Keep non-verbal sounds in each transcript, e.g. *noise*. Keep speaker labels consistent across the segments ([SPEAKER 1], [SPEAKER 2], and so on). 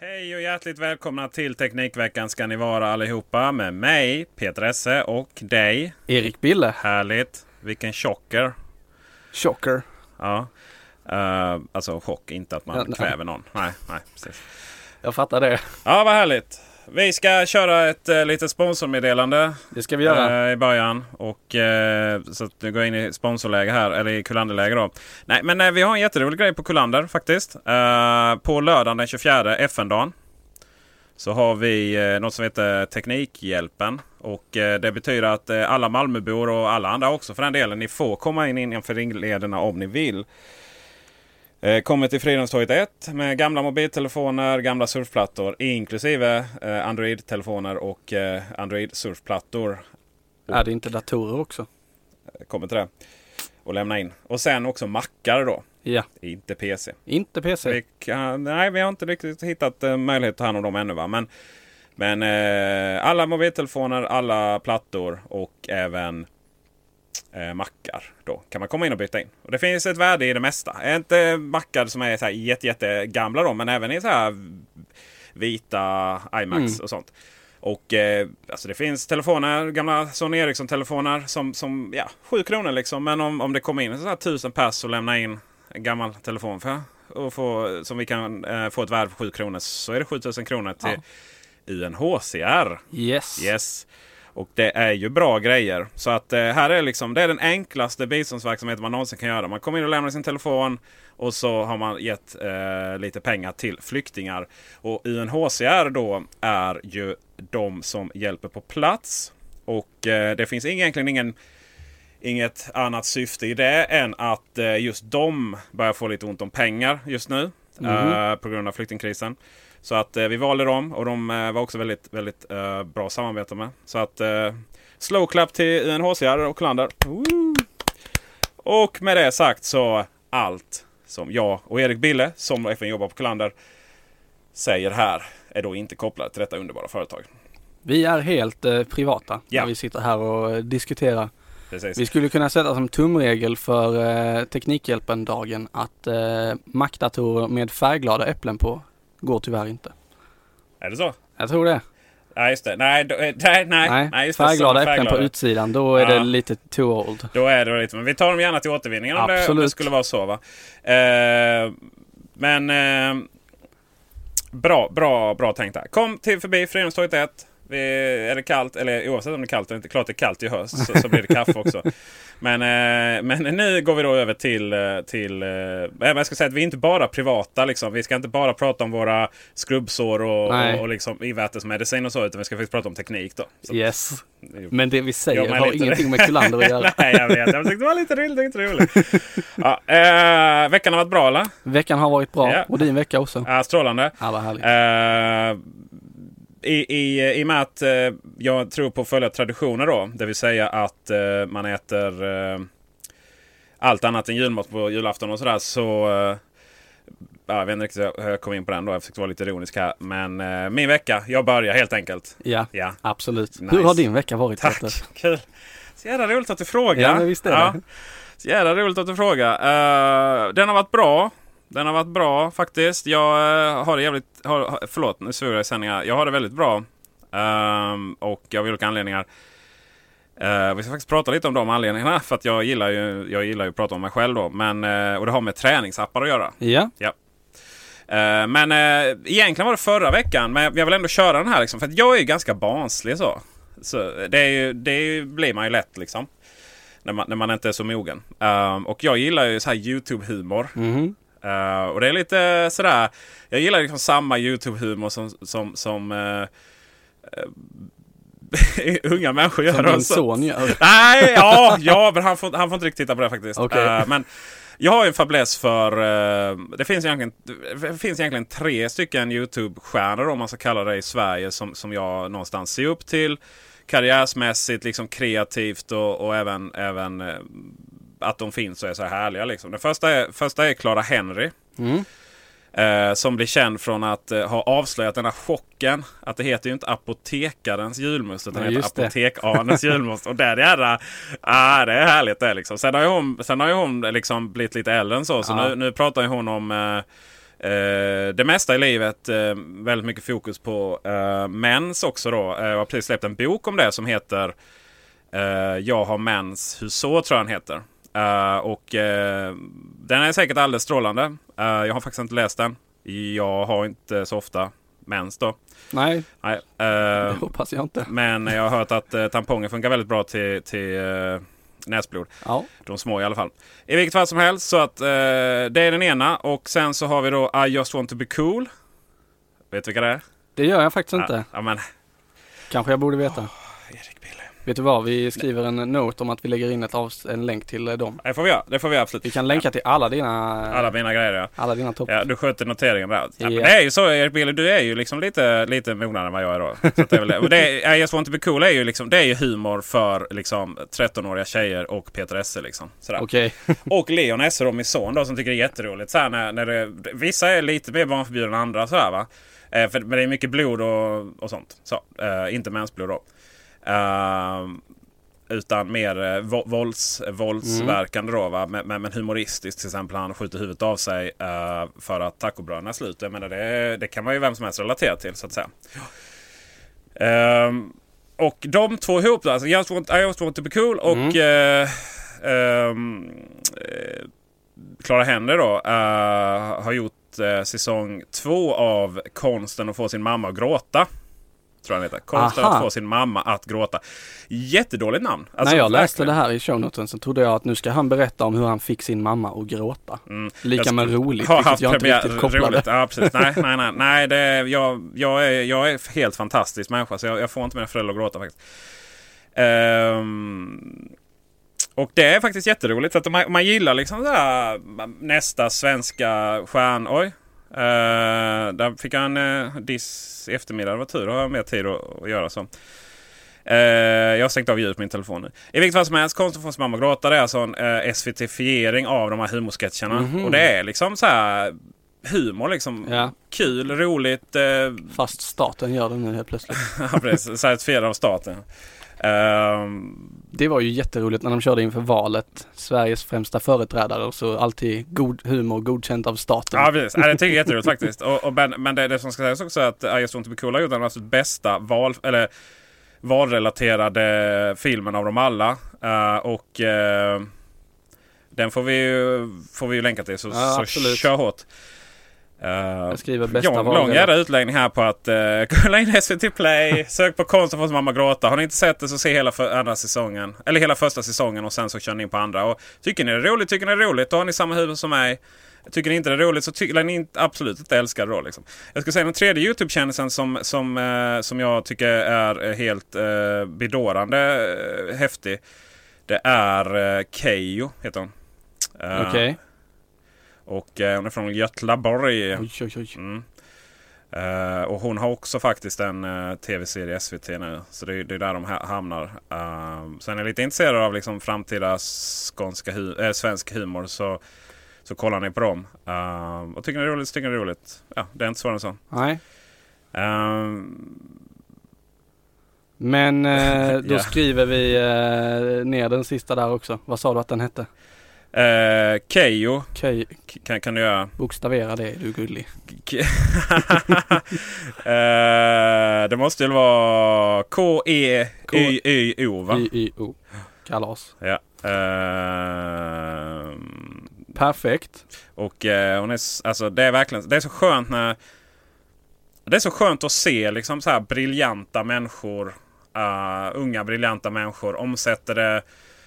[SPEAKER 1] Hej och hjärtligt välkomna till Teknikveckan ska ni vara allihopa med mig Peter Esse och dig.
[SPEAKER 2] Erik Bille.
[SPEAKER 1] Härligt! Vilken chocker!
[SPEAKER 2] Chocker.
[SPEAKER 1] Ja. Eh, alltså chock, inte att man
[SPEAKER 2] Ja, nej.
[SPEAKER 1] kväver någon. Nej, nej, precis.
[SPEAKER 2] Jag fattar det.
[SPEAKER 1] Ja, vad härligt! Vi ska köra ett eh, litet sponsormeddelande
[SPEAKER 2] Det ska vi göra.
[SPEAKER 1] eh, i början. Och, eh, så att nu går jag in i sponsorläge här, eller i Kulanderläge då. Nej, men eh, vi har en jätterolig grej på Kulander faktiskt. Eh, på lördagen den 24, FN-dagen. Så har vi eh, något som heter Teknikhjälpen. Och eh, det betyder att eh, alla Malmöbor och alla andra också för den delen. Ni får komma in innanför ringlederna om ni vill. Eh, Kommer till Fridhemstorget 1 med gamla mobiltelefoner, gamla surfplattor inklusive eh, Android-telefoner och eh, Android-surfplattor
[SPEAKER 2] Är det inte datorer också?
[SPEAKER 1] kommer till det. Och lämna in. Och sen också mackar då.
[SPEAKER 2] Ja.
[SPEAKER 1] Inte PC.
[SPEAKER 2] Inte
[SPEAKER 1] Vi
[SPEAKER 2] PC.
[SPEAKER 1] kan, nej, vi har inte riktigt hittat eh, möjlighet att ta hand om dem ännu. Va? Men, men eh, alla mobiltelefoner, alla plattor och även eh, mackar. Då kan man komma in och byta in. Och det finns ett värde i det mesta. Inte mackar som är så här jätte, jätte gamla då, men även i så här vita iMacs och sånt. Och eh, alltså det finns telefoner, gamla Sony Ericsson-telefoner som, som ja, 7 kronor liksom. Men om, om det kommer in så här 1000 pass och lämna in en gammal telefon för och få, som vi kan eh, få ett värde på 7 kronor så är det 7000 kronor till UNHCR.
[SPEAKER 2] Yes.
[SPEAKER 1] Yes. Och det är ju bra grejer. Så att eh, här är liksom, det är den enklaste biståndsverksamheten man någonsin kan göra. Man kommer in och lämnar sin telefon och så har man gett eh, lite pengar till flyktingar. Och UNHCR då är ju de som hjälper på plats. Och eh, det finns egentligen ingen inget annat syfte i det än att eh, just de börjar få lite ont om pengar just nu.
[SPEAKER 2] Mhm.
[SPEAKER 1] Eh, på grund av flyktingkrisen. Så att eh, vi valde dem och de eh, var också väldigt, väldigt eh, bra att samarbeta med. Så att eh, slow clap till UNHCR och Klander. Woo! Och med det sagt så allt som jag och Erik Bille som FN jobbar på Klander säger här är då inte kopplat till detta underbara företag.
[SPEAKER 2] Vi är helt eh, privata
[SPEAKER 1] Ja.
[SPEAKER 2] när vi sitter här och eh, diskuterar.
[SPEAKER 1] Precis.
[SPEAKER 2] Vi skulle kunna sätta som tumregel för eh, Teknikhjälpen-dagen att eh, Mac-datorer med färgglada äpplen på går tyvärr inte.
[SPEAKER 1] Är det så?
[SPEAKER 2] Jag tror det.
[SPEAKER 1] Nej, just det. Nej, då- eh, nej, nej. nej just det. Sådana
[SPEAKER 2] färgglada äpplen på
[SPEAKER 1] färgglada.
[SPEAKER 2] utsidan, då är
[SPEAKER 1] Ja.
[SPEAKER 2] det lite too old.
[SPEAKER 1] Då är det lite, men vi tar dem gärna till återvinningen om det, om det
[SPEAKER 2] Absolut.
[SPEAKER 1] skulle vara så. Va? Eh, men eh, bra, bra, bra tänkt där. Kom till förbi Fridhemstorget 1. Vi, är det kallt, eller oavsett om det är kallt eller inte, klart det är kallt i höst så, så blir det kaffe
[SPEAKER 2] *laughs*
[SPEAKER 1] också. Men, eh, men nu går vi då över till, eh, till eh, men jag ska säga att vi är inte bara privata liksom. Vi ska inte bara prata om våra skrubbsår och,
[SPEAKER 2] Nej.
[SPEAKER 1] och, och liksom ivätesmedicin och så, utan vi ska faktiskt prata om teknik då. Så,
[SPEAKER 2] Yes.
[SPEAKER 1] det är ju-
[SPEAKER 2] Men det vi säger
[SPEAKER 1] Jo, men
[SPEAKER 2] har
[SPEAKER 1] lite-
[SPEAKER 2] ingenting med Kullander
[SPEAKER 1] *laughs*
[SPEAKER 2] att göra.
[SPEAKER 1] Nej, jag vet. Jag tyckte det var lite roligt. Lite roligt. Ja, eh, veckan har varit bra, eller?
[SPEAKER 2] Veckan har varit bra
[SPEAKER 1] Ja.
[SPEAKER 2] och din vecka också.
[SPEAKER 1] Ja, strålande.
[SPEAKER 2] Ja, vad härligt.
[SPEAKER 1] Eh, i, i, I och med att eh, jag tror på att följa traditioner då. Det vill säga att eh, man äter eh, allt annat än julmat på julafton och sådär. Så, eh, ja, jag vet inte riktigt hur jag kom in på den då. Jag försökte vara lite ironisk här. Men eh, min vecka, jag börjar helt enkelt.
[SPEAKER 2] Ja,
[SPEAKER 1] Ja.
[SPEAKER 2] absolut.
[SPEAKER 1] Nice.
[SPEAKER 2] Hur har din vecka varit?
[SPEAKER 1] Tack!
[SPEAKER 2] Peter?
[SPEAKER 1] Kul! Så jävla roligt att du frågar.
[SPEAKER 2] Ja, men visst är det.
[SPEAKER 1] Så jävla roligt att du frågar. Eh, den har varit bra. Den har varit bra faktiskt. Jag eh, har det jävligt... Har, har- förlåt, nu svor jag i sändningar. Jag har det väldigt bra. Ehm, och av olika anledningar. Eh, vi ska faktiskt prata lite om de anledningarna. För att jag gillar ju, jag gillar ju att prata om mig själv då. Men, eh, och det har med träningsappar att göra.
[SPEAKER 2] Ja,
[SPEAKER 1] Ja. Eh, men eh, egentligen var det förra veckan. Men jag vill ändå köra den här liksom. För att jag är ju ganska barnslig så. så det är ju, det är ju, blir man ju lätt liksom. När man, när man inte är så mogen. Eh, och jag gillar ju så här YouTube-humor.
[SPEAKER 2] Mhm.
[SPEAKER 1] Eh, och det är lite sådär. Jag gillar liksom samma YouTube-humor som, som, som eh, eh, *laughs* unga människor gör.
[SPEAKER 2] som din
[SPEAKER 1] också.
[SPEAKER 2] son gör.
[SPEAKER 1] Nej, ja, ja men han får, han får inte riktigt titta på det faktiskt.
[SPEAKER 2] Okej.
[SPEAKER 1] Eh, men jag har ju en fäbless för... eh, det, finns egentligen, det finns egentligen tre stycken YouTube-stjärnor om man ska kalla det i Sverige som, som jag någonstans ser upp till. Karriärsmässigt, liksom kreativt och, och även, även eh, att de finns och är så här härliga. Liksom. Den första är, första är Clara Henry. Eh, som blir känd från att eh, ha avslöjat den här chocken. Att det heter ju inte apotekarens julmust utan
[SPEAKER 2] Nej,
[SPEAKER 1] det
[SPEAKER 2] just
[SPEAKER 1] heter
[SPEAKER 2] det. *laughs*
[SPEAKER 1] apotekarens julmust. Och där är det, ah, det är härligt det liksom. Sen har ju hon, sen har ju hon liksom blivit lite äldre än så. Så
[SPEAKER 2] Ja.
[SPEAKER 1] nu, nu pratar ju hon om eh, eh, det mesta i livet. Eh, väldigt mycket fokus på eh, mens också då. Eh, jag har precis släppt en bok om det som heter Eh, jag har mens, hur så tror jag den heter. Eh, och eh, den är säkert alldeles strålande. Eh, jag har faktiskt inte läst den. Jag har inte så ofta mens då.
[SPEAKER 2] Nej,
[SPEAKER 1] Nej,
[SPEAKER 2] det
[SPEAKER 1] eh,
[SPEAKER 2] *laughs* hoppas jag inte.
[SPEAKER 1] men jag har hört att eh, tamponger funkar väldigt bra till, till eh, näsblod.
[SPEAKER 2] Ja,
[SPEAKER 1] De små i alla fall. I vilket fall som helst så att eh, det är den ena. Och sen så har vi då I just want to be cool. Vet du vilka det är?
[SPEAKER 2] det gör jag faktiskt inte.
[SPEAKER 1] Ja, men
[SPEAKER 2] Kanske jag borde veta.
[SPEAKER 1] Erik Bille.
[SPEAKER 2] Vet du vad, vi skriver en note om att vi lägger in ett avs- en länk till eh, dem.
[SPEAKER 1] Det får vi göra. Det får vi absolut.
[SPEAKER 2] Vi kan länka till alla dina,
[SPEAKER 1] Alla mina grejer ja.
[SPEAKER 2] alla dina topp.
[SPEAKER 1] Ja, du sköter noteringen där. Ja, men
[SPEAKER 2] Ja.
[SPEAKER 1] Det är ju så Erik Bille, du är ju liksom lite, lite mognare än vad jag är då. Så att det är väl det. Och det är, I just want to be cool är ju liksom, det är ju humor för liksom 13-åriga tjejer och Peter Esse liksom. Sådär.
[SPEAKER 2] Okej,
[SPEAKER 1] Och Leon Esse då, min son då, som tycker det är jätteroligt. Såhär, när, när det, vissa är lite mer barnförbjudna än andra sådär va. Eh, för, men det är mycket blod och, och sånt. Så, eh, inte mensblod då. Ehm, utan mer eh, vo- vålds, våldsverkande då. Va? Men, men, men humoristiskt till exempel. Han skjuter huvudet av sig eh, för att tacobröden är slut. Jag menar, det, det kan man ju vem som helst relatera till så att säga. Ehm, och de två ihop då. Alltså, I just want, I just want to be cool och
[SPEAKER 2] Mm.
[SPEAKER 1] eh, ehm, eh, Clara Händer då. eh, har gjort eh, säsong två av Konsten att få sin mamma att gråta. Tror jag den heter. Konsten
[SPEAKER 2] Aha.
[SPEAKER 1] att få sin mamma att gråta. Jättedåligt namn. *laughs* Alltså,
[SPEAKER 2] när jag läste
[SPEAKER 1] verkligen.
[SPEAKER 2] det här i shownoten så trodde jag att nu ska han berätta om hur han fick sin mamma att gråta. Lika
[SPEAKER 1] Mm. Jag
[SPEAKER 2] med
[SPEAKER 1] sk-
[SPEAKER 2] roligt,
[SPEAKER 1] har
[SPEAKER 2] vilket
[SPEAKER 1] haft
[SPEAKER 2] jag inte
[SPEAKER 1] premiär-
[SPEAKER 2] riktigt kopplade.
[SPEAKER 1] roligt. Ja, precis. Nej, nej, nej. nej det, jag, jag, är, jag är helt fantastisk människa så jag, jag får inte mina föräldrar att gråta faktiskt. Ehm, och det är faktiskt jätteroligt. Så att om, man, om man gillar liksom så här, nästa svenska stjärn... Oj. Eh, där fick jag en uh, diss i eftermiddag. Det var tur. Då har jag mer tid att, att göra så. Eh, jag har stängt av ljudet på min telefon nu. I vilket fall som helst, Konsten från sin mamma och gråta det är alltså en uh, SVT-fiering av de här humorsketcherna. Och det är liksom så här humor liksom.
[SPEAKER 2] Ja.
[SPEAKER 1] Kul, roligt, eh, *laughs*
[SPEAKER 2] Fast staten gör det nu helt plötsligt.
[SPEAKER 1] ja, precis, certifierad av staten. Ehm,
[SPEAKER 2] Det var ju jätteroligt när de körde inför valet, Sveriges främsta företrädare och så alltid god humor godkänt av staten.
[SPEAKER 1] Ja, precis. Ja, det tycker jag är jätteroligt faktiskt. Och, och, men men det, det som ska sägas också är att I just want to be cool har gjort den absolut bästa val, eller, valrelaterade filmen av dem alla. Eh, och eh, den får vi, ju, får vi ju länka till, så,
[SPEAKER 2] Ja,
[SPEAKER 1] så
[SPEAKER 2] absolut.
[SPEAKER 1] kör hårt. Eh,
[SPEAKER 2] Jag skriver bästa
[SPEAKER 1] lång,
[SPEAKER 2] valrörelse.
[SPEAKER 1] lång jävla utläggning här på att uh, *laughs* kolla in SVT Play, sök på konst och få mamma gråta. Har ni inte sett det så se hela för, andra säsongen. Eller hela första säsongen och sen så kör ni in på andra. Och tycker ni det är roligt, tycker ni det är roligt, då har ni samma huvud som mig. Tycker ni inte det är roligt så tycker ni inte, absolut inte älskar det då. Liksom. Jag ska säga den tredje YouTube-kändisen som, som, eh, som jag tycker är eh, helt eh, bedårande eh, häftig. Det är eh, Keyyo, heter hon. Eh,
[SPEAKER 2] Okej.
[SPEAKER 1] Och eh, hon är från Götlaborg.
[SPEAKER 2] Oj, oj, oj.
[SPEAKER 1] Mm. Eh, och hon har också faktiskt en eh, tv-serie i SVT nu. Så det, är- det är där de ha- hamnar. Eh, sen är jag lite intresserad av liksom framtida skånska hu- eh, svensk humor. Så, så kollar ni på dem. Eh, och tycker ni det är roligt så tycker ni det är roligt. Ja, det är inte svårare än så.
[SPEAKER 2] Nej.
[SPEAKER 1] Eh,
[SPEAKER 2] Men eh,
[SPEAKER 1] *laughs*
[SPEAKER 2] då
[SPEAKER 1] Ja.
[SPEAKER 2] skriver vi eh, ner den sista där också. Vad sa du att den hette?
[SPEAKER 1] eh, Keyyo
[SPEAKER 2] Okej,
[SPEAKER 1] k- kan, kan du göra.
[SPEAKER 2] bokstavera det, är du gullig.
[SPEAKER 1] K- Eh, det måste väl vara K-E-Y-Y-O va?
[SPEAKER 2] Y-Y-O. Kalas.
[SPEAKER 1] Ja. Ehm,
[SPEAKER 2] Perfekt.
[SPEAKER 1] och eh, hon är, s- alltså, det är verkligen det är så skönt när... Det är så skönt att se liksom så här briljanta människor. eh, unga briljanta människor omsätter det.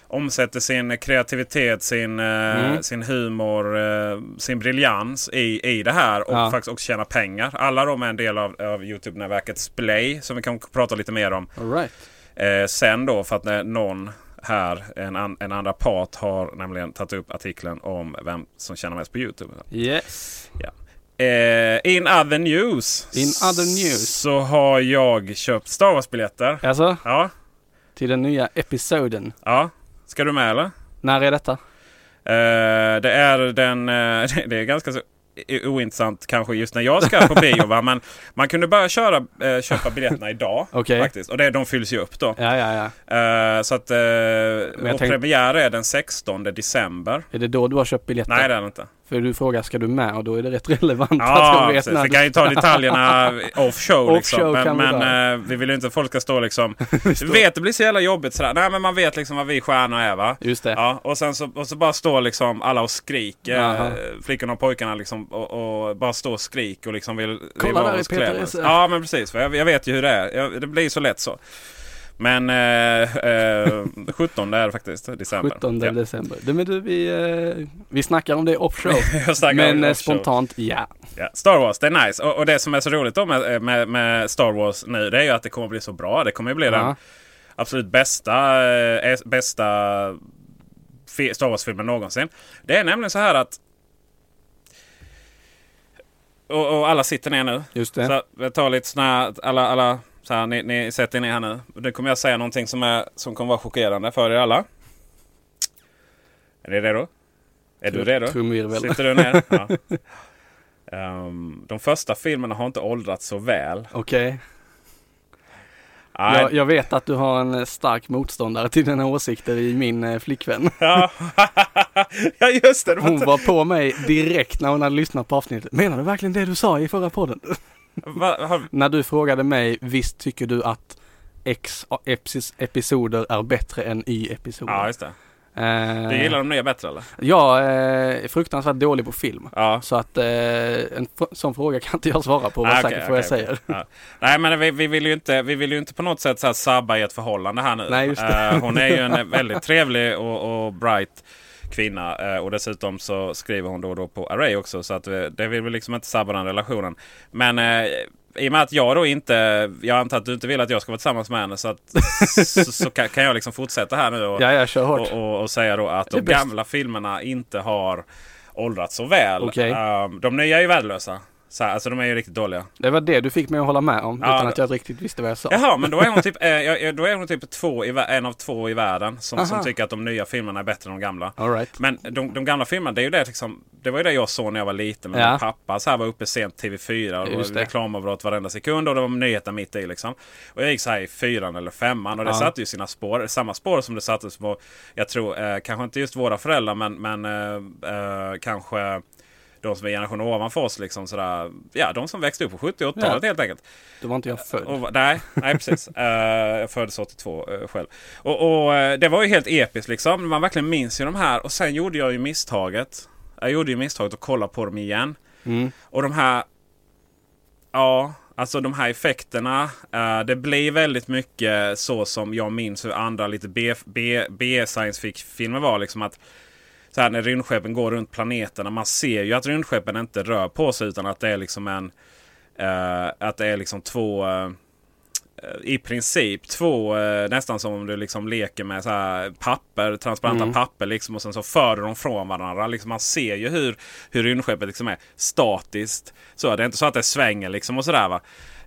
[SPEAKER 1] Omsätter sin kreativitet, sin, eh,
[SPEAKER 2] Mm.
[SPEAKER 1] sin humor, eh, sin briljans i, i det här. Och
[SPEAKER 2] Ja.
[SPEAKER 1] faktiskt också tjäna pengar. Alla de är en del av, av Youtube-nätverket Splay. Som vi kan prata lite mer om.
[SPEAKER 2] All right.
[SPEAKER 1] Eh, sen då för att när någon här, en, an, en andra part, har nämligen tagit upp artikeln om vem som tjänar mest på Youtube.
[SPEAKER 2] Yes.
[SPEAKER 1] Eh, in other news.
[SPEAKER 2] In other news.
[SPEAKER 1] Så har jag köpt Star Wars-biljetter.
[SPEAKER 2] Alltså,
[SPEAKER 1] Ja,
[SPEAKER 2] till den nya episoden.
[SPEAKER 1] ja. Ska du med eller?
[SPEAKER 2] När är detta?
[SPEAKER 1] Eh, det är den... eh, *laughs* det är ganska så o- ointressant kanske just när jag ska på bio va. Men man kunde börja köra, eh, köpa biljetterna idag.
[SPEAKER 2] *laughs* Okej.
[SPEAKER 1] Faktiskt. Och det, de fylls ju upp då.
[SPEAKER 2] Ja, ja, ja.
[SPEAKER 1] Eh, så att... eh, och
[SPEAKER 2] tänkte-
[SPEAKER 1] premiär är den 16 december.
[SPEAKER 2] Är det då du har köpt biljetter?
[SPEAKER 1] Nej det är det inte.
[SPEAKER 2] För du frågar, ska du med? Och då är det rätt *laughs* relevant att
[SPEAKER 1] Ja,
[SPEAKER 2] jag vet
[SPEAKER 1] precis.
[SPEAKER 2] när
[SPEAKER 1] Vi
[SPEAKER 2] du-
[SPEAKER 1] kan ju ta
[SPEAKER 2] *laughs*
[SPEAKER 1] detaljerna off show.
[SPEAKER 2] Off
[SPEAKER 1] Liksom.
[SPEAKER 2] show
[SPEAKER 1] men
[SPEAKER 2] kan vi
[SPEAKER 1] men
[SPEAKER 2] ta.
[SPEAKER 1] eh, vi vill ju inte att folk ska stå
[SPEAKER 2] *laughs*
[SPEAKER 1] liksom... Du vet, det blir så jävla jobbigt sådär. Nej, men man vet liksom vad vi stjärnor är va?
[SPEAKER 2] Just det.
[SPEAKER 1] Ja, och sen så, och så bara står liksom alla och skriker.
[SPEAKER 2] Jaha.
[SPEAKER 1] eh, Flickorna och pojkarna liksom och, och bara står och skriker och liksom vill...
[SPEAKER 2] Kolla
[SPEAKER 1] vill
[SPEAKER 2] där
[SPEAKER 1] vara
[SPEAKER 2] är
[SPEAKER 1] hos
[SPEAKER 2] Peter
[SPEAKER 1] Clemens.
[SPEAKER 2] Esse.
[SPEAKER 1] Ja, men precis. För jag, jag vet ju hur det är. Jag, det blir så lätt så. Men eh, eh, 17 är det faktiskt, december.
[SPEAKER 2] 17
[SPEAKER 1] Ja.
[SPEAKER 2] december. Du, men du, vi, eh, vi snackar om det off show.
[SPEAKER 1] *laughs* Jag snackar om det
[SPEAKER 2] men eh,
[SPEAKER 1] off show.
[SPEAKER 2] spontant, ja.
[SPEAKER 1] Ja, Star Wars, det är nice. Och, och det som är så roligt då med, med, med Star Wars nu, det är ju att det kommer bli så bra. Det kommer ju bli den
[SPEAKER 2] Ja.
[SPEAKER 1] absolut bästa, eh, es- bästa fi- Star Wars-filmen någonsin. Det är nämligen så här att... Och, och alla sitter ner nu.
[SPEAKER 2] Just det.
[SPEAKER 1] Så jag tar lite såna här, alla, alla, så här, ni, ni sätter er ner här nu. Nu kommer jag säga någonting som, är, som kommer vara chockerande för er alla. Är ni redo? Är du redo?
[SPEAKER 2] Trumvirvel.
[SPEAKER 1] Sitter du
[SPEAKER 2] *laughs*
[SPEAKER 1] ner? Ja. Ehm, de första filmerna har inte åldrats så väl.
[SPEAKER 2] Okej.
[SPEAKER 1] Nej.
[SPEAKER 2] Jag, jag vet att du har en eh, stark motståndare till dina åsikter i min
[SPEAKER 1] *laughs*
[SPEAKER 2] eh, flickvän.
[SPEAKER 1] Ja. ja, just det. det var
[SPEAKER 2] Hon
[SPEAKER 1] inte-
[SPEAKER 2] var på mig direkt när hon hade lyssnat på avsnittet. Menar du verkligen det du sa i förra podden?
[SPEAKER 1] Va, har,
[SPEAKER 2] När du frågade mig, visst tycker du att X epis- episoder är bättre än Y-episoder?
[SPEAKER 1] ja, just det.
[SPEAKER 2] Eh,
[SPEAKER 1] Du gillar de nya bättre eller?
[SPEAKER 2] Jag eh, är fruktansvärt dålig på film.
[SPEAKER 1] Ja.
[SPEAKER 2] Så att eh, en f- sån fråga kan inte jag svara på, var
[SPEAKER 1] Ah,
[SPEAKER 2] säker
[SPEAKER 1] okej,
[SPEAKER 2] på vad jag
[SPEAKER 1] okej,
[SPEAKER 2] säger.
[SPEAKER 1] Ja. Nej men vi, vi, vill ju inte, vi vill ju inte på något sätt så här sabba ert förhållande här nu.
[SPEAKER 2] Nej, just det.
[SPEAKER 1] Eh, hon är ju en
[SPEAKER 2] *laughs*
[SPEAKER 1] väldigt trevlig och, och bright kvinna. Eh, och dessutom så skriver hon då och då på Array också. Så att vi, det vill vi liksom inte sabba den relationen. Men eh, i och med att jag då inte, jag antar att du inte vill att jag ska vara tillsammans med henne. Så, att,
[SPEAKER 2] *laughs*
[SPEAKER 1] så, så kan, kan jag liksom fortsätta här nu. Och,
[SPEAKER 2] Ja, jag kör hårt.
[SPEAKER 1] och, och, och säga då att
[SPEAKER 2] Det är
[SPEAKER 1] de
[SPEAKER 2] bäst.
[SPEAKER 1] gamla filmerna inte har åldrats så väl.
[SPEAKER 2] Okej.
[SPEAKER 1] Ehm, de nya är ju värdelösa. Så här, alltså de är ju riktigt dåliga.
[SPEAKER 2] Det var det du fick mig att hålla med om,
[SPEAKER 1] Ja,
[SPEAKER 2] utan
[SPEAKER 1] det-
[SPEAKER 2] att jag riktigt visste vad jag sa.
[SPEAKER 1] Jaha, men då är hon typ, eh, ja, ja, då är hon typ två i, vä- en av två i världen som, som
[SPEAKER 2] Aha.
[SPEAKER 1] tycker att de nya filmerna är bättre än de gamla.
[SPEAKER 2] All right.
[SPEAKER 1] Men de, de gamla filmerna, det, är ju det, liksom, det var ju det jag såg när jag var liten med
[SPEAKER 2] Ja.
[SPEAKER 1] min pappa. Så här var uppe sent TV4 och det
[SPEAKER 2] Just
[SPEAKER 1] var
[SPEAKER 2] det.
[SPEAKER 1] reklamavbrott varenda sekund och det var nyheterna mitt i. Liksom. Och jag gick så här i fyran eller femman och det
[SPEAKER 2] Ja.
[SPEAKER 1] satte ju sina spår. Samma spår som det sattes på, jag tror, eh, kanske inte just våra föräldrar men, men eh, eh, kanske de som är generationen ovanför oss. Liksom, sådär, ja, de som växte upp på 70 och 80-talet
[SPEAKER 2] Ja.
[SPEAKER 1] helt enkelt.
[SPEAKER 2] Då var inte jag född.
[SPEAKER 1] Och, va- nej, nej,
[SPEAKER 2] *laughs*
[SPEAKER 1] precis. Eh, jag föddes 82 eh, själv. Och, och eh, det var ju helt episkt liksom. Man verkligen minns ju de här. Och sen gjorde jag ju misstaget. Jag gjorde ju misstaget att kolla på dem igen.
[SPEAKER 2] Mm.
[SPEAKER 1] Och de här... Ja, alltså de här effekterna. eh, det blir väldigt mycket så som jag minns hur andra lite B, B, B science fiction-filmer var. Liksom att så här, när rymdskeppen går runt planeterna. Man ser ju att rymdskeppen inte rör på sig utan att det är liksom en... eh, att det är liksom två... eh, i princip två, eh, nästan som om du liksom leker med så här papper, transparenta papper liksom och sen så för du dem från varandra. Liksom man ser ju hur, hur rymdskeppet liksom är statiskt. Så det är inte så att det svänger liksom och sådär va.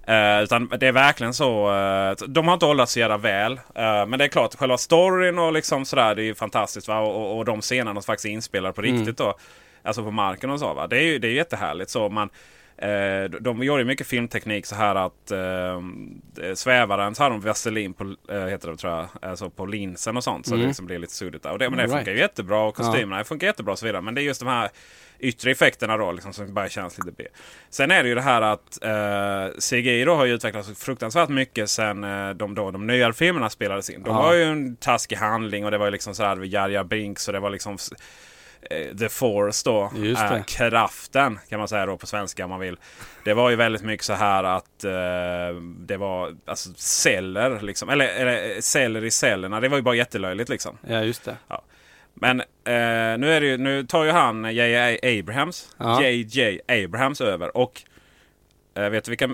[SPEAKER 1] Eh, utan det är verkligen så. eh, de har inte hållit så jävla väl. Eh, men det är klart, själva storyn och liksom sådär, det är ju fantastiskt va. Och, och, och de scenerna som faktiskt är inspelade på riktigt då. Alltså på marken och så va. Det är ju det är ju jättehärligt så. Man, Eh, de- de gjorde ju mycket filmteknik så här att eh, svävaren så hade de vaselin på, eh, heter det, tror jag, alltså på linsen och sånt. Så det liksom blir lite suddigt. där. Och det, men det
[SPEAKER 2] Mm. Right.
[SPEAKER 1] funkar ju jättebra och kostymerna funkar jättebra och så vidare. Men det är just de här yttre effekterna då liksom, som bara känns lite B. Sen är det ju det här att eh, CGI då har ju utvecklats fruktansvärt mycket sen eh, de, då, de nya filmerna spelades in. De
[SPEAKER 2] Ja.
[SPEAKER 1] var ju en taskig handling och det var ju liksom så här, det var Jarja Binks och det var liksom eh, The Force då.
[SPEAKER 2] Just det.
[SPEAKER 1] Eh, kraften kan man säga då på svenska om man vill. Det var ju väldigt mycket så här att eh, det var alltså, celler liksom. Eller, eller eh, celler i cellerna. Det var ju bara jättelöjligt liksom.
[SPEAKER 2] Ja, just det.
[SPEAKER 1] Men eh, nu, är det ju, nu tar ju han eh, J.J. Abrahams,
[SPEAKER 2] Ja.
[SPEAKER 1] J.J. Abrahams över. Och eh, vet du vilka...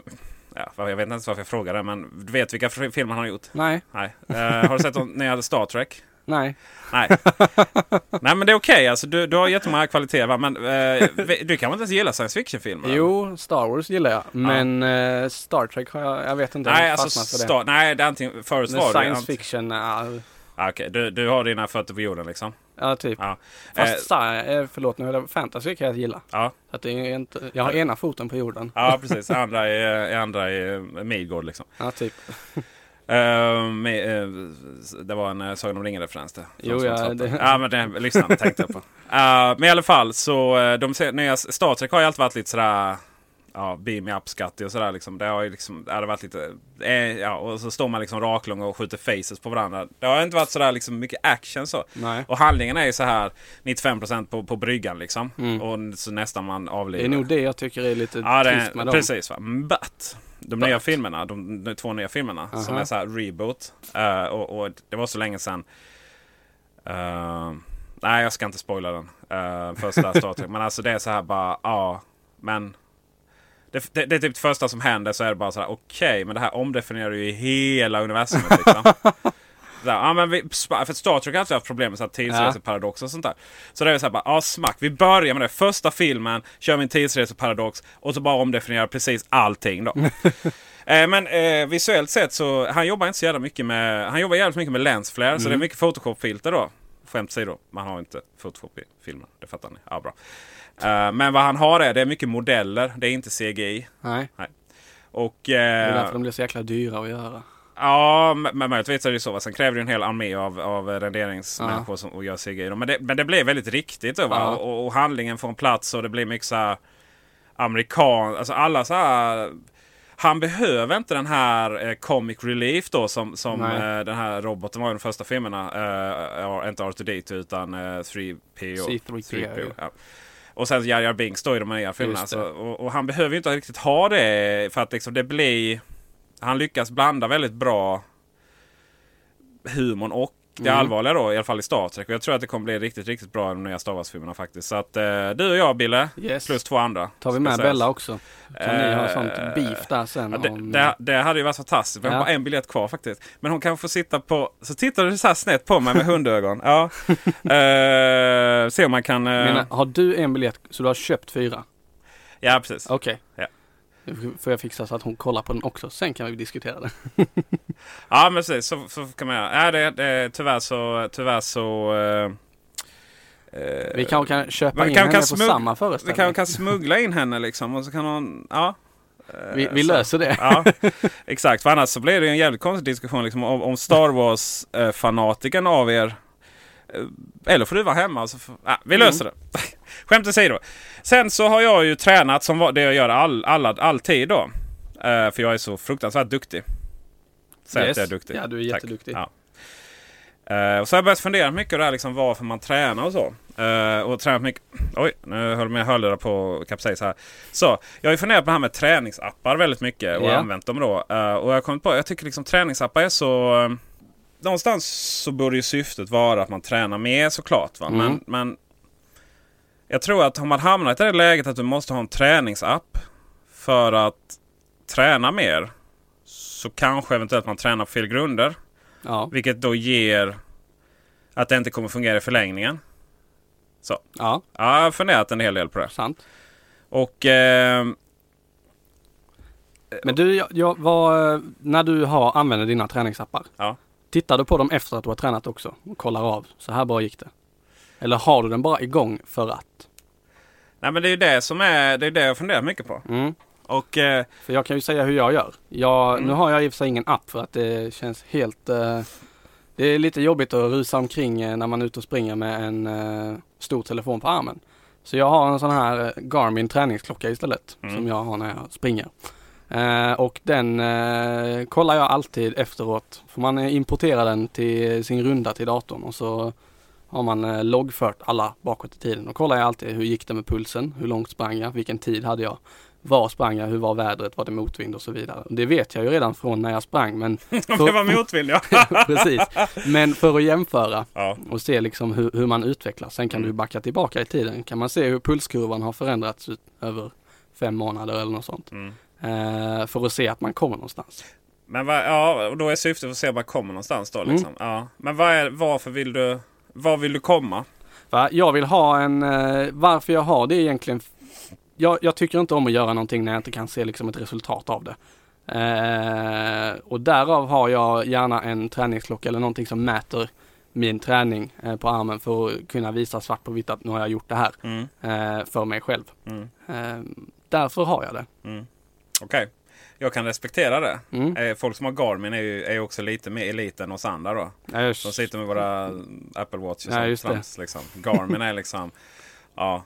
[SPEAKER 1] Ja, jag vet inte ens varför jag frågar det, men du vet vilka fr- filmer han har gjort?
[SPEAKER 2] Nej,
[SPEAKER 1] Nej. Eh, har du sett de nya Star Trek?
[SPEAKER 2] nej.
[SPEAKER 1] Nej.
[SPEAKER 2] *laughs*
[SPEAKER 1] Nej men det är okej alltså. Du, du har jättemånga kvaliteter va? Men eh, vi- du kan väl inte ens gilla science fiction-filmer?
[SPEAKER 2] Jo, Star Wars gillar jag. Men eh, Star Trek har jag, jag vet inte. jag har
[SPEAKER 1] Nej,
[SPEAKER 2] inte
[SPEAKER 1] alltså,
[SPEAKER 2] fastnat för
[SPEAKER 1] Star, nej, det är antingen förut
[SPEAKER 2] Men
[SPEAKER 1] var det
[SPEAKER 2] science
[SPEAKER 1] ant-
[SPEAKER 2] fiction, ja,
[SPEAKER 1] Ah, Okej, du, du har dina fötter på jorden liksom.
[SPEAKER 2] ja typ.
[SPEAKER 1] Ja.
[SPEAKER 2] Fast
[SPEAKER 1] Eh,
[SPEAKER 2] sci- eh, förlåt nu, eller fantasy kan jag gilla.
[SPEAKER 1] ja.
[SPEAKER 2] Så att det är inte, jag har ena foten på jorden.
[SPEAKER 1] ja, precis. Andra är, andra är Midgård liksom.
[SPEAKER 2] Ja, typ.
[SPEAKER 1] Eh, med, eh, det var en uh, Sagan om ringen-referens det.
[SPEAKER 2] Jo,
[SPEAKER 1] Som- som
[SPEAKER 2] ja,
[SPEAKER 1] satt där.
[SPEAKER 2] det-
[SPEAKER 1] Ja, men det lyssnade jag tänkte
[SPEAKER 2] *laughs*
[SPEAKER 1] jag på. Eh, men i alla fall så, eh, de se- nya Star Trek har ju alltid varit lite sådär, ja, beam me up skattig och sådär liksom. Det har ju liksom, det hade varit lite, eh, ja, och så står man liksom raklång och skjuter faces på varandra. Det har inte varit sådär liksom mycket action så.
[SPEAKER 2] Nej.
[SPEAKER 1] Och handlingen är ju så här 95% på, på bryggan liksom. Och så nästan man
[SPEAKER 2] Mm. Det
[SPEAKER 1] avlider.
[SPEAKER 2] är nog det jag tycker är lite
[SPEAKER 1] Ja, det,
[SPEAKER 2] trist med dem.
[SPEAKER 1] precis. Va? But, de nya filmerna, de, de två nya filmerna som är så här reboot. eh, och, och det var så länge sedan. Eh, nej, jag ska inte spoila den. eh,
[SPEAKER 2] *laughs*
[SPEAKER 1] första Star Trek. Men alltså det är så här bara, ja. Men det, det, det är typ det första som händer så är det bara så här okej. men det här omdefinierar ju hela universumet
[SPEAKER 2] *laughs*
[SPEAKER 1] liksom. Där, ja, men vi, spa- för Star Trek har alltid haft problem med så här tidsreseparadox och sånt där. Så det är så här bara, ja smack. Vi börjar med det. Första filmen kör vi en tidsreseparadox och så bara omdefinierar precis allting
[SPEAKER 2] *laughs*
[SPEAKER 1] då. Eh, Men eh, visuellt sett så, han jobbar inte så jävla mycket med, han jobbar jävligt mycket med lensflare så
[SPEAKER 2] Mm.
[SPEAKER 1] det är mycket Photoshop-filter då. Skämt sig då, man har inte Photoshop i filmen, det fattar ni. Ja, bra. Eh, men vad han har är, det är mycket modeller, det är inte CGI.
[SPEAKER 2] Nej,
[SPEAKER 1] Nej. Och...
[SPEAKER 2] det är
[SPEAKER 1] eh,
[SPEAKER 2] därför de blir så jäkla dyra att göra.
[SPEAKER 1] Ja, men men möjligtvis är det ju så. va. Sen kräver det ju en hel armé av, av renderingsmänniskor som och gör CGI. då. Men det, men det blev väldigt riktigt då, va?
[SPEAKER 2] Ja.
[SPEAKER 1] Och, och handlingen får en plats och det blir mycket så här amerikan... Alltså alla så här... Han behöver inte den här eh, comic relief då som, som
[SPEAKER 2] Nej.
[SPEAKER 1] eh, den här roboten var i de första filmerna. Eh, ja, inte R2D2 utan eh, 3PO.
[SPEAKER 2] C3PO,
[SPEAKER 1] ja. Och sen Jar Jar Binks då i de nya filmerna.
[SPEAKER 2] Just det.
[SPEAKER 1] Så, och, och han behöver ju inte riktigt ha det för att liksom det blir... Han lyckas blanda väldigt bra humorn och det
[SPEAKER 2] Mm.
[SPEAKER 1] allvarliga då, i alla fall i Star Trek. Och jag tror att det kommer bli riktigt, riktigt bra i de nya Star Wars-filmerna faktiskt. Så att eh, du och jag, Bille,
[SPEAKER 2] Yes.
[SPEAKER 1] plus två andra.
[SPEAKER 2] Tar vi
[SPEAKER 1] ska
[SPEAKER 2] med
[SPEAKER 1] sägas.
[SPEAKER 2] Bella också? Så ni har sånt
[SPEAKER 1] Eh,
[SPEAKER 2] beef där sen
[SPEAKER 1] Ja, det,
[SPEAKER 2] om...
[SPEAKER 1] det, det hade ju varit fantastiskt. Vi har
[SPEAKER 2] Ja.
[SPEAKER 1] bara en biljett kvar faktiskt. Men hon kan få sitta på... Så tittar du så här snett på mig med hundögon.
[SPEAKER 2] *laughs*
[SPEAKER 1] Ja. Eh, se om man kan... eh,
[SPEAKER 2] Men, har du en biljett så du har köpt fyra?
[SPEAKER 1] Ja, precis.
[SPEAKER 2] Okej.
[SPEAKER 1] Ja.
[SPEAKER 2] Nu Får jag fixa så att hon kollar på den också, sen kan vi diskutera det.
[SPEAKER 1] Ja, men precis. Så, så kan man göra. Ja, det, det, tyvärr så... Tyvärr så eh,
[SPEAKER 2] Vi kanske kan köpa
[SPEAKER 1] man
[SPEAKER 2] in
[SPEAKER 1] kan-
[SPEAKER 2] henne
[SPEAKER 1] kan
[SPEAKER 2] på
[SPEAKER 1] smugg-
[SPEAKER 2] samma
[SPEAKER 1] Eh, vi
[SPEAKER 2] föreställning.
[SPEAKER 1] kan, kan smuggla in henne liksom och så kan hon... Ja.
[SPEAKER 2] vi vi
[SPEAKER 1] så-
[SPEAKER 2] löser det.
[SPEAKER 1] Ja, exakt. För annars så blir det ju en jävligt konstig diskussion liksom, om, om Star Wars-fanatiken av er. Eh, Eller får du vara hemma. Så får, ah,
[SPEAKER 2] Mm.
[SPEAKER 1] vi löser det. *laughs* Skämt åsido. Sen så har jag ju tränat som va- det jag gör all, alla, alltid då. Eh, för jag är så fruktansvärt duktig. Säg
[SPEAKER 2] Yes.
[SPEAKER 1] att jag är duktig.
[SPEAKER 2] Ja, du är
[SPEAKER 1] Tack.
[SPEAKER 2] jätteduktig.
[SPEAKER 1] Ja. Eh, och så har jag börjat fundera mycket på det här liksom varför man tränar och så. Eh, och tränat mycket. Oj, nu höll mina hörlurar på att kapsejsa här. Så, jag har ju funderat på det här med träningsappar väldigt mycket och
[SPEAKER 2] Ja.
[SPEAKER 1] använt dem då. Eh, och jag har kommit på, jag tycker liksom träningsappar är så... eh, någonstans så borde ju syftet vara att man tränar mer såklart. Va? Men, men jag tror att har man hamnat i det läget att du måste ha en träningsapp för att träna mer. Så kanske eventuellt man tränar på fel grunder.
[SPEAKER 2] Ja.
[SPEAKER 1] Vilket då ger att det inte kommer fungera i förlängningen. Så.
[SPEAKER 2] ja,
[SPEAKER 1] Ja, jag har funderat en hel del på det.
[SPEAKER 2] sant.
[SPEAKER 1] Och eh,
[SPEAKER 2] Men du, jag, jag, vad, eh, när du har, använder dina träningsappar,
[SPEAKER 1] ja.
[SPEAKER 2] tittar du på dem efter att du har tränat också och kollar av, så här bra gick det? Eller har du den bara igång för att?
[SPEAKER 1] Nej, men det är ju det som är, det är det jag funderar mycket på.
[SPEAKER 2] mm?
[SPEAKER 1] Och eh,
[SPEAKER 2] För jag kan ju säga hur jag gör. Jag, Nu har jag i och för sig ingen app för att det känns helt... Eh, det är lite jobbigt att rusa omkring eh, när man är ute och springer med en eh, stor telefon på armen. Så jag har en sån här eh, Garmin träningsklocka istället som jag har när jag springer. Eh, och den eh, kollar jag alltid efteråt. Får man eh, importera den till sin runda till datorn och så har man eh, loggfört alla bakåt i tiden. Då kollar jag alltid hur gick det med pulsen, hur långt sprang jag, vilken tid hade jag. Var sprang jag? Hur var vädret? Var det motvind och så vidare? Det vet jag ju redan från när jag sprang men... *laughs*
[SPEAKER 1] om det var motvind ja. *laughs*
[SPEAKER 2] precis. Men för att jämföra
[SPEAKER 1] ja.
[SPEAKER 2] och se liksom hur, hur man utvecklas. Sen kan du backa tillbaka i tiden. Kan man se hur pulskurvan har förändrats ut över fem månader eller något sånt. Eh, för att se att man kommer någonstans.
[SPEAKER 1] Men vad, ja, och då är syftet att se var man kommer någonstans då
[SPEAKER 2] Mm.
[SPEAKER 1] liksom. Ja. Men vad är, varför vill du, var vill du komma?
[SPEAKER 2] Va? Jag vill ha en, eh, varför jag har det är egentligen, jag, jag tycker inte om att göra någonting när jag inte kan se liksom ett resultat av det. Eh, och därav har jag gärna en träningsklocka eller någonting som mäter min träning eh, på armen för att kunna visa svart på vitt att nu har jag gjort det här
[SPEAKER 1] Mm.
[SPEAKER 2] eh, för mig själv. Eh, därför har jag det.
[SPEAKER 1] Okej. Jag kan respektera det.
[SPEAKER 2] Mm.
[SPEAKER 1] Eh, Folk som har Garmin är ju är ju också lite mer elit än oss andra då.
[SPEAKER 2] Ja, jag-
[SPEAKER 1] De sitter med våra Apple Watch och
[SPEAKER 2] Ja,
[SPEAKER 1] sånt
[SPEAKER 2] Mm. just det.
[SPEAKER 1] trams, liksom. Garmin är
[SPEAKER 2] *laughs*
[SPEAKER 1] liksom... Ja,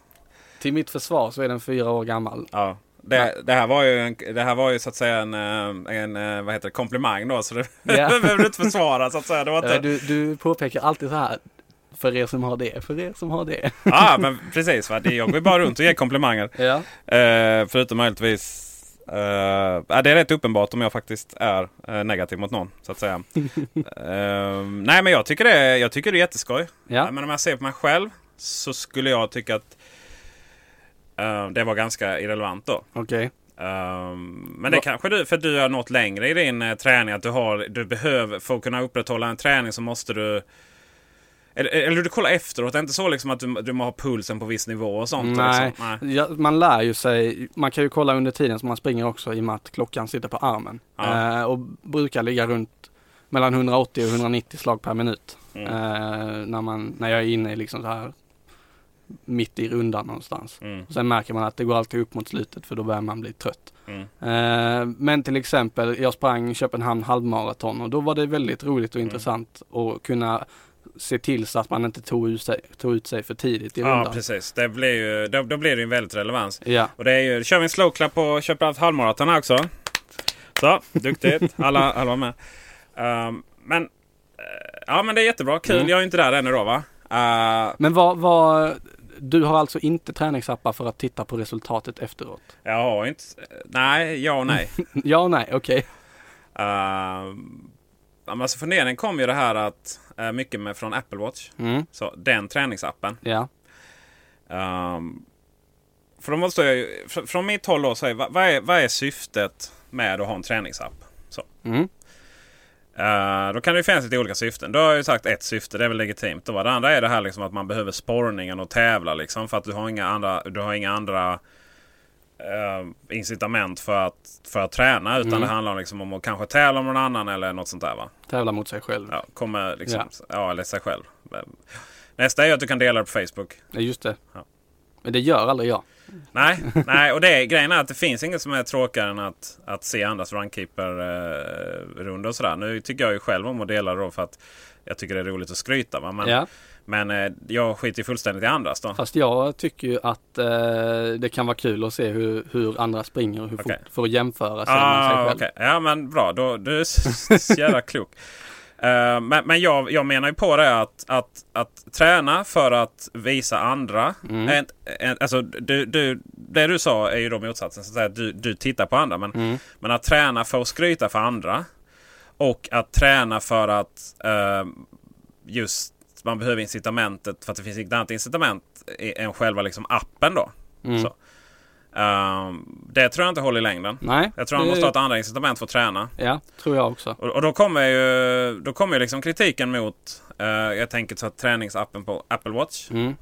[SPEAKER 2] Till mitt försvar så är den fyra år gammal.
[SPEAKER 1] ja. Det, det, här var ju en, det här var ju så att säga en, eh, en eh, vad heter det, komplimang då. Så det
[SPEAKER 2] Ja.
[SPEAKER 1] *laughs* behöver du inte försvara så att säga. Det var
[SPEAKER 2] Eh,
[SPEAKER 1] inte...
[SPEAKER 2] Du, du påpekar alltid så här, för er som har det, för er som har det.
[SPEAKER 1] Ja, men precis. Va? Det- Jag går ju bara runt och ger komplimanger.
[SPEAKER 2] Ja.
[SPEAKER 1] Eh, förutom möjligtvis eh, ja, det är rätt uppenbart om jag faktiskt är eh, negativ mot någon så att säga. Eh, nej men jag tycker det är, jag tycker det är jätteskoj.
[SPEAKER 2] Ja.
[SPEAKER 1] Men om jag ser på mig själv så skulle jag tycka att eh, det var ganska irrelevant då.
[SPEAKER 2] Okej.
[SPEAKER 1] Eh, men det kanske du, för du har nått längre i din eh, träning. Att du har, du behöver, för att kunna upprätthålla en träning så måste du eller, eh, eller du kollar efteråt, det är inte så liksom att du, du må ha pulsen på viss nivå och sånt?
[SPEAKER 2] Nej,
[SPEAKER 1] Liksom. Nej.
[SPEAKER 2] Ja, man lär ju sig. Man kan ju kolla under tiden som man springer också i och med att klockan sitter på armen.
[SPEAKER 1] Ja.
[SPEAKER 2] Eh, och brukar ligga runt mellan 180 och 190 slag per minut.
[SPEAKER 1] Mm.
[SPEAKER 2] Eh, när, man, när jag är inne i liksom så här mitt i rundan någonstans.
[SPEAKER 1] Mm.
[SPEAKER 2] Sen märker man att det går alltid upp mot slutet för då börjar man bli trött.
[SPEAKER 1] Mm.
[SPEAKER 2] Eh, men till exempel, jag sprang Köpenhamn halvmaraton och då var det väldigt roligt och
[SPEAKER 1] Mm.
[SPEAKER 2] intressant att kunna se till så att man inte tog ut sig, tog ut sig för tidigt i rundan.
[SPEAKER 1] Ja precis, det blir ju, då, då blir det ju väldigt relevans.
[SPEAKER 2] Ja.
[SPEAKER 1] Och det är ju, kör vi en slow clap på Köpenhamns halvmaraton här också. Så, duktigt. Alla, alla var med. Ehm, men, eh, ja men det är jättebra, kul.
[SPEAKER 2] Mm.
[SPEAKER 1] Jag är ju inte där ännu då va? Eh,
[SPEAKER 2] Men vad, vad, du har alltså inte träningsappar för att titta på resultatet efteråt?
[SPEAKER 1] jag har ju inte, nej, ja och nej.
[SPEAKER 2] Ja och nej, okej.
[SPEAKER 1] Uh, alltså funderingen kom ju det här att, eh, mycket med från Apple Watch. Så den träningsappen.
[SPEAKER 2] Ja,
[SPEAKER 1] Ehm, för då måste jag ju, fr- från mitt håll då, så är, vad, vad, är, vad är syftet med att ha en träningsapp? Så.
[SPEAKER 2] Mm.
[SPEAKER 1] Eh, då kan det ju finnas lite olika syften. Då har jag ju sagt ett syfte, det är väl legitimt. Och det andra är det här liksom att man behöver sporrningen och tävla liksom. För att du har inga andra, du har inga andra eh, incitament för att, för att träna. Utan det handlar liksom om att kanske tävla med någon annan eller något sånt där va.
[SPEAKER 2] tävla mot sig själv.
[SPEAKER 1] Ja, kommer liksom, ja. eller sig själv. Ehm, Nästa är ju att du kan dela det på Facebook.
[SPEAKER 2] Ja, just det.
[SPEAKER 1] Ja.
[SPEAKER 2] Men det gör aldrig jag.
[SPEAKER 1] Nej, nej och det är, grejen är att det finns inget som är tråkigare än att, att se andras runkeeper-rundor och sådär. Nu tycker jag ju själv om att dela då för att jag tycker det är roligt att skryta. Va? Men,
[SPEAKER 2] Ja.
[SPEAKER 1] men eh, jag skiter ju fullständigt i andras då.
[SPEAKER 2] Fast jag tycker ju att eh, det kan vara kul att se hur, hur andra springer och hur
[SPEAKER 1] Okej.
[SPEAKER 2] fort, för att jämföra sig med sig
[SPEAKER 1] Ah,
[SPEAKER 2] själv.
[SPEAKER 1] okej. Ja men bra, då, du är så jävla klok. Eh, Eh, men men jag, jag menar ju på det att, att, att träna för att visa andra. En, en, alltså, du, du, det du sa är ju då motsatsen. Så att säga, du, du tittar på andra. Men, men att träna för att skryta för andra. Och att träna för att eh, just man behöver incitamentet för att det finns inget annat incitament i- än själva liksom appen då. Så. Ehm, det tror jag inte håller i längden.
[SPEAKER 2] Nej.
[SPEAKER 1] Jag tror man
[SPEAKER 2] det-
[SPEAKER 1] måste ha ett andra incitament för att träna.
[SPEAKER 2] Ja, tror jag också.
[SPEAKER 1] Och, och då kommer ju, då kommer ju liksom kritiken mot, eh, jag tänker så att träningsappen på Apple Watch.
[SPEAKER 2] Mm.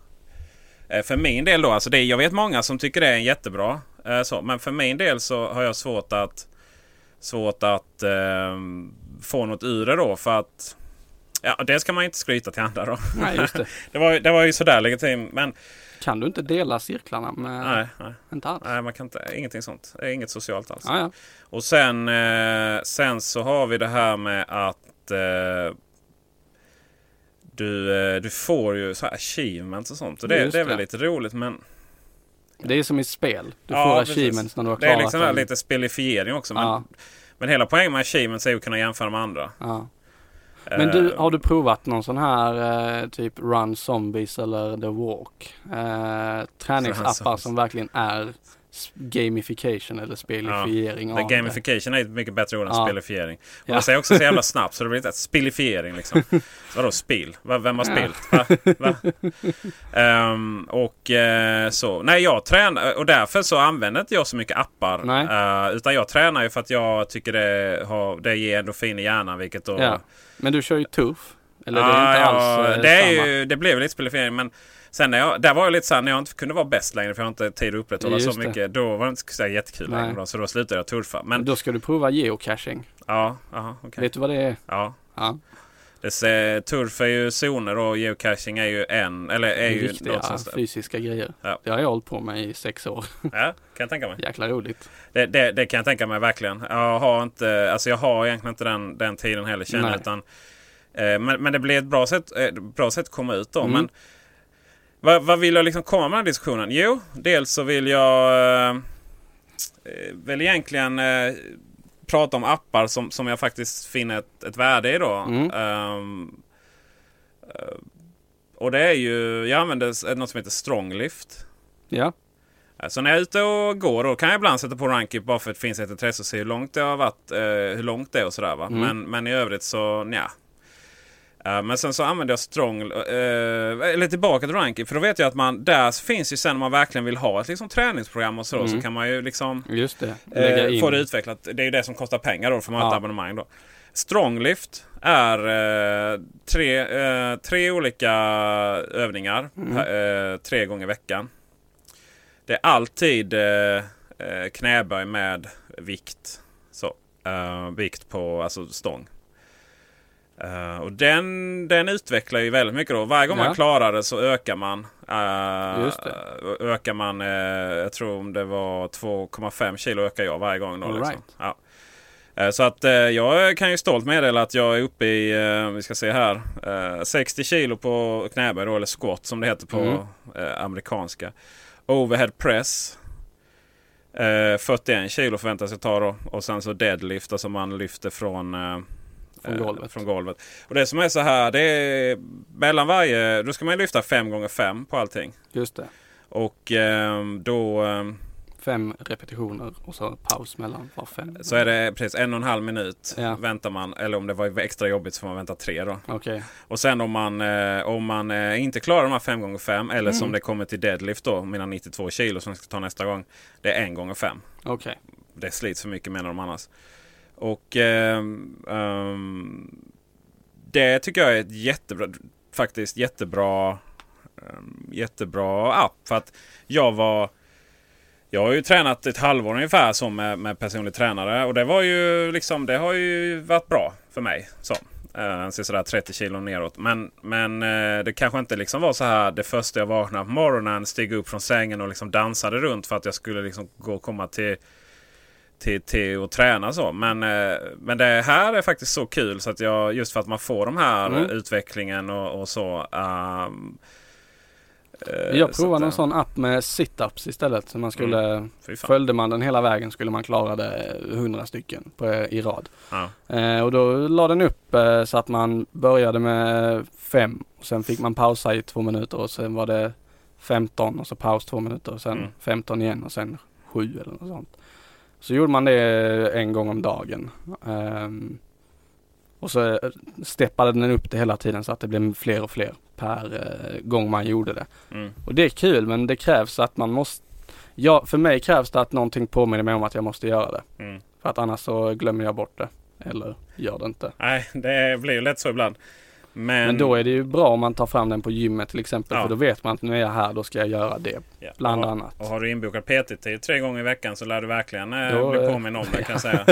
[SPEAKER 1] Eh, för min del då, alltså det, jag vet många som tycker det är en jättebra. Eh, så, men för min del så har jag svårt att, svårt att eh, få något ur det då. För att, ja det ska man ju inte skryta till andra då.
[SPEAKER 2] Nej, just det.
[SPEAKER 1] *laughs* det, var, ju- det var ju sådär legitim, men
[SPEAKER 2] Kan du inte dela cirklarna med...
[SPEAKER 1] nej, nej.
[SPEAKER 2] Inte alls.
[SPEAKER 1] Nej, man kan inte, ingenting sånt. Eh, Inget socialt alls.
[SPEAKER 2] Ja, ja.
[SPEAKER 1] Och sen, eh, sen så har vi det här med att eh, du, eh, du får ju så här achievements och sånt. Och det,
[SPEAKER 2] Just
[SPEAKER 1] det är väl
[SPEAKER 2] det.
[SPEAKER 1] lite roligt men...
[SPEAKER 2] Det är som i spel. Du
[SPEAKER 1] Ja,
[SPEAKER 2] får
[SPEAKER 1] precis.
[SPEAKER 2] achievements när du har
[SPEAKER 1] Det är
[SPEAKER 2] klarat
[SPEAKER 1] liksom
[SPEAKER 2] den.
[SPEAKER 1] lite spelifiering också. Men,
[SPEAKER 2] Ja.
[SPEAKER 1] men hela poängen med achievements är ju att kunna jämföra med andra.
[SPEAKER 2] Ja. Men
[SPEAKER 1] Eh.
[SPEAKER 2] du, har du provat någon sån här eh, typ Run Zombies eller The Walk? Eh, träningsappar
[SPEAKER 1] Zombies.
[SPEAKER 2] som verkligen är s- gamification eller spelifiering
[SPEAKER 1] Ja,
[SPEAKER 2] av
[SPEAKER 1] men gamification är ett mycket bättre ord än
[SPEAKER 2] Ja.
[SPEAKER 1] spelifiering. Och
[SPEAKER 2] Ja.
[SPEAKER 1] det säger också så jävla snabbt så det blir inte ett spelifiering
[SPEAKER 2] *laughs*
[SPEAKER 1] liksom. Vadå spill? Va- Vem har spillt? Va? Va? Ehm, och eh, så. Nej, jag tränar och därför så använder inte jag så mycket appar.
[SPEAKER 2] Nej.
[SPEAKER 1] Eh, utan jag tränar ju för att jag tycker det, har, det ger endorfin i hjärnan vilket då...
[SPEAKER 2] det. Ja. Men du kör ju tuff. Eller det är
[SPEAKER 1] Ah,
[SPEAKER 2] inte
[SPEAKER 1] ja,
[SPEAKER 2] alls eh,
[SPEAKER 1] det, är
[SPEAKER 2] samma.
[SPEAKER 1] ju, det blev lite spelifiering men sen när jag, där var jag lite såhär när jag inte kunde vara bäst längre för jag har inte tid att upprätthålla
[SPEAKER 2] Just
[SPEAKER 1] så
[SPEAKER 2] det.
[SPEAKER 1] mycket. Då var det inte så här jättekul
[SPEAKER 2] Nej.
[SPEAKER 1] längre. Då, så då slutade jag turfa. Men
[SPEAKER 2] Då ska du prova geocaching.
[SPEAKER 1] ja, aha, okej.
[SPEAKER 2] Vet du vad det är?
[SPEAKER 1] Ja.
[SPEAKER 2] Ja.
[SPEAKER 1] Det ser, turf är ju zoner och geocaching är ju en, eller är ju
[SPEAKER 2] Riktiga
[SPEAKER 1] något sånt. där.
[SPEAKER 2] fysiska grejer.
[SPEAKER 1] Ja.
[SPEAKER 2] Det har jag hållit på med i
[SPEAKER 1] *laughs*
[SPEAKER 2] sex år.
[SPEAKER 1] Ja, kan jag tänka mig.
[SPEAKER 2] Jäkla roligt.
[SPEAKER 1] Det, det, det kan jag tänka mig verkligen. Jag har inte, alltså jag har egentligen inte den, den tiden heller känner
[SPEAKER 2] Nej.
[SPEAKER 1] jag, utan eh, men, men det blir ett bra sätt, eh, bra sätt att komma ut då. Men vad, vad vill jag liksom komma med den här diskussionen? Jo, dels så vill jag eh, eh, väl egentligen eh, prata om appar som, som jag faktiskt finner ett, ett värde i då. Ehm, eh, och det är ju, jag använder s- något som heter Stronglift.
[SPEAKER 2] Ja.
[SPEAKER 1] Så Alltså, när jag är ute och går då kan jag ibland sätta på Rankip bara för att det finns ett intresse och se hur långt det har varit, eh, hur långt det är och sådär va. Men, men i övrigt så nja. Eh, men sen så använder jag Strong, eh, eller tillbaka till Rankip för då vet jag att man, där finns ju sen om man verkligen vill ha ett liksom, träningsprogram och så, så kan man ju liksom
[SPEAKER 2] Just det. Lägga
[SPEAKER 1] eh,
[SPEAKER 2] in.
[SPEAKER 1] få det utvecklat. Det är ju det som kostar pengar då för man har
[SPEAKER 2] Ja.
[SPEAKER 1] ett abonnemang då. Stronglift är eh, tre, eh, tre olika övningar
[SPEAKER 2] Mm.
[SPEAKER 1] per- eh, tre gånger i veckan. Det är alltid eh, eh, knäböj med vikt. Så, eh, vikt på alltså stång. Eh, och den, den utvecklar ju väldigt mycket då. Varje gång
[SPEAKER 2] Ja.
[SPEAKER 1] man klarar det så ökar man. eh,
[SPEAKER 2] Just det.
[SPEAKER 1] Ö- ökar man, eh, jag tror om det var 2,5 kilo ökar jag varje gång. Då,
[SPEAKER 2] All
[SPEAKER 1] liksom.
[SPEAKER 2] right.
[SPEAKER 1] ja. Eh, Så att eh, jag kan ju stolt meddela att jag är uppe i, eh, vi ska se här, eh, 60 kilo på knäböj då, eller squat som det heter på
[SPEAKER 2] Mm.
[SPEAKER 1] eh, amerikanska. Overhead press. Eh, 41 kilo förväntas jag ta då. Och sen så deadlift, alltså man lyfter från eh,
[SPEAKER 2] Från
[SPEAKER 1] eh,
[SPEAKER 2] golvet.
[SPEAKER 1] Från golvet. Och det som är så här, det är mellan varje... Då ska man ju lyfta 5 gånger 5 på allting.
[SPEAKER 2] Just det.
[SPEAKER 1] Och ehm, då ehm,
[SPEAKER 2] Fem repetitioner och så paus mellan var fem.
[SPEAKER 1] så är det precis en och en halv minut
[SPEAKER 2] Ja.
[SPEAKER 1] väntar man. Eller om det var extra jobbigt så får man vänta tre då.
[SPEAKER 2] Okej.
[SPEAKER 1] Och sen om man, eh, om man eh, inte klarar de här 5 gånger 5 eller som det kommer till deadlift då, mina 92 kilo som jag ska ta nästa gång. Det är 1 gånger 5
[SPEAKER 2] Okej.
[SPEAKER 1] det slits för mycket menar de annars. Och ehm, ehm, det tycker jag är ett jättebra, faktiskt jättebra, ehm, jättebra app. För att jag var, jag har ju tränat ett halvår ungefär så med, med personlig tränare och det var ju liksom, det har ju varit bra för mig. Så. Uh, sådär 30 kilo neråt. Men, men eh, det kanske inte liksom var så här det första jag vaknade på morgonen, steg upp från sängen och liksom dansade runt för att jag skulle liksom gå och komma till till, till att träna så. Men, eh, men det här är faktiskt så kul så att
[SPEAKER 2] Mm.
[SPEAKER 1] jag just för att man får de här eh, utvecklingen och, och så. ehm, Eh,
[SPEAKER 2] Jag
[SPEAKER 1] så att,
[SPEAKER 2] provade
[SPEAKER 1] eh,
[SPEAKER 2] någon sån app med situps istället. Så man skulle,
[SPEAKER 1] Fy fan.
[SPEAKER 2] följde man den hela vägen skulle man klara det hundra stycken på, i rad.
[SPEAKER 1] Ja.
[SPEAKER 2] Eh, och då la den upp eh, så att man började med fem och sen fick man pausa i två minuter och sen var det 15 och så paus två minuter och sen
[SPEAKER 1] Mm.
[SPEAKER 2] 15 igen och sen sju eller något sånt. Så gjorde man det eh, en gång om dagen. Ehm, och så eh, steppade den upp det hela tiden så att det blev fler och fler per eh, gång man gjorde det.
[SPEAKER 1] Mm.
[SPEAKER 2] Och det är kul men det krävs att man måste, ja för mig krävs det att någonting påminner mig om att jag måste göra det.
[SPEAKER 1] Mm.
[SPEAKER 2] För att annars så glömmer jag bort det. Eller gör det inte.
[SPEAKER 1] Nej, det blir ju lätt så ibland. Men,
[SPEAKER 2] Men då är det ju bra om man tar fram den på gymmet till exempel.
[SPEAKER 1] Ja.
[SPEAKER 2] För då vet man att nu är jag här, då ska jag göra det.
[SPEAKER 1] Ja,
[SPEAKER 2] Bland
[SPEAKER 1] och-
[SPEAKER 2] annat.
[SPEAKER 1] Och har du inbokat PT-tid tre gånger i veckan så lär du verkligen eh,
[SPEAKER 2] Då,
[SPEAKER 1] bli
[SPEAKER 2] eh,
[SPEAKER 1] påminn om det kan jag
[SPEAKER 2] *laughs*
[SPEAKER 1] säga.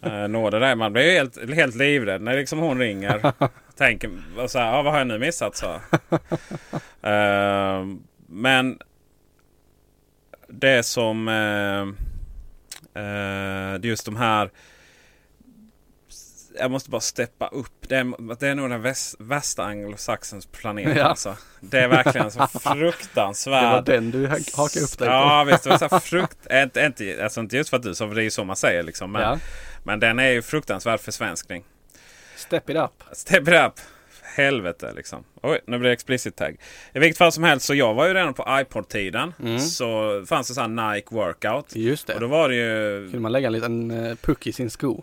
[SPEAKER 1] eh, nå det där. Man blir ju helt, helt livrädd när liksom hon
[SPEAKER 2] *laughs*
[SPEAKER 1] ringer. tänker och så här, ah, vad har jag nu missat? Så. Eh, men det som eh, eh, det är just de här jag måste bara steppa upp. Det är, det är nog den väst, värsta anglosaxens planet.
[SPEAKER 2] Ja.
[SPEAKER 1] Alltså. Det är verkligen
[SPEAKER 2] *laughs*
[SPEAKER 1] så
[SPEAKER 2] Det
[SPEAKER 1] fruktansvärd
[SPEAKER 2] var den du ha- *laughs* hakade upp dig på.
[SPEAKER 1] Ja visst, det var så här frukt... *laughs* äh, inte, inte, alltså inte just för att du sa, för det är ju så man säger liksom. Men,
[SPEAKER 2] Ja.
[SPEAKER 1] men den är ju fruktansvärd försvenskning. Alltså,
[SPEAKER 2] Step it up.
[SPEAKER 1] Step it up! Helvete liksom. Oj, nu blir det explicit tag. I vilket fall som helst, så jag var ju redan på iPod-tiden. Så fanns det så här Nike Workout.
[SPEAKER 2] Mm. Just det.
[SPEAKER 1] Och då var det ju...
[SPEAKER 2] Kunde man lägga en liten eh, puck i sin sko.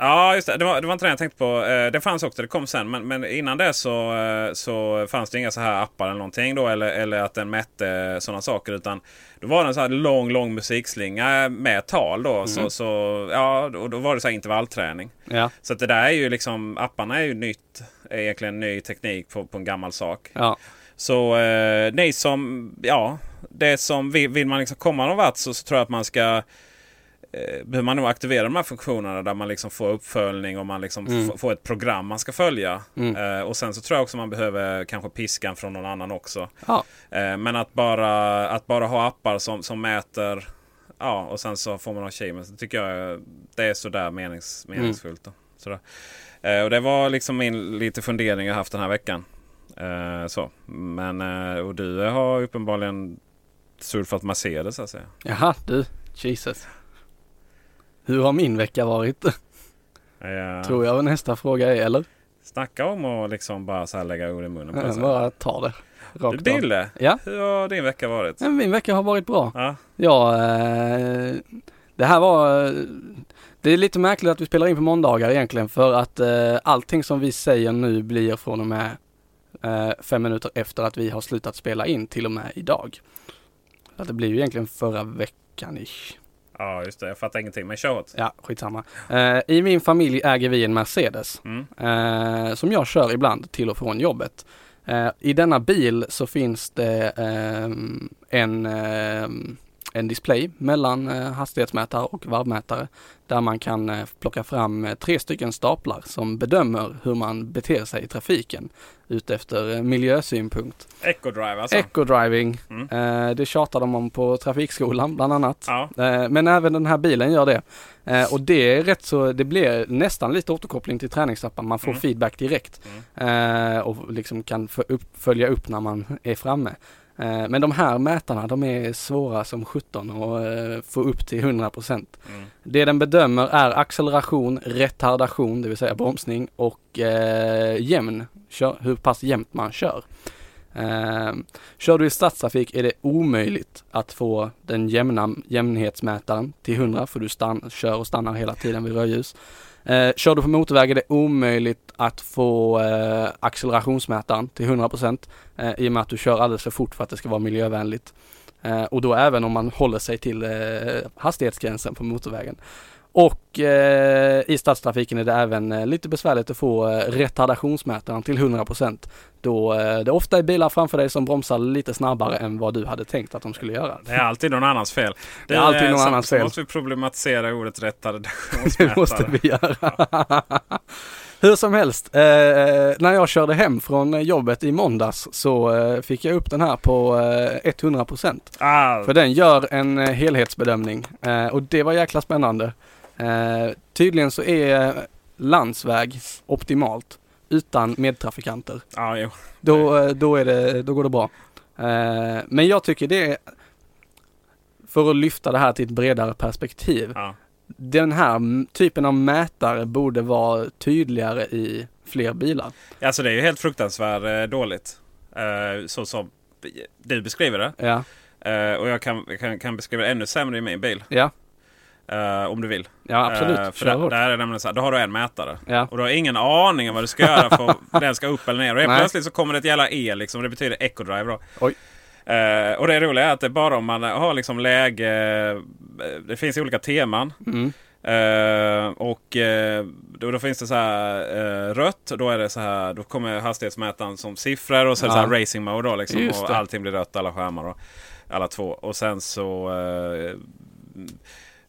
[SPEAKER 1] Ja, just det. Det var, det var inte det jag tänkte på. Eh, Det fanns också, det kom sen. Men, men innan det så, eh, så fanns det inga så här appar eller någonting då. Eller, eller att den mätte sådana saker. Utan då var det en så här lång, lång musikslinga med tal då. Så, så, ja, och då var det så här intervallträning.
[SPEAKER 2] Ja.
[SPEAKER 1] Så att det där är ju liksom, apparna är ju nytt. Är egentligen ny teknik på, på en gammal sak.
[SPEAKER 2] Ja.
[SPEAKER 1] Så eh, ni som, ja, det som vill, vill man liksom komma någon vart så, så tror jag att man ska eh, behöver man nog aktivera de här funktionerna där man liksom får uppföljning och man liksom f- får ett program man ska följa. Eh, och sen så tror jag också man behöver kanske piskan från någon annan också.
[SPEAKER 2] Ja.
[SPEAKER 1] Eh, men att bara, att bara ha appar som, som mäter ja, och sen så får man achievements. Det tycker jag eh, det är sådär menings,
[SPEAKER 2] Mm.
[SPEAKER 1] meningsfullt. Då. Sådär. Eh, och det var liksom min lite fundering jag haft den här veckan. Eh, så. Men, eh, och du har uppenbarligen surfat Mercedes så att säga.
[SPEAKER 2] Jaha, du. Jesus. Hur har min vecka varit?
[SPEAKER 1] Eh,
[SPEAKER 2] Tror jag nästa fråga är, eller?
[SPEAKER 1] Snacka om att liksom bara så här lägga ord i munnen på
[SPEAKER 2] Jag
[SPEAKER 1] sig.
[SPEAKER 2] bara tar det.
[SPEAKER 1] Du,
[SPEAKER 2] Rakt av.
[SPEAKER 1] Dille,
[SPEAKER 2] Ja.
[SPEAKER 1] hur har din vecka varit?
[SPEAKER 2] Men min vecka har varit bra.
[SPEAKER 1] Ja,
[SPEAKER 2] Ja, eh, det här var... eh, Det är lite märkligt att vi spelar in på måndagar egentligen för att eh, allting som vi säger nu blir från och med eh, fem minuter efter att vi har slutat spela in till och med idag. Så att det blir ju egentligen förra veckan ish.
[SPEAKER 1] ja just det. Jag fattar ingenting, men kör åt.
[SPEAKER 2] Ja, skitsamma. Eh, I min familj äger vi en Mercedes
[SPEAKER 1] Mm.
[SPEAKER 2] eh, som jag kör ibland till och från jobbet. Eh, I denna bil så finns det ehm, en, ehm, en display mellan eh, hastighetsmätare och varvmätare där man kan eh, plocka fram eh, tre stycken staplar som bedömer hur man beter sig i trafiken utefter eh, miljösynpunkt.
[SPEAKER 1] Ecodrive alltså.
[SPEAKER 2] Ecodriving,
[SPEAKER 1] Mm.
[SPEAKER 2] eh, det tjatar de om på trafikskolan bland annat.
[SPEAKER 1] ja.
[SPEAKER 2] Eh, Men även den här bilen gör det. Eh, Och det är rätt så, det blir nästan lite återkoppling till träningsappen. Man får
[SPEAKER 1] Mm.
[SPEAKER 2] feedback direkt. Eh, Och liksom kan fö- upp, följa upp när man är framme. Eh, Men de här mätarna, de är svåra som 17 och eh, få upp till 100%.
[SPEAKER 1] Mm.
[SPEAKER 2] Det den bedömer är acceleration, retardation, det vill säga bromsning och eh, jämn, kör, hur pass jämnt man kör. Eh, kör du i stadstrafik är det omöjligt att få den jämna jämnhetsmätaren till 100 för du stann, kör och stannar hela tiden vid rödljus. Eh, kör du på motorväg är det omöjligt att få eh, accelerationsmätaren till 100% eh, i och med att du kör alldeles för fort för att det ska vara miljövänligt. Eh, och då även om man håller sig till eh, hastighetsgränsen på motorvägen. Och eh, i stadstrafiken är det även eh, lite besvärligt att få eh, retardationsmätaren till 100% då eh, det ofta är bilar framför dig som bromsar lite snabbare än vad du hade tänkt att de skulle göra.
[SPEAKER 1] Det är alltid någon annans fel.
[SPEAKER 2] Det är alltid
[SPEAKER 1] eh,
[SPEAKER 2] någon
[SPEAKER 1] så-
[SPEAKER 2] annans
[SPEAKER 1] så
[SPEAKER 2] fel.
[SPEAKER 1] måste vi problematisera ordet *laughs*
[SPEAKER 2] *laughs* *laughs* Det måste
[SPEAKER 1] rettardationsmätare.
[SPEAKER 2] vi göra. *laughs* Hur som helst, eh, när jag körde hem från jobbet i måndags så eh, fick jag upp den här på eh, 100%.
[SPEAKER 1] ah,
[SPEAKER 2] För den gör en eh, helhetsbedömning eh, och det var jäkla spännande. Eh, tydligen så är eh, landsväg optimalt utan medtrafikanter.
[SPEAKER 1] ja, jo.
[SPEAKER 2] Då, eh, då, är det, då går det bra. Eh, men jag tycker det är, för att lyfta det här till ett bredare perspektiv,
[SPEAKER 1] Ja.
[SPEAKER 2] den här m- typen av mätare borde vara tydligare i fler bilar.
[SPEAKER 1] Alltså det är ju helt fruktansvärt eh, dåligt. Eh, så som du beskriver det.
[SPEAKER 2] Ja,
[SPEAKER 1] Eh, och jag kan, kan, kan beskriva det ännu sämre i min bil.
[SPEAKER 2] ja,
[SPEAKER 1] eh, om du vill.
[SPEAKER 2] ja absolut.
[SPEAKER 1] Eh, för
[SPEAKER 2] Kör
[SPEAKER 1] där,
[SPEAKER 2] hårt.
[SPEAKER 1] där är det nämligen så här, då har du en mätare.
[SPEAKER 2] Ja.
[SPEAKER 1] Och du har ingen aning om vad du ska göra för
[SPEAKER 2] *laughs*
[SPEAKER 1] att den ska upp eller ner. Och helt
[SPEAKER 2] Nej.
[SPEAKER 1] plötsligt så kommer det ett jävla E liksom. Och det betyder ecodrive då.
[SPEAKER 2] Oj.
[SPEAKER 1] Eh, och det roliga är att det är bara om man har liksom läge. eh, Det finns olika teman.
[SPEAKER 2] Mm.
[SPEAKER 1] Eh, och eh, då, då finns det så här eh, rött. Då är det så här. Då kommer hastighetsmätaren som siffror. Och så är det
[SPEAKER 2] Ja.
[SPEAKER 1] så här racing mode då liksom.
[SPEAKER 2] Just
[SPEAKER 1] Och
[SPEAKER 2] det.
[SPEAKER 1] allting blir rött. Alla skärmar då. Alla två. Och sen så. Eh,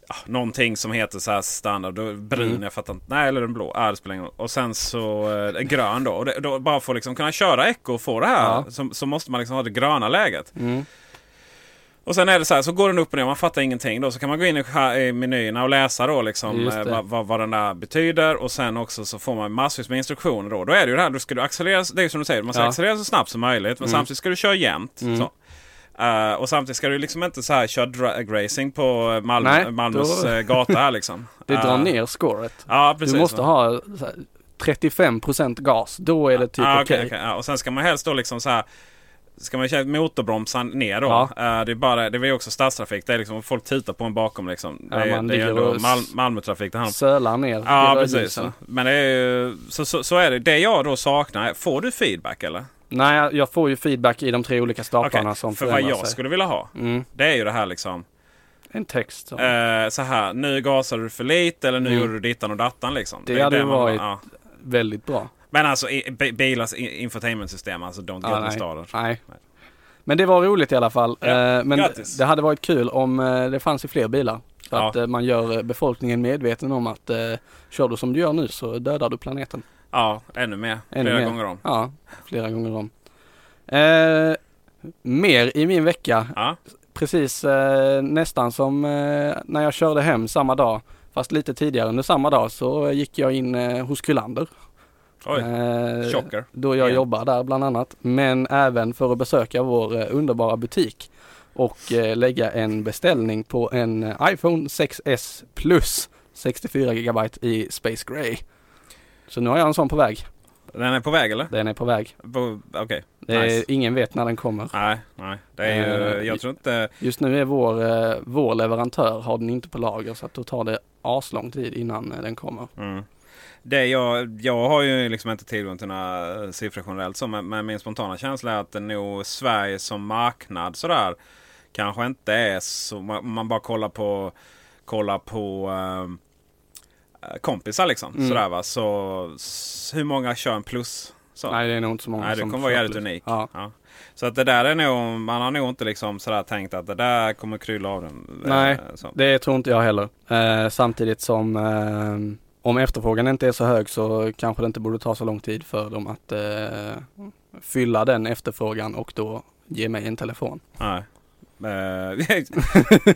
[SPEAKER 1] ja, någonting som heter så här standard. Då, brun,
[SPEAKER 2] Mm.
[SPEAKER 1] jag fattar inte. Nej, eller den blå. Ah, det spelar ingen roll. Och sen så eh, grön då. Och det, då bara för att liksom kunna köra echo och få det här.
[SPEAKER 2] Ja.
[SPEAKER 1] Så, så måste man liksom ha det gröna läget. Och sen är det så här, så går den upp och ner, man fattar ingenting. Då, så kan man gå in i, scha- i menyerna och läsa då liksom,
[SPEAKER 2] Just
[SPEAKER 1] eh,
[SPEAKER 2] det.
[SPEAKER 1] vad, vad, vad den där betyder. Och sen också så får man massvis med instruktioner. Då, då är det ju det här, då ska du accelerera, det är ju som du säger, man ska
[SPEAKER 2] Ja. Mm.
[SPEAKER 1] accelerera så snabbt som möjligt. Men samtidigt ska du köra jämnt. Så. Eh, och samtidigt ska du liksom inte så här köra drag racing på eh, Malm-
[SPEAKER 2] Nej,
[SPEAKER 1] Malmös
[SPEAKER 2] då-
[SPEAKER 1] eh, gata här liksom.
[SPEAKER 2] *laughs* Det drar
[SPEAKER 1] Eh,
[SPEAKER 2] ner scoret.
[SPEAKER 1] Ja, precis.
[SPEAKER 2] du måste
[SPEAKER 1] va?
[SPEAKER 2] ha så här, 35% gas, då är det typ
[SPEAKER 1] Ah,
[SPEAKER 2] okej.
[SPEAKER 1] okej, okej. Ja, och sen ska man helst då liksom så här. Ska man köra motorbromsan ner då?
[SPEAKER 2] Ja.
[SPEAKER 1] Eh, det är bara, det är ju också stadstrafik. Det är liksom folk tittar på en bakom liksom.
[SPEAKER 2] Ja,
[SPEAKER 1] det, är,
[SPEAKER 2] man
[SPEAKER 1] det är ju
[SPEAKER 2] ligger
[SPEAKER 1] ändå
[SPEAKER 2] och s-
[SPEAKER 1] Mal Malmötrafik det handlar om.
[SPEAKER 2] Sölar ner.
[SPEAKER 1] Ja,
[SPEAKER 2] i
[SPEAKER 1] precis.
[SPEAKER 2] rödljusen.
[SPEAKER 1] Men det är ju, så, så, så är det. Det jag då saknar. Får du feedback eller?
[SPEAKER 2] Nej, jag- jag får ju feedback i de tre olika
[SPEAKER 1] Okej,
[SPEAKER 2] staplarna som
[SPEAKER 1] För vad
[SPEAKER 2] förändrar
[SPEAKER 1] jag
[SPEAKER 2] sig.
[SPEAKER 1] skulle vilja ha.
[SPEAKER 2] Mm,
[SPEAKER 1] Det är ju det här liksom.
[SPEAKER 2] en text. Som,
[SPEAKER 1] Eh, så här. Nu gasar du för lite eller nu
[SPEAKER 2] Mm.
[SPEAKER 1] gjorde du dittan och dattan liksom.
[SPEAKER 2] Det
[SPEAKER 1] är
[SPEAKER 2] hade ju
[SPEAKER 1] man-
[SPEAKER 2] varit-
[SPEAKER 1] ja.
[SPEAKER 2] Väldigt bra.
[SPEAKER 1] Men alltså i, bi- bilars i- infotainmentsystem. Alltså don't get
[SPEAKER 2] Ja,
[SPEAKER 1] me
[SPEAKER 2] nej.
[SPEAKER 1] started.
[SPEAKER 2] Nej. Men det var roligt i alla fall.
[SPEAKER 1] Ja,
[SPEAKER 2] Eh, Men
[SPEAKER 1] grattis.
[SPEAKER 2] det hade varit kul om eh, det fanns i fler bilar. Så
[SPEAKER 1] Ja.
[SPEAKER 2] att eh, man gör eh, befolkningen medveten om att eh, kör du som du gör nu så dödar du planeten.
[SPEAKER 1] Ja, ännu mer.
[SPEAKER 2] Ännu
[SPEAKER 1] Flera
[SPEAKER 2] mer.
[SPEAKER 1] gånger om.
[SPEAKER 2] Ja, flera gånger om. Eh, mer i min vecka.
[SPEAKER 1] Ja.
[SPEAKER 2] Precis eh, nästan som eh, när jag körde hem samma dag. Fast lite tidigare under samma dag så gick jag in eh, hos Kullander.
[SPEAKER 1] Oj.
[SPEAKER 2] Eh,
[SPEAKER 1] Chocker.
[SPEAKER 2] Då jag
[SPEAKER 1] Igen.
[SPEAKER 2] jobbar där bland annat. Men även för att besöka vår eh, underbara butik och eh, lägga en beställning på en eh, iPhone 6S Plus 64 GB i Space Grey. Så nu har jag en sån på väg.
[SPEAKER 1] Den är på väg eller?
[SPEAKER 2] Den är på väg.
[SPEAKER 1] På- Okej.
[SPEAKER 2] Eh,
[SPEAKER 1] Nice.
[SPEAKER 2] Ingen vet när den kommer.
[SPEAKER 1] Nej, nej. Det är ju,
[SPEAKER 2] Eh,
[SPEAKER 1] jag tror inte...
[SPEAKER 2] Just nu är vår, eh, vår leverantör har den inte på lager så att då tar det aslång tid innan eh, den kommer.
[SPEAKER 1] Mm. Det jag, jag har ju liksom inte tillgång till några eh, siffror generellt så, men, men min spontana känsla är att det nog Sverige som marknad sådär kanske inte är så... Om man- om man bara kollar på, kollar på ehm, eh, kompisar liksom.
[SPEAKER 2] Mm.
[SPEAKER 1] Sådär va. Så s- hur många kör en plus? Så.
[SPEAKER 2] Nej det är nog inte så många
[SPEAKER 1] Nej, det
[SPEAKER 2] som
[SPEAKER 1] kommer vara
[SPEAKER 2] får
[SPEAKER 1] jävligt
[SPEAKER 2] plus.
[SPEAKER 1] unikt.
[SPEAKER 2] Ja.
[SPEAKER 1] Ja. Så att det där är nog, man har nog inte liksom sådär tänkt att det där kommer krylla av den.
[SPEAKER 2] Nej.
[SPEAKER 1] Eh, Så.
[SPEAKER 2] Det tror inte jag heller. Eh, samtidigt som eh, om efterfrågan inte är så hög så kanske det inte borde ta så lång tid för dem att eh, fylla den efterfrågan och då ge mig en telefon.
[SPEAKER 1] Nej.
[SPEAKER 2] *laughs*
[SPEAKER 1] Eh,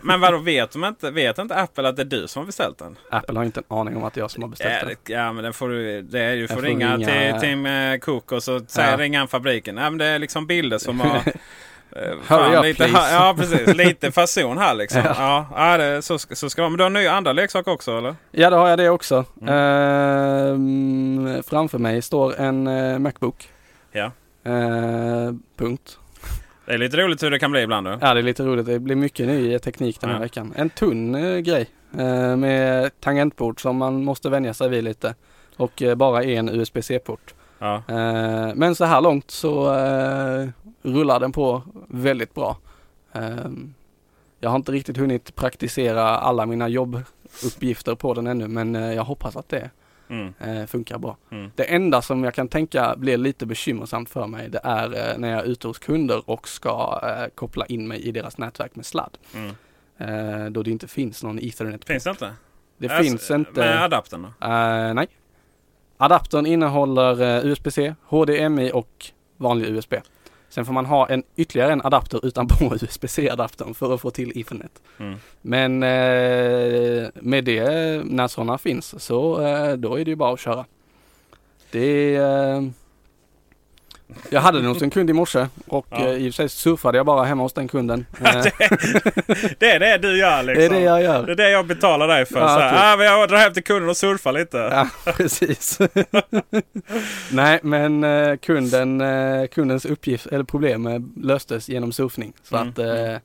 [SPEAKER 1] Men vadå, vet, de inte, vet inte Apple att det är du som har beställt den?
[SPEAKER 2] Apple har inte en aning om att det är jag som har beställt
[SPEAKER 1] Ja,
[SPEAKER 2] det.
[SPEAKER 1] det- ja men den får du, det är, du får,
[SPEAKER 2] får
[SPEAKER 1] ringa,
[SPEAKER 2] ringa-
[SPEAKER 1] till Tim eh, Cook och så säger
[SPEAKER 2] Ja.
[SPEAKER 1] ringa han fabriken. Nej men det är liksom bilder som
[SPEAKER 2] *laughs*
[SPEAKER 1] har... eh,
[SPEAKER 2] Hurry up,
[SPEAKER 1] lite,
[SPEAKER 2] please.
[SPEAKER 1] ja
[SPEAKER 2] *laughs*
[SPEAKER 1] precis, lite fason här liksom.
[SPEAKER 2] Ja.
[SPEAKER 1] Ja, ja det, så, ska- så ska det vara. Men du har nya andra leksaker också eller?
[SPEAKER 2] Ja, då har jag det också. Ehm, framför mig står en eh, Macbook.
[SPEAKER 1] Ja.
[SPEAKER 2] Eh, punkt.
[SPEAKER 1] Det är lite roligt hur det kan bli ibland du.
[SPEAKER 2] Ja, det är lite roligt. Det blir mycket ny teknik den här
[SPEAKER 1] Ja.
[SPEAKER 2] veckan. En tunn eh, grej eh, med tangentbord som man måste vänja sig vid lite och eh, bara en USB-C-port.
[SPEAKER 1] Ja.
[SPEAKER 2] Eh, men så här långt så eh, rullar den på väldigt bra. Eh, jag har inte riktigt hunnit praktisera alla mina jobbuppgifter på den ännu men eh, jag hoppas att det
[SPEAKER 1] Mm.
[SPEAKER 2] eh, funkar bra.
[SPEAKER 1] Mm.
[SPEAKER 2] Det enda som jag kan tänka blir lite bekymmersamt för mig det är eh, när jag är ute hos kunder och ska eh, koppla in mig i deras nätverk med sladd.
[SPEAKER 1] Mm.
[SPEAKER 2] Eh, då det inte finns någon ethernet.
[SPEAKER 1] Finns det inte?
[SPEAKER 2] Det
[SPEAKER 1] Alltså,
[SPEAKER 2] finns inte.
[SPEAKER 1] Med adaptern då?
[SPEAKER 2] Eh, nej. Adaptern innehåller eh, USB-C, HDMI och vanlig USB. Sen får man ha en ytterligare en adapter utanpå *laughs* USB-C-adaptern för att få till Ethernet.
[SPEAKER 1] Mm.
[SPEAKER 2] Men eh, med det, eh, när sådana finns, så eh, då är det ju bara att köra. Det är, eh, Jag hade den hos en kund i morse och
[SPEAKER 1] Ja.
[SPEAKER 2] eh, i och för sig surfade jag bara hemma hos
[SPEAKER 1] *laughs*
[SPEAKER 2] den kunden. Eh,
[SPEAKER 1] Det är det du gör liksom.
[SPEAKER 2] det är det jag
[SPEAKER 1] Det är
[SPEAKER 2] gör.
[SPEAKER 1] det jag betalar dig för.
[SPEAKER 2] Ja,
[SPEAKER 1] så
[SPEAKER 2] typ.
[SPEAKER 1] här, ah, men jag drar hem till kunden och surfar lite.
[SPEAKER 2] Ja, *laughs* precis. Nej, men eh, kunden, eh, kundens uppgift eller problem eh, löstes genom surfning. Så
[SPEAKER 1] Mm.
[SPEAKER 2] att, eh,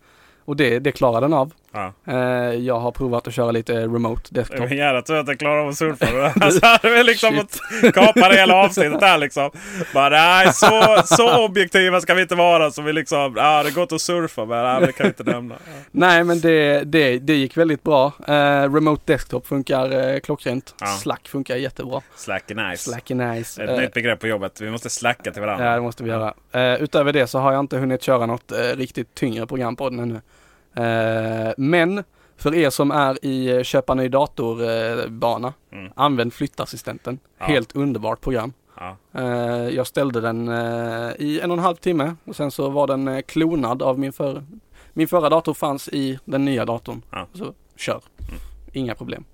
[SPEAKER 2] och det, det klarar den av.
[SPEAKER 1] Ja.
[SPEAKER 2] Eh, Jag har provat att köra lite eh, remote
[SPEAKER 1] Det *laughs* var
[SPEAKER 2] desktop.
[SPEAKER 1] en jävla tur att jag klarade av att surfa.
[SPEAKER 2] *laughs*
[SPEAKER 1] *laughs* Alltså, hade vi liksom fått kapa det hela avsnittet där liksom. Bara nej, så, så objektiva ska vi inte vara. Så vi liksom, ja ah, det går inte att surfa men ah, det kan vi inte
[SPEAKER 2] *laughs*
[SPEAKER 1] nämna.
[SPEAKER 2] Nej, men det, det, det gick väldigt bra. Eh, remote desktop funkar eh, klockrent.
[SPEAKER 1] Ja.
[SPEAKER 2] Slack funkar jättebra.
[SPEAKER 1] Slack är nice.
[SPEAKER 2] Slack är nice.
[SPEAKER 1] Det är Ett
[SPEAKER 2] Eh,
[SPEAKER 1] nytt begrepp på jobbet. Vi måste slacka till varandra.
[SPEAKER 2] Ja, det måste vi göra. Eh, utöver det så har jag inte hunnit köra något eh, riktigt tyngre program på den ännu. Eh, men för er som är i eh, köpa ny dator-bana, eh, bana,
[SPEAKER 1] Mm.
[SPEAKER 2] använd flyttassistenten.
[SPEAKER 1] Ja.
[SPEAKER 2] Helt underbart program.
[SPEAKER 1] Ja.
[SPEAKER 2] Eh, jag ställde den eh, i en och en halv timme och sen så var den eh, klonad av min förra. Min förra dator fanns i den nya datorn.
[SPEAKER 1] Ja. Mm.
[SPEAKER 2] Så kör. Inga problem.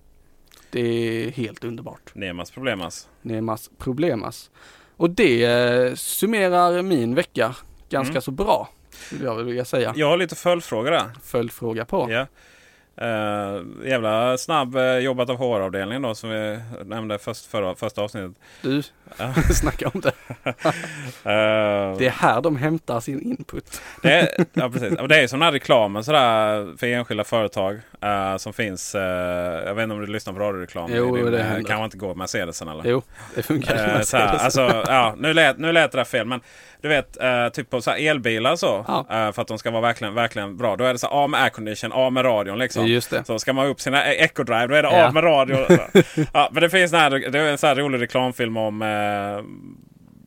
[SPEAKER 2] Det är helt underbart.
[SPEAKER 1] Nemas problem alltså.
[SPEAKER 2] Nemas Problemas. Och det eh, summerar min vecka ganska
[SPEAKER 1] Mm.
[SPEAKER 2] så bra. Skulle jag vilja säga.
[SPEAKER 1] Jag har lite följdfrågor där.
[SPEAKER 2] Följdfråga på.
[SPEAKER 1] Ja. Eh, jävla snabb eh, jobbat av HR-avdelningen då som vi nämnde först, förra, första avsnittet.
[SPEAKER 2] Du, *laughs*
[SPEAKER 1] Ja.
[SPEAKER 2] snacka om det.
[SPEAKER 1] Eh,
[SPEAKER 2] Det är här de hämtar sin input.
[SPEAKER 1] Det, ja, precis. Och det är ju sådana här reklamen sådär, för enskilda företag eh, som finns. eh, jag vet inte om du lyssnar på radioreklam?
[SPEAKER 2] Jo,
[SPEAKER 1] i din,
[SPEAKER 2] det
[SPEAKER 1] eh,
[SPEAKER 2] händer.
[SPEAKER 1] kan man inte gå med Mercedesen eller?
[SPEAKER 2] Jo, det funkar.
[SPEAKER 1] Eh,
[SPEAKER 2] med
[SPEAKER 1] så
[SPEAKER 2] *laughs*
[SPEAKER 1] här,
[SPEAKER 2] Mercedes.
[SPEAKER 1] alltså, ja, nu, lät, nu lät det där fel men du vet eh, typ på så här elbilar så.
[SPEAKER 2] Ja.
[SPEAKER 1] eh, för att de ska vara verkligen, verkligen bra. Då är det så här, av med aircondition, av med radion liksom.
[SPEAKER 2] Just det.
[SPEAKER 1] Så ska man upp sina e- EcoDrive då är det
[SPEAKER 2] Ja.
[SPEAKER 1] av med
[SPEAKER 2] *laughs*
[SPEAKER 1] radion. Så. ja, men det finns den här, det är en så här rolig reklamfilm om eh,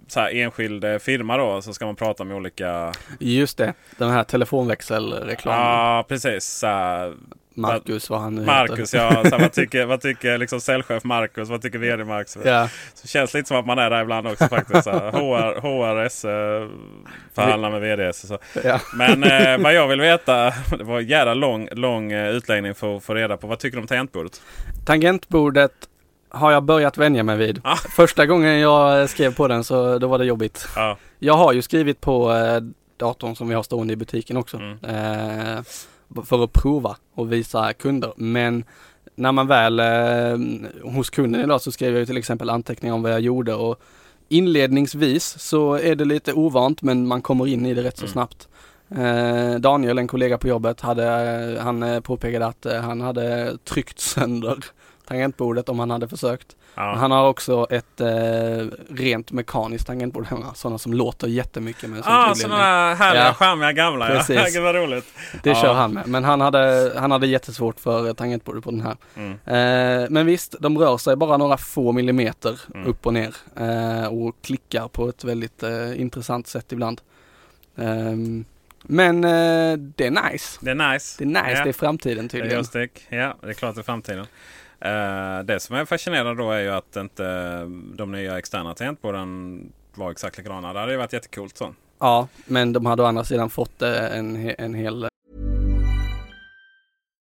[SPEAKER 1] så här enskild eh, firma då. Så ska man prata med olika
[SPEAKER 2] Just det, den här telefonväxelreklamen.
[SPEAKER 1] Ja, precis. Så här,
[SPEAKER 2] Marcus, vad han nu
[SPEAKER 1] Marcus,
[SPEAKER 2] heter.
[SPEAKER 1] ja. Så här, vad tycker, vad tycker liksom säljchef Marcus? Vad tycker VD Marcus?
[SPEAKER 2] *laughs* Ja,
[SPEAKER 1] Så känns lite som att man är där ibland också faktiskt. Så här, HR, HRS eh, förhandlar med VD. Så.
[SPEAKER 2] ja.
[SPEAKER 1] Men eh, vad jag vill veta, *laughs* det var en jävla lång, lång eh, utläggning för att få reda på. Vad tycker du om tangentbordet?
[SPEAKER 2] Tangentbordet har jag börjat vänja mig vid.
[SPEAKER 1] Ah.
[SPEAKER 2] Första gången jag eh, skrev på den så då var det jobbigt.
[SPEAKER 1] Ja,
[SPEAKER 2] Jag har ju skrivit på eh, datorn som vi har stående i butiken också.
[SPEAKER 1] Mm.
[SPEAKER 2] Eh, b- för att prova och visa kunder. Men när man väl eh, hos kunden idag så skrev jag ju till exempel anteckningar om vad jag gjorde och inledningsvis så är det lite ovant men man kommer in i det rätt så
[SPEAKER 1] Mm.
[SPEAKER 2] snabbt. Eh, Daniel, en kollega på jobbet, hade, eh, han eh, påpekade att eh, han hade tryckt sönder tangentbordet om han hade försökt.
[SPEAKER 1] ja.
[SPEAKER 2] Han har också ett eh, rent mekaniskt tangentbord hemma, sådana som låter jättemycket med en sån
[SPEAKER 1] Ah,
[SPEAKER 2] tyglinje.
[SPEAKER 1] sådana här härliga,
[SPEAKER 2] Ja.
[SPEAKER 1] charmiga gamla. *laughs* Ja.
[SPEAKER 2] Precis.
[SPEAKER 1] Gud vad roligt.
[SPEAKER 2] Det
[SPEAKER 1] ja.
[SPEAKER 2] kör han med, men han hade, han hade jättesvårt för eh, tangentbordet på den här.
[SPEAKER 1] Mm.
[SPEAKER 2] Eh, men visst, de rör sig bara några få millimeter
[SPEAKER 1] Mm.
[SPEAKER 2] upp och ner eh, och klickar på ett väldigt eh, intressant sätt ibland. Ehm, men eh, det är nice.
[SPEAKER 1] Det är nice.
[SPEAKER 2] Det är nice,
[SPEAKER 1] Ja.
[SPEAKER 2] det är framtiden
[SPEAKER 1] Det är
[SPEAKER 2] tydligen.
[SPEAKER 1] joystick. Ja, det är klart i framtiden. Eh, det som är fascinerande då är ju att inte eh, de nya externa tangentborden var exakt likadana. Det hade ju varit jättekult så.
[SPEAKER 2] Ja, men de hade å andra sidan fått eh, en, he- en hel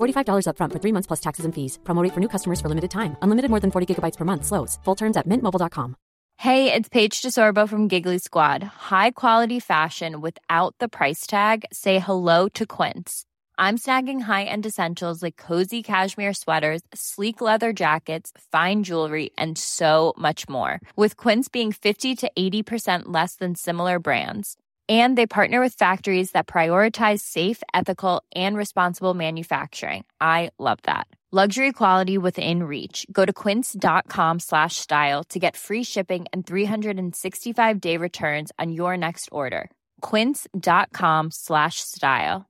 [SPEAKER 3] $45 upfront for three months plus taxes and fees. Promo rate for new customers for limited time. Unlimited more than 40 gigabytes per month. Slows. Full terms at mintmobile.com.
[SPEAKER 4] Hey, it's Paige DeSorbo from Giggly Squad. High quality fashion without the price tag. Say hello to Quince. I'm snagging high-end essentials like cozy cashmere sweaters, sleek leather jackets, fine jewelry, and so much more. With Quince being 50 to 80% less than similar brands. And they partner with factories that prioritize safe, ethical, and responsible manufacturing. I love that. Luxury quality within reach. Go to quince.com slash style to get free shipping and 365 day returns on your next order. Quince.com slash style.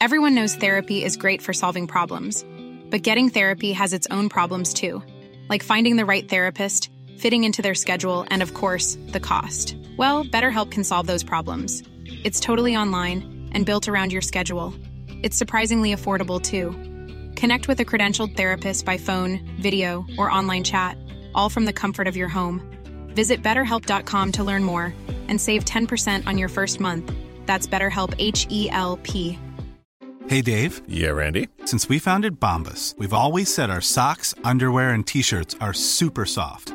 [SPEAKER 5] Everyone knows therapy is great for solving problems, but getting therapy has its own problems too, like finding the right therapist, fitting into their schedule, and of course, the cost. Well, BetterHelp can solve those problems. It's totally online and built around your schedule. It's surprisingly affordable too. Connect with a credentialed therapist by phone, video, or online chat, all from the comfort of your home. Visit betterhelp.com to learn more and save 10% on your first month. That's BetterHelp H E L P.
[SPEAKER 6] Hey Dave,
[SPEAKER 7] Yeah, Randy.
[SPEAKER 6] since we founded Bombus, we've always said our socks, underwear, and t shirts are super soft.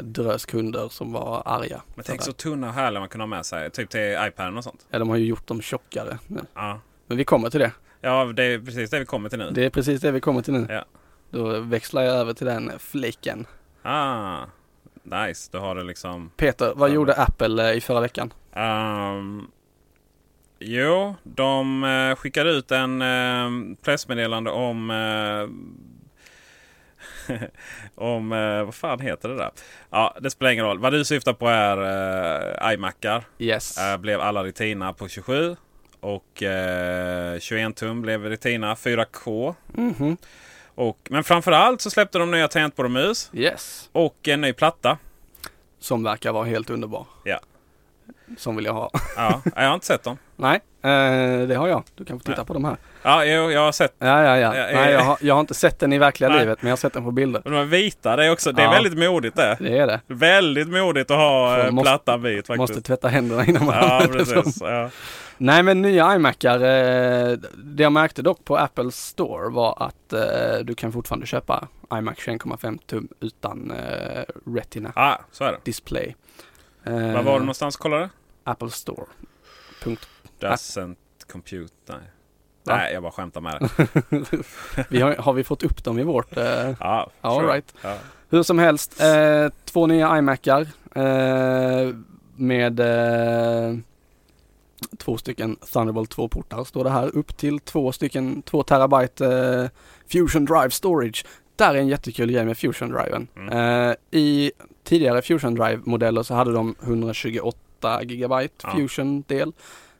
[SPEAKER 2] drös kunder som var arga.
[SPEAKER 1] Men tänk så tunna och härliga man kunde ha med sig. Typ till iPaden och sånt.
[SPEAKER 2] Ja, de har ju gjort dem tjockare. nu.
[SPEAKER 1] Ja,
[SPEAKER 2] Men vi kommer till det.
[SPEAKER 1] ja det är precis det vi kommer till nu.
[SPEAKER 2] Det är precis det vi kommer till nu.
[SPEAKER 1] Ja.
[SPEAKER 2] Då växlar jag över till den fliken.
[SPEAKER 1] Ah, nice. Du har det liksom.
[SPEAKER 2] Peter, vad
[SPEAKER 1] Ja.
[SPEAKER 2] gjorde Apple eh, i förra veckan?
[SPEAKER 1] Ehm, jo, de eh, skickade ut en eh, pressmeddelande om eh, *laughs* om eh, vad fan heter det där? Ja, det spelar ingen roll. Vad du syftar på är eh, iMacar.
[SPEAKER 2] Yes.
[SPEAKER 1] Eh, blev alla Retina på 27 och eh, 21 tum blev Retina 4K.
[SPEAKER 2] Mhm.
[SPEAKER 1] Och, men framförallt så släppte de nya tangentbord och mus
[SPEAKER 2] Yes.
[SPEAKER 1] och en ny platta.
[SPEAKER 2] Som verkar vara helt underbar.
[SPEAKER 1] Ja.
[SPEAKER 2] Som vill jag ha. *laughs*
[SPEAKER 1] Ja, jag har inte sett dem.
[SPEAKER 2] Nej, eh, det har jag. Du kan få titta på de här.
[SPEAKER 1] Ja, jo, jag har sett
[SPEAKER 2] Ja, ja,
[SPEAKER 1] Ja,
[SPEAKER 2] ja.
[SPEAKER 1] ja,
[SPEAKER 2] Nej,
[SPEAKER 1] ja.
[SPEAKER 2] jag har, jag har inte sett den i verkliga
[SPEAKER 1] Nej.
[SPEAKER 2] livet, men jag har sett den
[SPEAKER 1] *laughs*
[SPEAKER 2] på bilder.
[SPEAKER 1] De är vita, det är också. Det är
[SPEAKER 2] Ja.
[SPEAKER 1] väldigt modigt det.
[SPEAKER 2] Det är det.
[SPEAKER 1] Väldigt modigt att ha
[SPEAKER 2] Så
[SPEAKER 1] eh,
[SPEAKER 2] måste-
[SPEAKER 1] plattan vit faktiskt.
[SPEAKER 2] Måste tvätta händerna innan man
[SPEAKER 1] ja,
[SPEAKER 2] använder dem.
[SPEAKER 1] precis. Ja.
[SPEAKER 2] Nej men nya iMacar, eh, det jag märkte dock på Apple Store var att eh, du kan fortfarande köpa iMac 21,5 tum utan eh, Retina
[SPEAKER 1] ja, Ah, så är det.
[SPEAKER 2] display. Eh,
[SPEAKER 1] Var var du någonstans och kollade?
[SPEAKER 2] Apple Store. Punkt.
[SPEAKER 1] Doesn't compute. Nej.
[SPEAKER 2] Va?
[SPEAKER 1] Nej, jag bara skämtar med
[SPEAKER 2] *laughs*
[SPEAKER 1] dig.
[SPEAKER 2] Vi har, har vi fått upp dem i vårt? Eh,
[SPEAKER 1] Ja,
[SPEAKER 2] all
[SPEAKER 1] sure.
[SPEAKER 2] right.
[SPEAKER 1] Ja.
[SPEAKER 2] Hur som helst, eh, två nya iMacar eh, med eh, två stycken Thunderbolt 2-portar står det här. Upp till två stycken 2 terabyte eh, Fusion Drive Storage. Där är en jättekul grej med Fusion Driven.
[SPEAKER 1] Mm.
[SPEAKER 2] Eh, I tidigare Fusion Drive-modeller så hade de 128 gigabyte
[SPEAKER 1] Ja.
[SPEAKER 2] Fusion-del.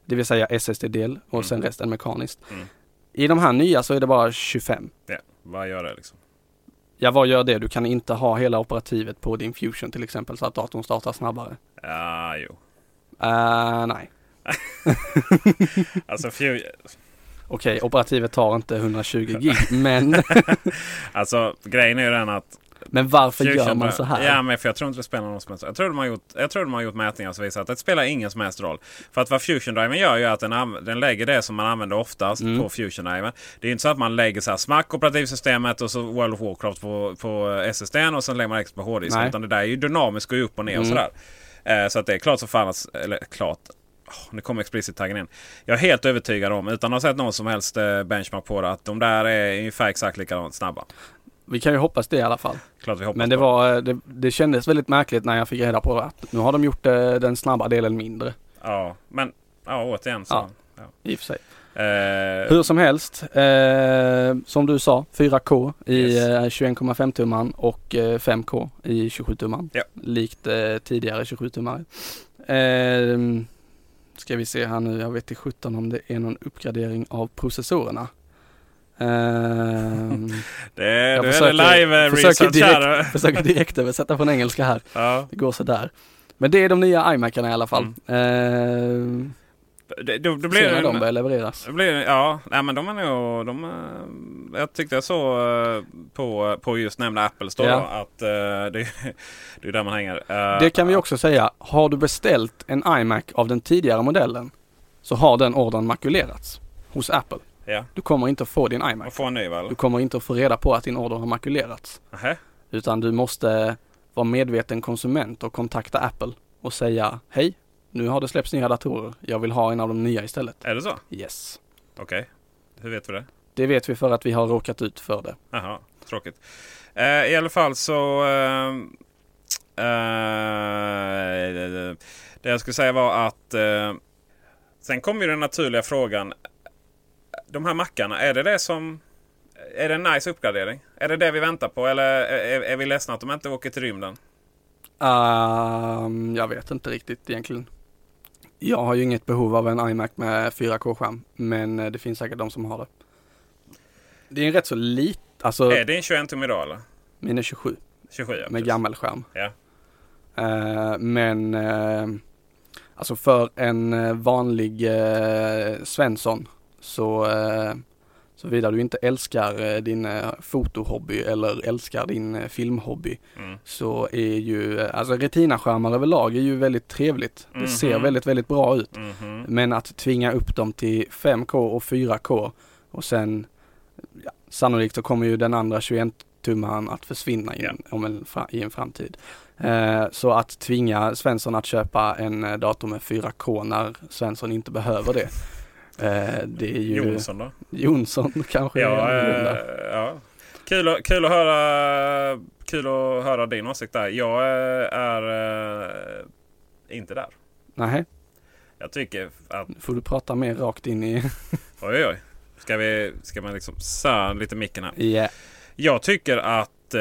[SPEAKER 2] Det vill säga SSD-del och sen resten mekaniskt.
[SPEAKER 1] Mm.
[SPEAKER 2] I de här nya så är det bara 25.
[SPEAKER 1] Ja, vad gör det liksom?
[SPEAKER 2] Ja, vad gör det? Du kan inte ha hela operativet på din Fusion till exempel så att datorn startar snabbare.
[SPEAKER 1] Ja, jo.
[SPEAKER 2] Eh, nej,
[SPEAKER 1] Alltså, few...
[SPEAKER 2] okej, operativet tar inte 120
[SPEAKER 1] *laughs*
[SPEAKER 2] gig, men,
[SPEAKER 1] alltså grejen är ju den att...
[SPEAKER 2] men varför gör
[SPEAKER 1] Fusion-
[SPEAKER 2] man så här?
[SPEAKER 1] Ja, men för jag tror inte det spelar någon som helst Jag tror de har gjort, jag tror de har gjort mätningar som visar att det spelar ingen som helst roll. För att vad Fusion Driven gör är ju att den, anv- den lägger det som man använder oftast
[SPEAKER 2] Mm.
[SPEAKER 1] på Fusion Driven. Det är ju inte så att man lägger så här smack operativsystemet och så World of Warcraft på, på SSDn och sen lägger man X på hårddisken.
[SPEAKER 2] Nej. Mm.
[SPEAKER 1] Utan det där är ju dynamiskt, går ju upp och ner och sådär. Eh, så att det är klart så fan att, eller klart. Åh, nu kommer explicit-taggen in. Jag är helt övertygad om, utan att ha sett någon som helst eh, benchmark på det, att de där är ungefär exakt likadant snabba.
[SPEAKER 2] Vi kan ju hoppas det i alla fall.
[SPEAKER 1] Klart vi hoppas
[SPEAKER 2] Men det,
[SPEAKER 1] på det.
[SPEAKER 2] var, eh, det, det kändes väldigt märkligt när jag fick reda på att nu har de gjort eh, den snabba delen mindre.
[SPEAKER 1] Ja, men ja, återigen så.
[SPEAKER 2] Ja.
[SPEAKER 1] Ja.
[SPEAKER 2] I och för sig.
[SPEAKER 1] Eh,
[SPEAKER 2] Hur som helst, eh, som du sa, 4K i
[SPEAKER 1] Yes.
[SPEAKER 2] eh, 21,5 tumman och eh, 5K i 27 tumman.
[SPEAKER 1] Ja.
[SPEAKER 2] Likt eh, tidigare 27 tummare. Eh, ska vi se här nu, jag vet inte sjutton om det är någon uppgradering av processorerna.
[SPEAKER 1] *laughs*
[SPEAKER 2] Ehm,
[SPEAKER 1] Det-
[SPEAKER 2] jag
[SPEAKER 1] nu är det live, eh,
[SPEAKER 2] försöker
[SPEAKER 1] research här. *laughs*
[SPEAKER 2] direkt, försöker direkt översätta från engelska här. Det går sådär. Men det är de nya iMacarna i alla fall. Ehm,
[SPEAKER 1] Mm. Det, då, då
[SPEAKER 2] se
[SPEAKER 1] blir
[SPEAKER 2] när
[SPEAKER 1] det,
[SPEAKER 2] de börjar levereras.
[SPEAKER 1] Det blir, ja, nej, men de är nog... De, eh, jag tyckte jag såg eh, på, på just nämnda Apple Store
[SPEAKER 2] Ja.
[SPEAKER 1] då, att eh, det, det är *laughs* där man hänger. Eh,
[SPEAKER 2] Det kan vi också säga. Har du beställt en iMac av den tidigare modellen så har den ordern makulerats hos Apple.
[SPEAKER 1] Ja.
[SPEAKER 2] Du kommer inte att få din iMac.
[SPEAKER 1] Och få en ny väl?
[SPEAKER 2] Du kommer inte att få reda på att din order har makulerats.
[SPEAKER 1] Nähä.
[SPEAKER 2] Utan du måste vara medveten konsument och kontakta Apple och säga hej, nu har det släppts nya datorer. Jag vill ha en av de nya istället.
[SPEAKER 1] Är det så?
[SPEAKER 2] Yes.
[SPEAKER 1] Okej. Hur vet vi det?
[SPEAKER 2] Det vet vi för att vi har råkat ut för det.
[SPEAKER 1] Jaha, tråkigt. Eh, I alla fall så... ehm, eh, det- det- det jag skulle säga var att... Eh, sen kommer ju den naturliga frågan. De här mackarna, är det det som... Är det en nice uppgradering? Är det det vi väntar på? Eller är, är vi ledsna att de inte åker till rymden?
[SPEAKER 2] Ehm, jag vet inte riktigt egentligen. Jag har ju inget behov av en iMac med 4K-skärm, men eh, det finns säkert de som har det. Det är en rätt så liten, alltså
[SPEAKER 1] Är det en 21 tum idag eller?
[SPEAKER 2] min är 27
[SPEAKER 1] 27 ja.
[SPEAKER 2] med gammal skärm.
[SPEAKER 1] ja.
[SPEAKER 2] Eh, men eh, alltså för en eh, vanlig eh, Svensson så eh, såvida du inte älskar eh, din eh, fotohobby eller älskar din eh, filmhobby
[SPEAKER 1] Mm.
[SPEAKER 2] så är ju, eh, alltså retinaskärmar överlag är ju väldigt trevligt. Det ser
[SPEAKER 1] Mhm.
[SPEAKER 2] väldigt, väldigt bra ut.
[SPEAKER 1] Mhm.
[SPEAKER 2] Men att tvinga upp dem till 5K och 4K och sen ja, sannolikt så kommer ju den andra 21-tummaren att försvinna i, en, om en, fra- i en framtid. Eh, så att tvinga Svensson att köpa en eh, dator med 4K när Svensson inte behöver det. Eh, det är ju
[SPEAKER 1] Jonsson då?
[SPEAKER 2] Jonsson *laughs* kanske. är
[SPEAKER 1] Ja,
[SPEAKER 2] annorlunda.
[SPEAKER 1] eh, ja. Kul, att- kul, att höra, kul att höra din åsikt där. Jag eh, är eh, inte där.
[SPEAKER 2] Nej,
[SPEAKER 1] Jag tycker att...
[SPEAKER 2] får du prata mer rakt in i... *laughs*
[SPEAKER 1] Oj, oj, oj. Ska, vi, ska man liksom sära lite micken här?
[SPEAKER 2] Ja.
[SPEAKER 1] Jag tycker att eh,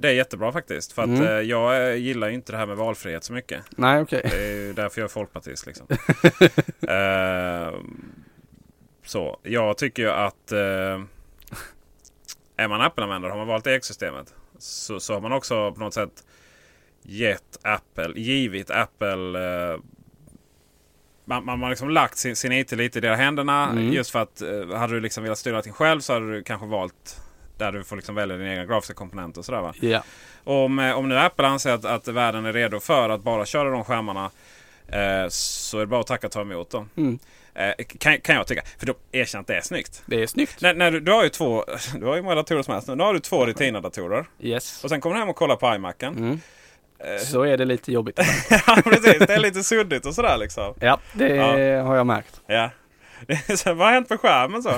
[SPEAKER 1] det är jättebra faktiskt. För att
[SPEAKER 2] Mm.
[SPEAKER 1] eh, jag eh, gillar ju inte det här med valfrihet så mycket.
[SPEAKER 2] Nej, okej.
[SPEAKER 1] *laughs* Det är ju därför jag är folkpartist liksom. eh, så, jag tycker ju att eh, är man Apple-användare har man valt EX-systemet så, så har man också på något sätt gett Apple, givit Apple eh, man, man har liksom lagt sin, sin IT lite i deras händerna.
[SPEAKER 2] Mm.
[SPEAKER 1] Just för att eh, hade du liksom velat styra allting själv så hade du kanske valt där du får liksom välja dina egna grafiska komponenter och sådär va.
[SPEAKER 2] Ja.
[SPEAKER 1] Om, eh, om nu Apple anser att, att världen är redo för att bara köra de skärmarna eh, så är det bara att tacka och ta emot dem.
[SPEAKER 2] Mm.
[SPEAKER 1] Eh, kan, kan jag tycka. För de erkänner att det är snyggt.
[SPEAKER 2] Det är snyggt.
[SPEAKER 1] När, när du, du har ju två, *laughs* du har ju många datorer som helst nu. Nu har du två Retina-datorer.
[SPEAKER 2] Yes.
[SPEAKER 1] Och sen kommer du hem och kollar på iMacen.
[SPEAKER 2] Mm. Så är det lite jobbigt.
[SPEAKER 1] *laughs* ja precis, det är lite suddigt och sådär liksom.
[SPEAKER 2] Ja, det
[SPEAKER 1] Ja.
[SPEAKER 2] har jag märkt.
[SPEAKER 1] Ja. *laughs* Det är så här, Vad har hänt på skärmen
[SPEAKER 2] *laughs*
[SPEAKER 1] så?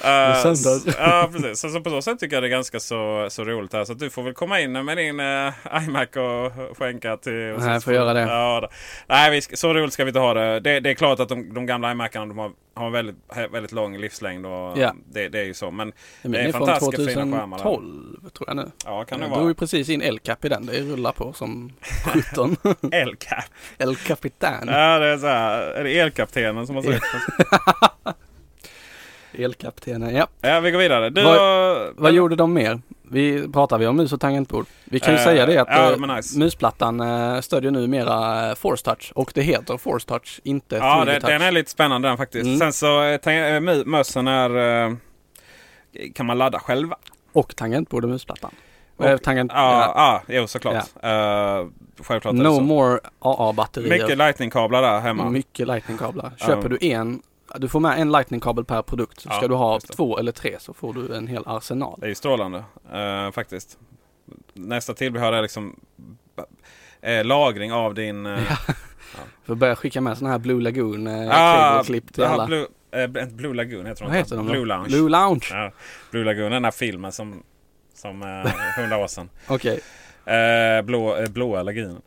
[SPEAKER 2] är
[SPEAKER 1] Eh,
[SPEAKER 2] sönder.
[SPEAKER 1] s- ja precis. Så, så på så sätt tycker jag det är ganska så, så roligt här. Så att du får väl komma in med din eh, iMac och skänka till...
[SPEAKER 2] Nej, jag får göra det.
[SPEAKER 1] Ja, då. Nej, vi ska, så roligt ska vi inte ha det. Det, det är klart att de, de gamla iMacarna de har, har en väldigt, väldigt lång livslängd. Och
[SPEAKER 2] Ja.
[SPEAKER 1] det, det är ju så. Men
[SPEAKER 2] Min
[SPEAKER 1] det är
[SPEAKER 2] är från
[SPEAKER 1] fantastiska fina skärmar. där.
[SPEAKER 2] 2012 tror jag nu.
[SPEAKER 1] Ja, kan det
[SPEAKER 2] jag
[SPEAKER 1] vara.
[SPEAKER 2] drog ju precis in El Cap i den. Det rullar på som
[SPEAKER 1] *laughs*
[SPEAKER 2] 17. *laughs*
[SPEAKER 1] Elcap.
[SPEAKER 2] El Capitan.
[SPEAKER 1] Ja, det är så här. Är det elkaptenen
[SPEAKER 2] *laughs*
[SPEAKER 1] som har sagt?
[SPEAKER 2] Elkaptenen, ja.
[SPEAKER 1] ja, vi går vidare. Du
[SPEAKER 2] Vad-
[SPEAKER 1] har-
[SPEAKER 2] Vad gjorde de mer? Vi pratar vi om mus och tangentbord. Vi kan ju
[SPEAKER 1] Eh,
[SPEAKER 2] säga det att
[SPEAKER 1] ja,
[SPEAKER 2] eh,
[SPEAKER 1] men nice.
[SPEAKER 2] musplattan eh, stödjer numera eh, Force Touch och det heter Force Touch, inte
[SPEAKER 1] Ja, det,
[SPEAKER 2] Touch.
[SPEAKER 1] den är lite spännande den faktiskt.
[SPEAKER 2] Mm.
[SPEAKER 1] Sen så eh, tänk- eh, mu- mössen är... eh, Kan man ladda själva?
[SPEAKER 2] Och tangentbord och musplattan. Eh, tangent...
[SPEAKER 1] Ja, ja jo såklart. Eh, självklart är det
[SPEAKER 2] no
[SPEAKER 1] så.
[SPEAKER 2] more AA-batterier.
[SPEAKER 1] Mycket lightningkablar där hemma.
[SPEAKER 2] Mycket lightningkablar.
[SPEAKER 1] Ja.
[SPEAKER 2] Köper du en, du får med en lightningkabel per produkt. Så
[SPEAKER 1] Ja,
[SPEAKER 2] ska du ha
[SPEAKER 1] just det.
[SPEAKER 2] två eller tre så får du en hel arsenal.
[SPEAKER 1] Det är ju strålande eh, faktiskt. Nästa till vi har är liksom eh, lagring av din...
[SPEAKER 2] *laughs*
[SPEAKER 1] eh,
[SPEAKER 2] För börja skicka med sådana här Blue Lagoon eh, klipp till
[SPEAKER 1] ja,
[SPEAKER 2] alla.
[SPEAKER 1] Ah, Blue, eh, inte Blue Lagoon heter de.
[SPEAKER 2] Vad heter de då?
[SPEAKER 1] Blue Lounge.
[SPEAKER 2] Blue Lounge.
[SPEAKER 1] Ja, Blue Lagoon, den här filmen som... Som eh, hundra år sedan.
[SPEAKER 2] Okej,
[SPEAKER 1] Eh, blå, eh, blåa lagunen.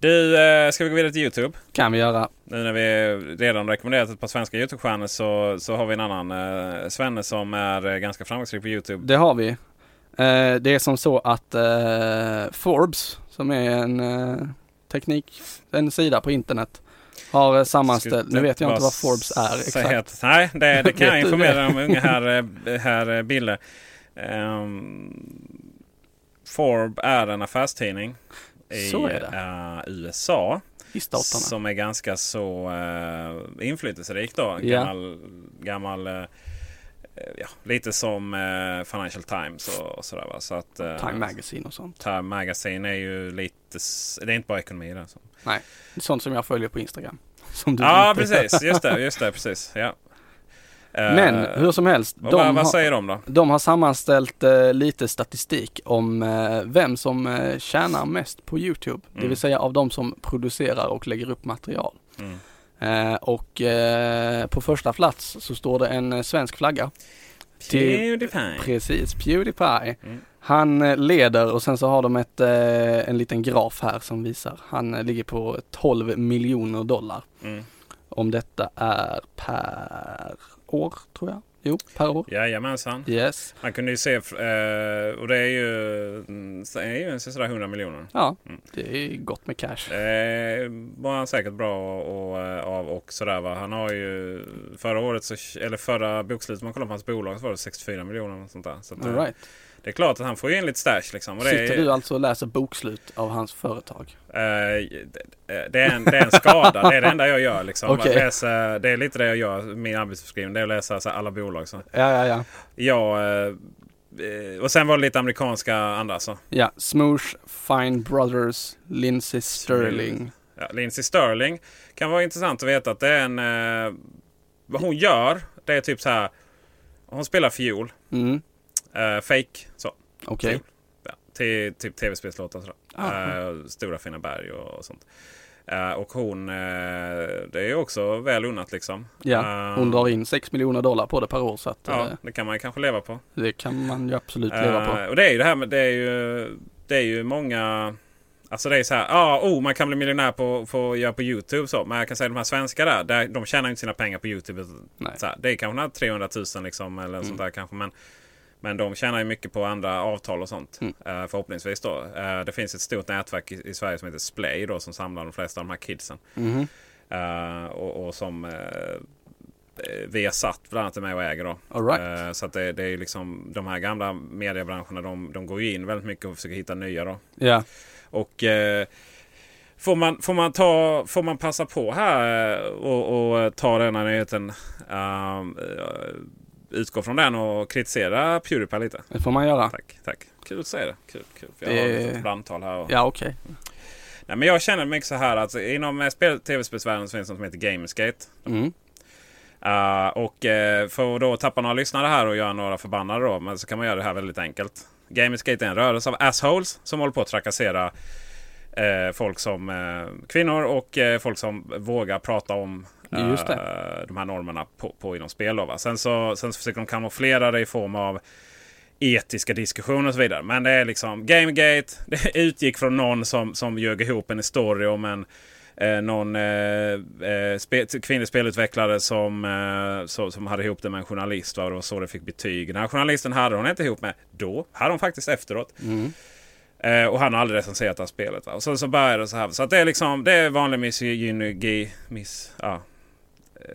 [SPEAKER 1] Du, eh, ska vi gå vidare till Youtube?
[SPEAKER 2] kan vi göra.
[SPEAKER 1] Nu när vi redan rekommenderat ett par svenska Youtube-stjärnor så, så har vi en annan eh, Svenne som är eh, ganska framgångsrik på Youtube.
[SPEAKER 2] Det har vi. Eh, det är som så att eh, Forbes, som är en eh, teknik, en sida på internet, Har eh, sammanställt,
[SPEAKER 1] Skulle
[SPEAKER 2] nu vet jag inte
[SPEAKER 1] bara
[SPEAKER 2] vad Forbes är
[SPEAKER 1] säga
[SPEAKER 2] exakt.
[SPEAKER 1] att- nej, det,
[SPEAKER 2] *laughs*
[SPEAKER 1] det kan jag
[SPEAKER 2] Vet du
[SPEAKER 1] informera
[SPEAKER 2] det?
[SPEAKER 1] dig om unga herr, eh, herr eh, Bille. Um, Forbes är en affärstidning i
[SPEAKER 2] Så är
[SPEAKER 1] eh, USA.
[SPEAKER 2] I staterna.
[SPEAKER 1] Som är ganska så uh, inflytelserik då.
[SPEAKER 2] Ja.
[SPEAKER 1] Gammal, gammal eh, ja, lite som eh, Financial Times och, och sådär va. Så att, eh,
[SPEAKER 2] Time Magazine och sånt.
[SPEAKER 1] Time Magazine är ju lite, s- det är inte bara ekonomi där. Så.
[SPEAKER 2] Nej, sånt som jag följer på Instagram. Som du
[SPEAKER 1] Ja,
[SPEAKER 2] inte-
[SPEAKER 1] precis. Just det, just det, precis. Ja. Eh,
[SPEAKER 2] Men hur som helst.
[SPEAKER 1] och vad, vad
[SPEAKER 2] har-
[SPEAKER 1] säger de då?
[SPEAKER 2] De har sammanställt eh, lite statistik om eh, vem som eh, tjänar mest på YouTube. Det
[SPEAKER 1] Mm.
[SPEAKER 2] vill säga av de som producerar och lägger upp material.
[SPEAKER 1] Mm.
[SPEAKER 2] Eh, och eh, på första plats så står det en eh, svensk flagga. Till-
[SPEAKER 1] Pewdiepie.
[SPEAKER 2] Precis, Pewdiepie.
[SPEAKER 1] Mm.
[SPEAKER 2] Han eh, leder och sen så har de ett, eh, en liten graf här som visar. Han eh, ligger på 12 miljoner dollar.
[SPEAKER 1] Mm.
[SPEAKER 2] Om detta är per år tror jag. Jo, per år.
[SPEAKER 1] Jajamensan.
[SPEAKER 2] Yes.
[SPEAKER 1] Man kunde ju se, eh, och det är ju, mm, det är ju en sådär 100 miljoner.
[SPEAKER 2] Ja, det är gott med cash.
[SPEAKER 1] Eh, var han säkert bra och, och, eh, av och sådär va. Han har ju förra året, så, eller förra bokslutet man kollade på hans bolag så var det 64 miljoner och sånt där. Så att, eh,
[SPEAKER 2] All right.
[SPEAKER 1] Det är klart att han får ju in lite stash liksom. Och det
[SPEAKER 2] Sitter
[SPEAKER 1] är,
[SPEAKER 2] du alltså och läser bokslut av hans företag?
[SPEAKER 1] Eh, det, det, är en, det är en skada. Det är det enda jag gör. Liksom.
[SPEAKER 2] Okej.
[SPEAKER 1] Att läsa, det är lite det jag gör. Min arbetsbeskrivning. Det är att läsa så här, alla bolag. Så.
[SPEAKER 2] Ja, ja, ja.
[SPEAKER 1] Ja, eh, eh, och sen var det lite amerikanska andra. Så.
[SPEAKER 2] Ja, Smoosh, Fine Brothers, Lindsey Sterling.
[SPEAKER 1] Ja, Lindsey Sterling. Kan vara intressant att veta att det är en... Eh, vad hon gör. Det är typ så här. Hon spelar fiol.
[SPEAKER 2] Mm,
[SPEAKER 1] Eh, fake. Så.
[SPEAKER 2] Okej.
[SPEAKER 1] Fiol. Ja, till typ tv-spelslåtar. och sådär.
[SPEAKER 2] Ah,
[SPEAKER 1] Eh, Stora fina berg och, och sånt. Eh, och hon, eh, det är ju också väl unnat liksom.
[SPEAKER 2] Ja,
[SPEAKER 1] Eh,
[SPEAKER 2] hon drar in 6 miljoner dollar på det per år så att
[SPEAKER 1] Ja,
[SPEAKER 2] eh,
[SPEAKER 1] det kan man ju kanske leva på.
[SPEAKER 2] det kan man ju absolut leva
[SPEAKER 1] Eh,
[SPEAKER 2] på.
[SPEAKER 1] och det är ju det här med, det är ju, det är ju många... Alltså det är så här, ah, oh, man kan bli miljonär på, på, göra på YouTube så. Men jag kan säga de här svenska där, där de tjänar ju inte sina pengar på YouTube.
[SPEAKER 2] Nej. Mm.
[SPEAKER 1] Så här, det är kanske några 300 000 liksom eller sånt där kanske. Men, men de tjänar ju mycket på andra avtal och sånt.
[SPEAKER 2] Mm.
[SPEAKER 1] eh, förhoppningsvis då. Eh, det finns ett stort nätverk i, i Sverige som heter Splay då som samlar de flesta av de här kidsen.
[SPEAKER 2] Mhm.
[SPEAKER 1] Eh, och, och som eh, Viasat bland annat är med och äger. Då.
[SPEAKER 2] All right.
[SPEAKER 1] Eh, så att det, det är ju liksom de här gamla mediebranscherna de, de går ju in väldigt mycket och försöker hitta nya. Då.
[SPEAKER 2] Ja,
[SPEAKER 1] Och eh, får, man, får, man ta, får man passa på här eh, och, och ta den här nyheten. ehm, eh, utgå från den och kritisera Pewdiepie lite.
[SPEAKER 2] det får man göra.
[SPEAKER 1] Tack, tack. Kul att säga det. Kul, kul. För
[SPEAKER 2] Det-
[SPEAKER 1] jag har ett brandtal här. Och...
[SPEAKER 2] Ja, okej.
[SPEAKER 1] Nej, men jag känner mycket så här att inom eh, spel, tv-spelsvärlden så finns något som heter Gamersgate.
[SPEAKER 2] Mm.
[SPEAKER 1] Eh, och eh, för att då tappa några lyssnare här och göra några förbannade då, men så kan man göra det här väldigt enkelt. Gamersgate är en rörelse av assholes som håller på att trakassera eh, folk som eh, kvinnor och eh, folk som vågar prata om eh,
[SPEAKER 2] Just
[SPEAKER 1] de här normerna på, på inom spel. Då, va? Sen, så, sen så försöker de kamouflera det i form av etiska diskussioner och så vidare. Men det är liksom Gamegate. *laughs* Det utgick från någon som, som ljög ihop en story om en eh, någon eh, eh, spe, kvinnlig spelutvecklare som, eh, som, som hade ihop det med en journalist. Va? Det var så det fick betyg. Den här journalisten hade hon inte ihop med då. Hade hon faktiskt efteråt. Eh, och han har aldrig recenserat det här spelet. Va? Och så, så börjar det så här. Så att det är liksom det är vanlig misogyni... Mis, ja. Eh,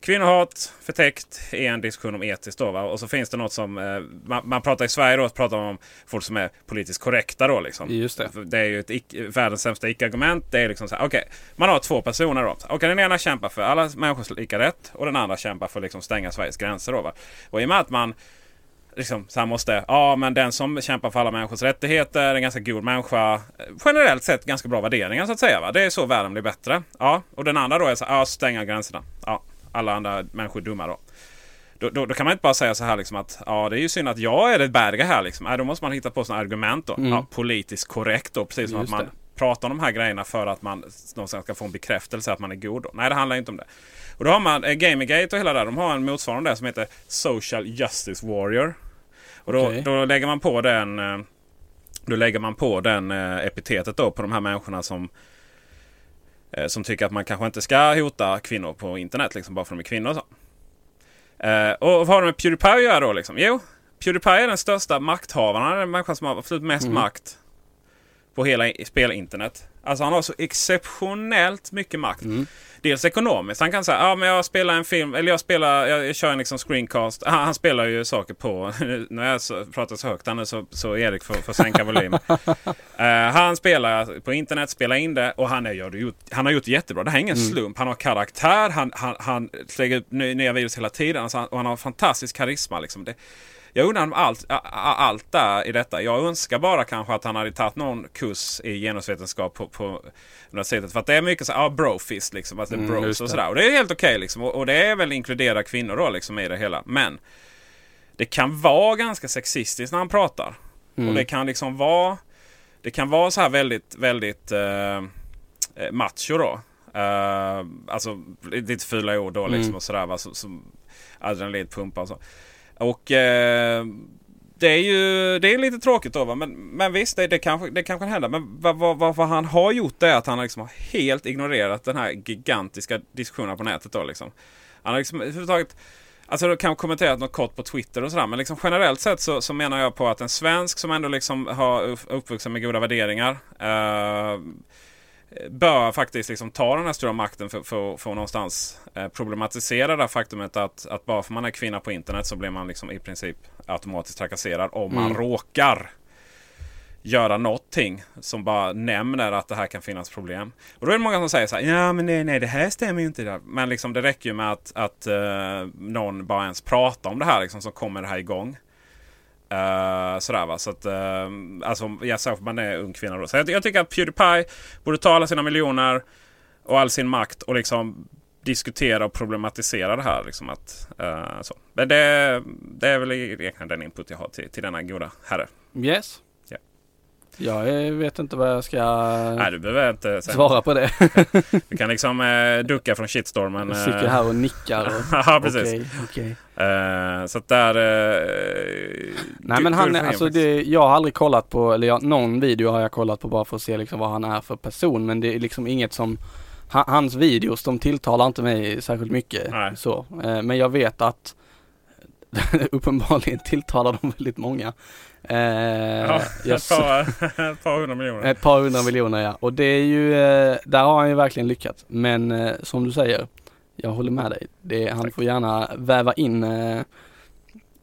[SPEAKER 1] Kvinnohat förtäckt är en diskussion om etiskt. Då, va? Och så finns det något som eh, man, man pratar i Sverige då, så pratar man om folk som är politiskt korrekta. Då, liksom.
[SPEAKER 2] Just det.
[SPEAKER 1] För det är ju ett ick, världens sämsta icke-argument. Det är liksom så här, okej, man har två personer då. Okej, den ena kämpar för alla människors lika rätt och den andra kämpar för att liksom stänga Sveriges gränser. Då, va? Och i och med att man liksom, så här måste, ja men den som kämpar för alla människors rättigheter är en ganska god människa. Eh, Generellt sett ganska bra värderingar så att säga. Va? Det är så världen blir bättre. Ja, och den andra då är så här, ja stänga gränserna. Ja, alla andra människor är dumma då. Då, då, då kan man inte bara säga så här liksom att ja det är ju synd att jag är det bärga här liksom. Nej, då måste man hitta på sådana argument då. Ja, politiskt korrekt då. Precis som
[SPEAKER 2] Just
[SPEAKER 1] att man
[SPEAKER 2] det.
[SPEAKER 1] pratar om de här grejerna för att man någonstans ska få en bekräftelse att man är god. Då. Nej det handlar inte om det. Och då har man eh, Gamergate och hela det där. De har en motsvarande där som heter Social Justice Warrior. Och då,
[SPEAKER 2] Okej.
[SPEAKER 1] då lägger man på den eh, Då lägger man på den eh, epitetet då på de här människorna som eh, Som tycker att man kanske inte ska hota kvinnor på internet liksom bara för att de är kvinnor och så. Eh, Och vad har de med Pewdiepie att göra då liksom? Jo Pewdiepie är den
[SPEAKER 2] Mm.
[SPEAKER 1] största makthavaren. Han är den människan som har absolut mest makt på hela i- spelinternet. Alltså han har så exceptionellt mycket makt. Dels ekonomiskt. Han kan säga ja men jag spelar en film, eller jag spelar, jag, jag kör en liksom screencast. Han, han spelar ju saker på, *laughs* nu när jag så, pratar så högt här nu så, så Erik får, får sänka volymen. Eh, han spelar på internet, spelar in det och han, är, gör det ju- han har gjort det jättebra. Det här är ingen
[SPEAKER 8] Mm.
[SPEAKER 1] slump. Han har karaktär, han, han, han lägger ut ny- nya videos hela tiden alltså, han- och han har fantastisk karisma. Liksom. Det, jag undrar om allt, a- a- allt där i detta. Jag önskar bara kanske att han hade tagit någon kurs i genusvetenskap på, på universitetet. För att det är mycket så här, ah, brofist liksom. Att det är
[SPEAKER 8] Mm,
[SPEAKER 1] bros
[SPEAKER 8] just
[SPEAKER 1] och
[SPEAKER 8] det.
[SPEAKER 1] sådär. Och det är helt okej liksom. Och, och det är väl inkludera kvinnor då liksom i det hela. Men det kan vara ganska sexistiskt när han pratar.
[SPEAKER 8] Mm.
[SPEAKER 1] Och det kan liksom vara Det kan vara så här väldigt, väldigt eh, eh, macho då. Eh, alltså lite fula ord då liksom
[SPEAKER 8] Mm.
[SPEAKER 1] och sådär va. Som, som adrenalinpumpa och så. Och eh, det är ju det är lite tråkigt då va? Men, men visst det, det, kanske, det kanske kan hända. Men vad, vad, vad, vad han har gjort är att han liksom har helt ignorerat den här gigantiska diskussionen på nätet då liksom. Han har liksom överhuvudtaget Alltså du kan kommentera något kort på Twitter och sådär. Men liksom generellt sett så, så menar jag på att en svensk som ändå liksom har upp- uppvuxen med goda värderingar. Eh, bör faktiskt liksom ta den här stora makten för, för, för att någonstans eh, problematisera det här faktumet att, att bara för man är kvinna på internet så blir man liksom i princip automatiskt trakasserad om man
[SPEAKER 8] Mm.
[SPEAKER 1] råkar göra någonting som bara nämner att det här kan finnas problem. Och då är det många som säger så här, ja men nej, nej det här stämmer ju inte. där." Men liksom det räcker ju med att, att eh, någon bara ens pratar om det här liksom så kommer det här igång. Uh, sådär va. Så att, eh, alltså, jag sa att man är ung kvinna då. Så jag, jag tycker att Pewdiepie borde ta alla sina miljoner och all sin makt och liksom diskutera och problematisera det här. Liksom att, eh, så. Men det, det är väl egentligen den input jag har till, till denna goda herre.
[SPEAKER 2] Yes.
[SPEAKER 1] Ja.
[SPEAKER 2] Jag eh, vet inte vad jag ska
[SPEAKER 1] Nej, du behöver inte säga
[SPEAKER 2] svara
[SPEAKER 1] något.
[SPEAKER 2] på det. *laughs*
[SPEAKER 1] Du kan liksom eh, ducka från shitstormen.
[SPEAKER 2] Jag sitter
[SPEAKER 1] eh.
[SPEAKER 2] här och nickar och-
[SPEAKER 1] *laughs* ja, precis.
[SPEAKER 2] Okej, okej.
[SPEAKER 1] Eh, så att där... eh,
[SPEAKER 2] Nej
[SPEAKER 1] gu-
[SPEAKER 2] men han,
[SPEAKER 1] guld
[SPEAKER 2] är-
[SPEAKER 1] för
[SPEAKER 2] alltså
[SPEAKER 1] Ingebrigt.
[SPEAKER 2] det, jag har aldrig kollat på, eller jag, någon video har jag kollat på bara för att se liksom vad han är för person. Men det är liksom inget som, ha- hans videos de tilltalar inte mig särskilt mycket. Så. Eh, Men jag vet att *laughs* uppenbarligen tilltalar de väldigt många. Eh,
[SPEAKER 1] Ja, *laughs*
[SPEAKER 2] jag
[SPEAKER 1] ett, par, ett par hundra miljoner.
[SPEAKER 2] Ett par hundra miljoner ja. Och det är ju, eh, där har han ju verkligen lyckats. Men eh, som du säger, jag håller med dig. Det, han får gärna väva in, eh,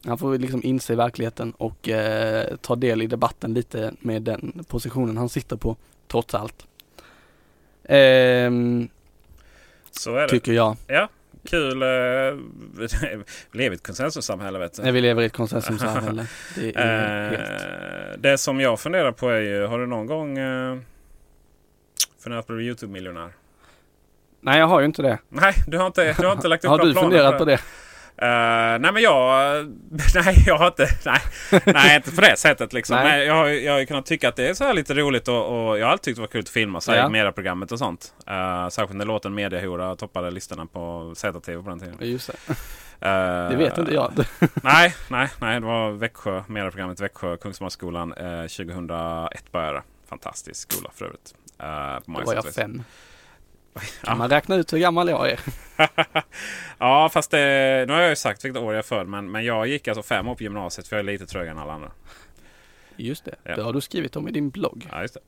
[SPEAKER 2] han får liksom inse verkligheten och eh, ta del i debatten lite med den positionen han sitter på, trots allt. Ehm,
[SPEAKER 1] Så är det.
[SPEAKER 2] Tycker jag.
[SPEAKER 1] Ja, kul. Eh, *laughs* vi lever i ett konsensussamhälle vet du.
[SPEAKER 2] Nej, vi lever i ett konsensussamhälle. Det är
[SPEAKER 1] *laughs* eh, det som jag funderar på är ju, har du någon gång eh, funderat på att bli YouTube-miljonär?
[SPEAKER 2] nej jag har ju inte det.
[SPEAKER 1] Nej, du har inte, du har inte
[SPEAKER 2] *laughs*
[SPEAKER 1] lagt upp
[SPEAKER 2] Har
[SPEAKER 1] några
[SPEAKER 2] du
[SPEAKER 1] planer
[SPEAKER 2] funderat på det?
[SPEAKER 1] Eh, nej men jag... *laughs* Nej jag har inte... Nej, nej inte på det sättet liksom.
[SPEAKER 8] Nej.
[SPEAKER 1] Nej. jag, har, ju- jag har ju kunnat tycka att det är så här lite roligt och, och jag har alltid tyckt det var kul att filma sig
[SPEAKER 8] Ja.
[SPEAKER 1] i Mera-programmet och sånt. Eh, särskilt när låten Mediahora toppade listorna på ZTV på den tiden.
[SPEAKER 2] Just
[SPEAKER 1] det.
[SPEAKER 2] Det vet inte jag.
[SPEAKER 1] *laughs* nej, nej, nej. Det var Växjö, Mera-programmet Växjö, Kungsholmsskolan eh, 2001 började det. Fantastisk skola för övrigt. Eh, på många
[SPEAKER 2] Då var
[SPEAKER 1] sätt
[SPEAKER 2] jag
[SPEAKER 1] och vis.
[SPEAKER 2] fem.
[SPEAKER 1] Ja.
[SPEAKER 2] Kan man räkna ut hur gammal jag är?
[SPEAKER 1] *laughs* Ja, fast det, nu har jag ju sagt vilket år jag är född. Men, men jag gick alltså fem år på gymnasiet för jag är lite trögare än alla andra.
[SPEAKER 2] Just det. Det har du skrivit om i din blogg.
[SPEAKER 1] Ja, just det.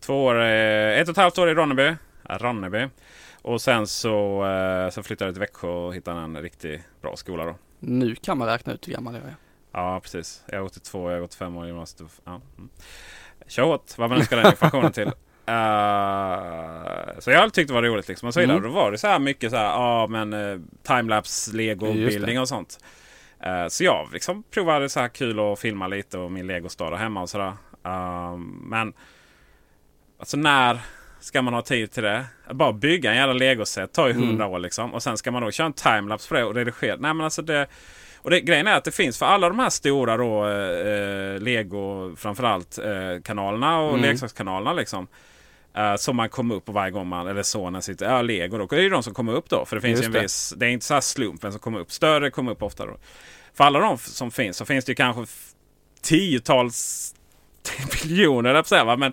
[SPEAKER 1] Två år, eh, ett och ett halvt år i Ronneby. Ja, Ronneby. Och sen så, eh, så flyttade jag till Växjö och hittade en riktigt bra skola då.
[SPEAKER 2] Nu kan man räkna ut hur gammal jag är.
[SPEAKER 1] Ja, precis. Jag har gått i två, jag har gått fem år i gymnasiet. och- Ja. Mm. Kör hårt, vad man önskar den
[SPEAKER 8] *laughs*
[SPEAKER 1] informationen till. Eh, så jag har alltid tyckt det var roligt liksom. Och så vidare.
[SPEAKER 8] Mm.
[SPEAKER 1] Då var det så här mycket så här, ja men eh, timelapse,
[SPEAKER 8] Just det.
[SPEAKER 1] lego-bildning och sånt. Eh, så jag liksom provade så här kul att filma lite och min legostad där hemma och sådär. Eh, men alltså när ska man ha tid till det? Att bara bygga en jävla legoset tar ju
[SPEAKER 8] Mm.
[SPEAKER 1] hundra år liksom. Och sen ska man då köra en timelapse på det och redigera. Nej men alltså det... Och det, grejen är att det finns för alla de här stora då, eh, eh, Lego framförallt eh, kanalerna och
[SPEAKER 8] Mm.
[SPEAKER 1] leksakskanalerna liksom. Eh, som man kommer upp på varje gång man, eller sonen sitter, ja Lego då. Det är ju de som kommer upp då. För det finns ju
[SPEAKER 8] Just
[SPEAKER 1] en
[SPEAKER 8] det.
[SPEAKER 1] viss, det är inte så här slump vem som kommer upp. Större kommer upp ofta då. För alla de f- som *laughs* finns så finns det ju kanske f- tiotals miljoner, höll jag på att säga, va? men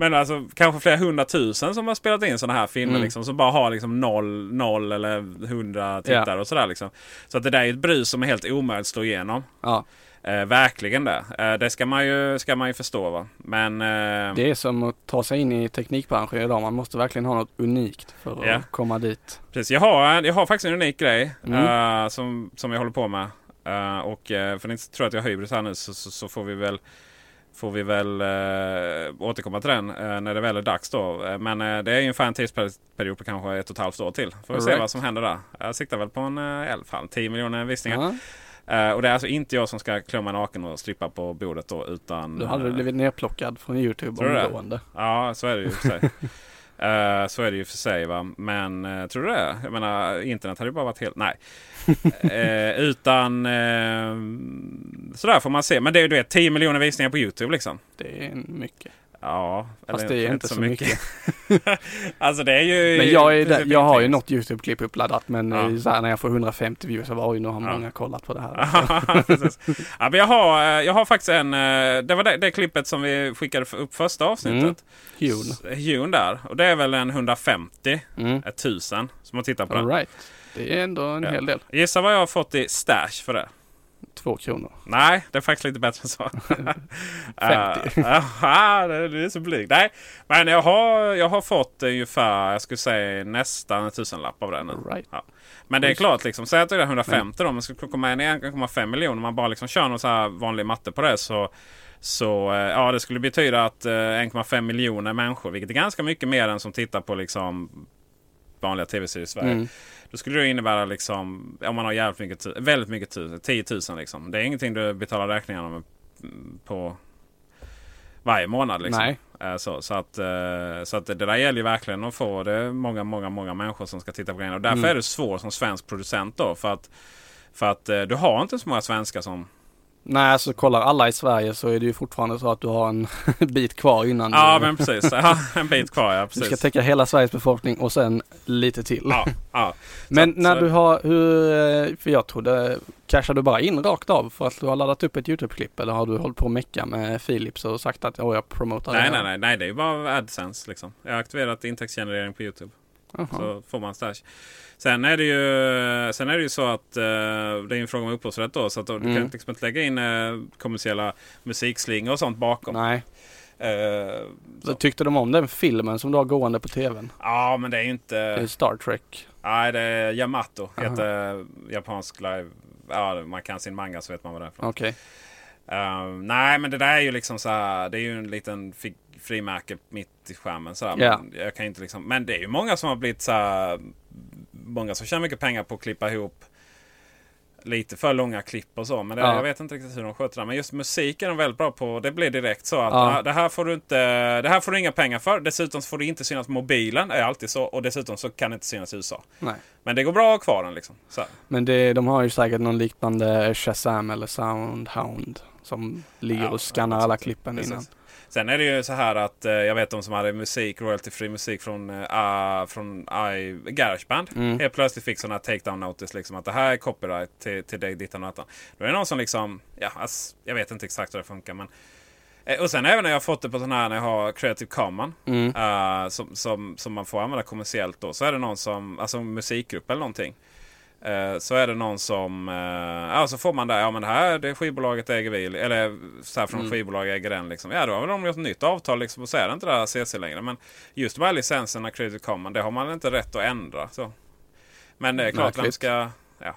[SPEAKER 1] Men alltså kanske flera hundratusen som har spelat in sådana här filmer
[SPEAKER 2] Mm.
[SPEAKER 1] liksom. Som bara har liksom noll, noll eller hundra tittare
[SPEAKER 2] Ja.
[SPEAKER 1] och sådär liksom. Så att det där är ju ett brus som är helt omöjligt att slå igenom.
[SPEAKER 2] Ja.
[SPEAKER 1] Eh, verkligen det. Eh, det ska man ju, ska man ju förstå va. Men... Eh,
[SPEAKER 2] Det är som att ta sig in i teknikbranschen idag. Man måste verkligen ha något unikt för att
[SPEAKER 1] Ja.
[SPEAKER 2] komma dit.
[SPEAKER 1] Precis, jag har, en- jag har faktiskt en unik grej
[SPEAKER 2] Mm.
[SPEAKER 1] eh, som, som jag håller på med. Eh, och eh, för ni inte tror att jag har hybris här nu så, så, så får vi väl, får vi väl eh, återkomma till den eh, när det väl är dags då. Eh, men eh, det är ju ungefär en tidsperiod på kanske ett och ett halvt år till. Får vi se
[SPEAKER 2] Alright.
[SPEAKER 1] vad som händer där. Jag siktar väl på en uh, 11, 10 miljoner visningar. Eh, och det är alltså inte jag som ska klumma naken och strippa på bordet då utan...
[SPEAKER 2] Då hade du
[SPEAKER 1] eh,
[SPEAKER 2] blivit nerplockad från Youtube
[SPEAKER 1] Tror du det?
[SPEAKER 2] omgående.
[SPEAKER 1] Ja, så är det ju för
[SPEAKER 2] *laughs*
[SPEAKER 1] sig. Eh, så är det ju för sig va. Men eh, tror du det? Jag menar internet hade ju bara varit helt...
[SPEAKER 2] *laughs*
[SPEAKER 1] Nej. Eh, utan... Eh, sådär får man se. Men det är ju du vet 10 miljoner visningar på Youtube liksom.
[SPEAKER 2] Det är mycket.
[SPEAKER 1] Ja.
[SPEAKER 2] Fast
[SPEAKER 1] eller
[SPEAKER 2] det är inte så mycket.
[SPEAKER 1] *laughs* alltså det är ju...
[SPEAKER 2] Men jag, är
[SPEAKER 1] precis
[SPEAKER 2] där, jag har ju
[SPEAKER 1] ingenting.
[SPEAKER 2] något YouTube-klipp uppladdat men
[SPEAKER 1] Ja.
[SPEAKER 2] eh, så här, när jag får 150 views så var ju nu har många kollat på
[SPEAKER 1] *laughs*
[SPEAKER 2] det
[SPEAKER 1] Ja,
[SPEAKER 2] här.
[SPEAKER 1] precis. ja, men jag, har, eh, jag har faktiskt en... eh, Det var det, det klippet som vi skickade f- upp första avsnittet.
[SPEAKER 2] Mm. Hune.
[SPEAKER 1] S- Hune där. Och det är väl en 150
[SPEAKER 2] Mm.
[SPEAKER 1] 1000 som har tittat på
[SPEAKER 2] All
[SPEAKER 1] den.
[SPEAKER 2] right. Det är ändå en
[SPEAKER 1] Ja.
[SPEAKER 2] hel del.
[SPEAKER 1] Gissa vad jag har fått i stash för det?
[SPEAKER 2] Två kronor.
[SPEAKER 1] Nej, det är faktiskt lite bättre än så. *laughs*
[SPEAKER 2] 50.
[SPEAKER 1] Eh, Jaha, du du är så blyg. Nej, men jag har, jag har fått ungefär, jag skulle säga nästan en tusenlapp av det nu.
[SPEAKER 2] Right.
[SPEAKER 1] Ja. Men det är klart, liksom, säg att det är 150 då, om man ska komma in i 1,5 miljoner. Om man bara liksom kör någon så här vanlig matte på det så så eh, ja, det skulle betyda att eh, 1,5 miljoner människor, vilket är ganska mycket mer än som tittar på liksom vanliga tv-serier i Sverige.
[SPEAKER 2] Mm.
[SPEAKER 1] Då skulle det innebära liksom, om man har jävligt mycket, tu- väldigt mycket tusen, 10 000 liksom. Det är ingenting du betalar räkningarna med mm, på varje månad liksom.
[SPEAKER 2] Nej.
[SPEAKER 1] Eh, Så, så, att, eh, så att det där gäller ju verkligen att få det är många, många, många människor som ska titta på grejerna. Och därför
[SPEAKER 2] Mm.
[SPEAKER 1] är det svårt som svensk producent då. För att, för att eh, du har inte så många svenskar som...
[SPEAKER 2] Nej, alltså kollar alla i Sverige så är det ju fortfarande så att du har en *laughs* bit kvar innan
[SPEAKER 1] Ja,
[SPEAKER 2] du,
[SPEAKER 1] men precis. Ja, *laughs* en bit kvar, ja.
[SPEAKER 2] du
[SPEAKER 1] Precis.
[SPEAKER 2] ska täcka hela Sveriges befolkning och sen lite till.
[SPEAKER 1] ja, ja.
[SPEAKER 2] Men
[SPEAKER 1] Så att-
[SPEAKER 2] när
[SPEAKER 1] så-
[SPEAKER 2] du har, hur, eh, för jag trodde, cashar du bara in rakt av för att du har laddat upp ett YouTube-klipp eller har du hållit på och mecka med Philips och sagt att åh jag promotar det
[SPEAKER 1] Nej, nej,
[SPEAKER 2] här?
[SPEAKER 1] nej, nej. Det är ju bara AdSense liksom. Jag har aktiverat intäktsgenerering på YouTube.
[SPEAKER 2] Jaha.
[SPEAKER 1] Så får man stash. Sen är det ju, sen är det ju så att eh, det är en fråga om upphovsrätt då. Så att då, du
[SPEAKER 2] Mm.
[SPEAKER 1] kan liksom inte lägga in eh, kommersiella musikslingor och sånt bakom.
[SPEAKER 2] Nej.
[SPEAKER 1] Eh,
[SPEAKER 2] Så tyckte de om den filmen som du har gående på tvn?
[SPEAKER 1] ja, men det är ju
[SPEAKER 2] Det är
[SPEAKER 1] inte...
[SPEAKER 2] Star Trek.
[SPEAKER 1] Nej, det är Yamato.
[SPEAKER 2] Aha.
[SPEAKER 1] Heter japansk live... Ja, man kan sin manga så vet man vad det är för något.
[SPEAKER 2] Okej.
[SPEAKER 1] Eh, nej, men det där är ju liksom så här. Det är ju en liten fi- frimärke mitt i skärmen. Så här.
[SPEAKER 2] Ja.
[SPEAKER 1] Men, jag kan ju inte liksom, men det är ju många som har blivit så här. Många som tjänar mycket pengar på att klippa ihop lite för långa klipp och så. Men det,
[SPEAKER 2] Ja.
[SPEAKER 1] jag vet inte riktigt hur de sköter det. Men just musik är de väldigt bra på. Det blir direkt så att
[SPEAKER 2] Ja.
[SPEAKER 1] "Ah, det, här får du inte, det här får du inga pengar för. Dessutom så får du inte synas på mobilen. är alltid så. Och dessutom så kan det inte synas i USA.
[SPEAKER 2] Nej.
[SPEAKER 1] Men det går bra att ha kvar den liksom. Så här.
[SPEAKER 2] Men det, de har ju säkert någon liknande Shazam eller Soundhound som ligger
[SPEAKER 1] Ja,
[SPEAKER 2] och skannar
[SPEAKER 1] något
[SPEAKER 2] alla
[SPEAKER 1] sånt.
[SPEAKER 2] klippen
[SPEAKER 1] Precis.
[SPEAKER 2] innan.
[SPEAKER 1] Sen är det ju så här att eh, jag vet de som hade musik, royalty free musik från, eh, ah, från I, Garageband.
[SPEAKER 2] Mm.
[SPEAKER 1] Helt plötsligt fick sådana här take down notice liksom att det här är copyright till, till dig, dittan och datan. Då är det någon som liksom, ja, ass, jag vet inte exakt hur det funkar men. Eh, och sen även när jag har fått det på sån här när jag har Creative Commons.
[SPEAKER 2] Mm.
[SPEAKER 1] eh, som, som, som man får använda kommersiellt då. Så är det någon som, alltså en musikgrupp eller någonting. Eh, Så är det någon som, eh, ja så får man där, ja men det här det skivbolaget äger vi, eller så här från
[SPEAKER 2] Mm.
[SPEAKER 1] skivbolag äger den liksom. Ja då har väl de gjort ett nytt avtal liksom och så är det inte det här CC längre. Men just de här licenserna Creative Commons, det har man inte rätt att ändra. Så. Men det är klart, vem
[SPEAKER 2] Märkligt.
[SPEAKER 1] ska... Ja.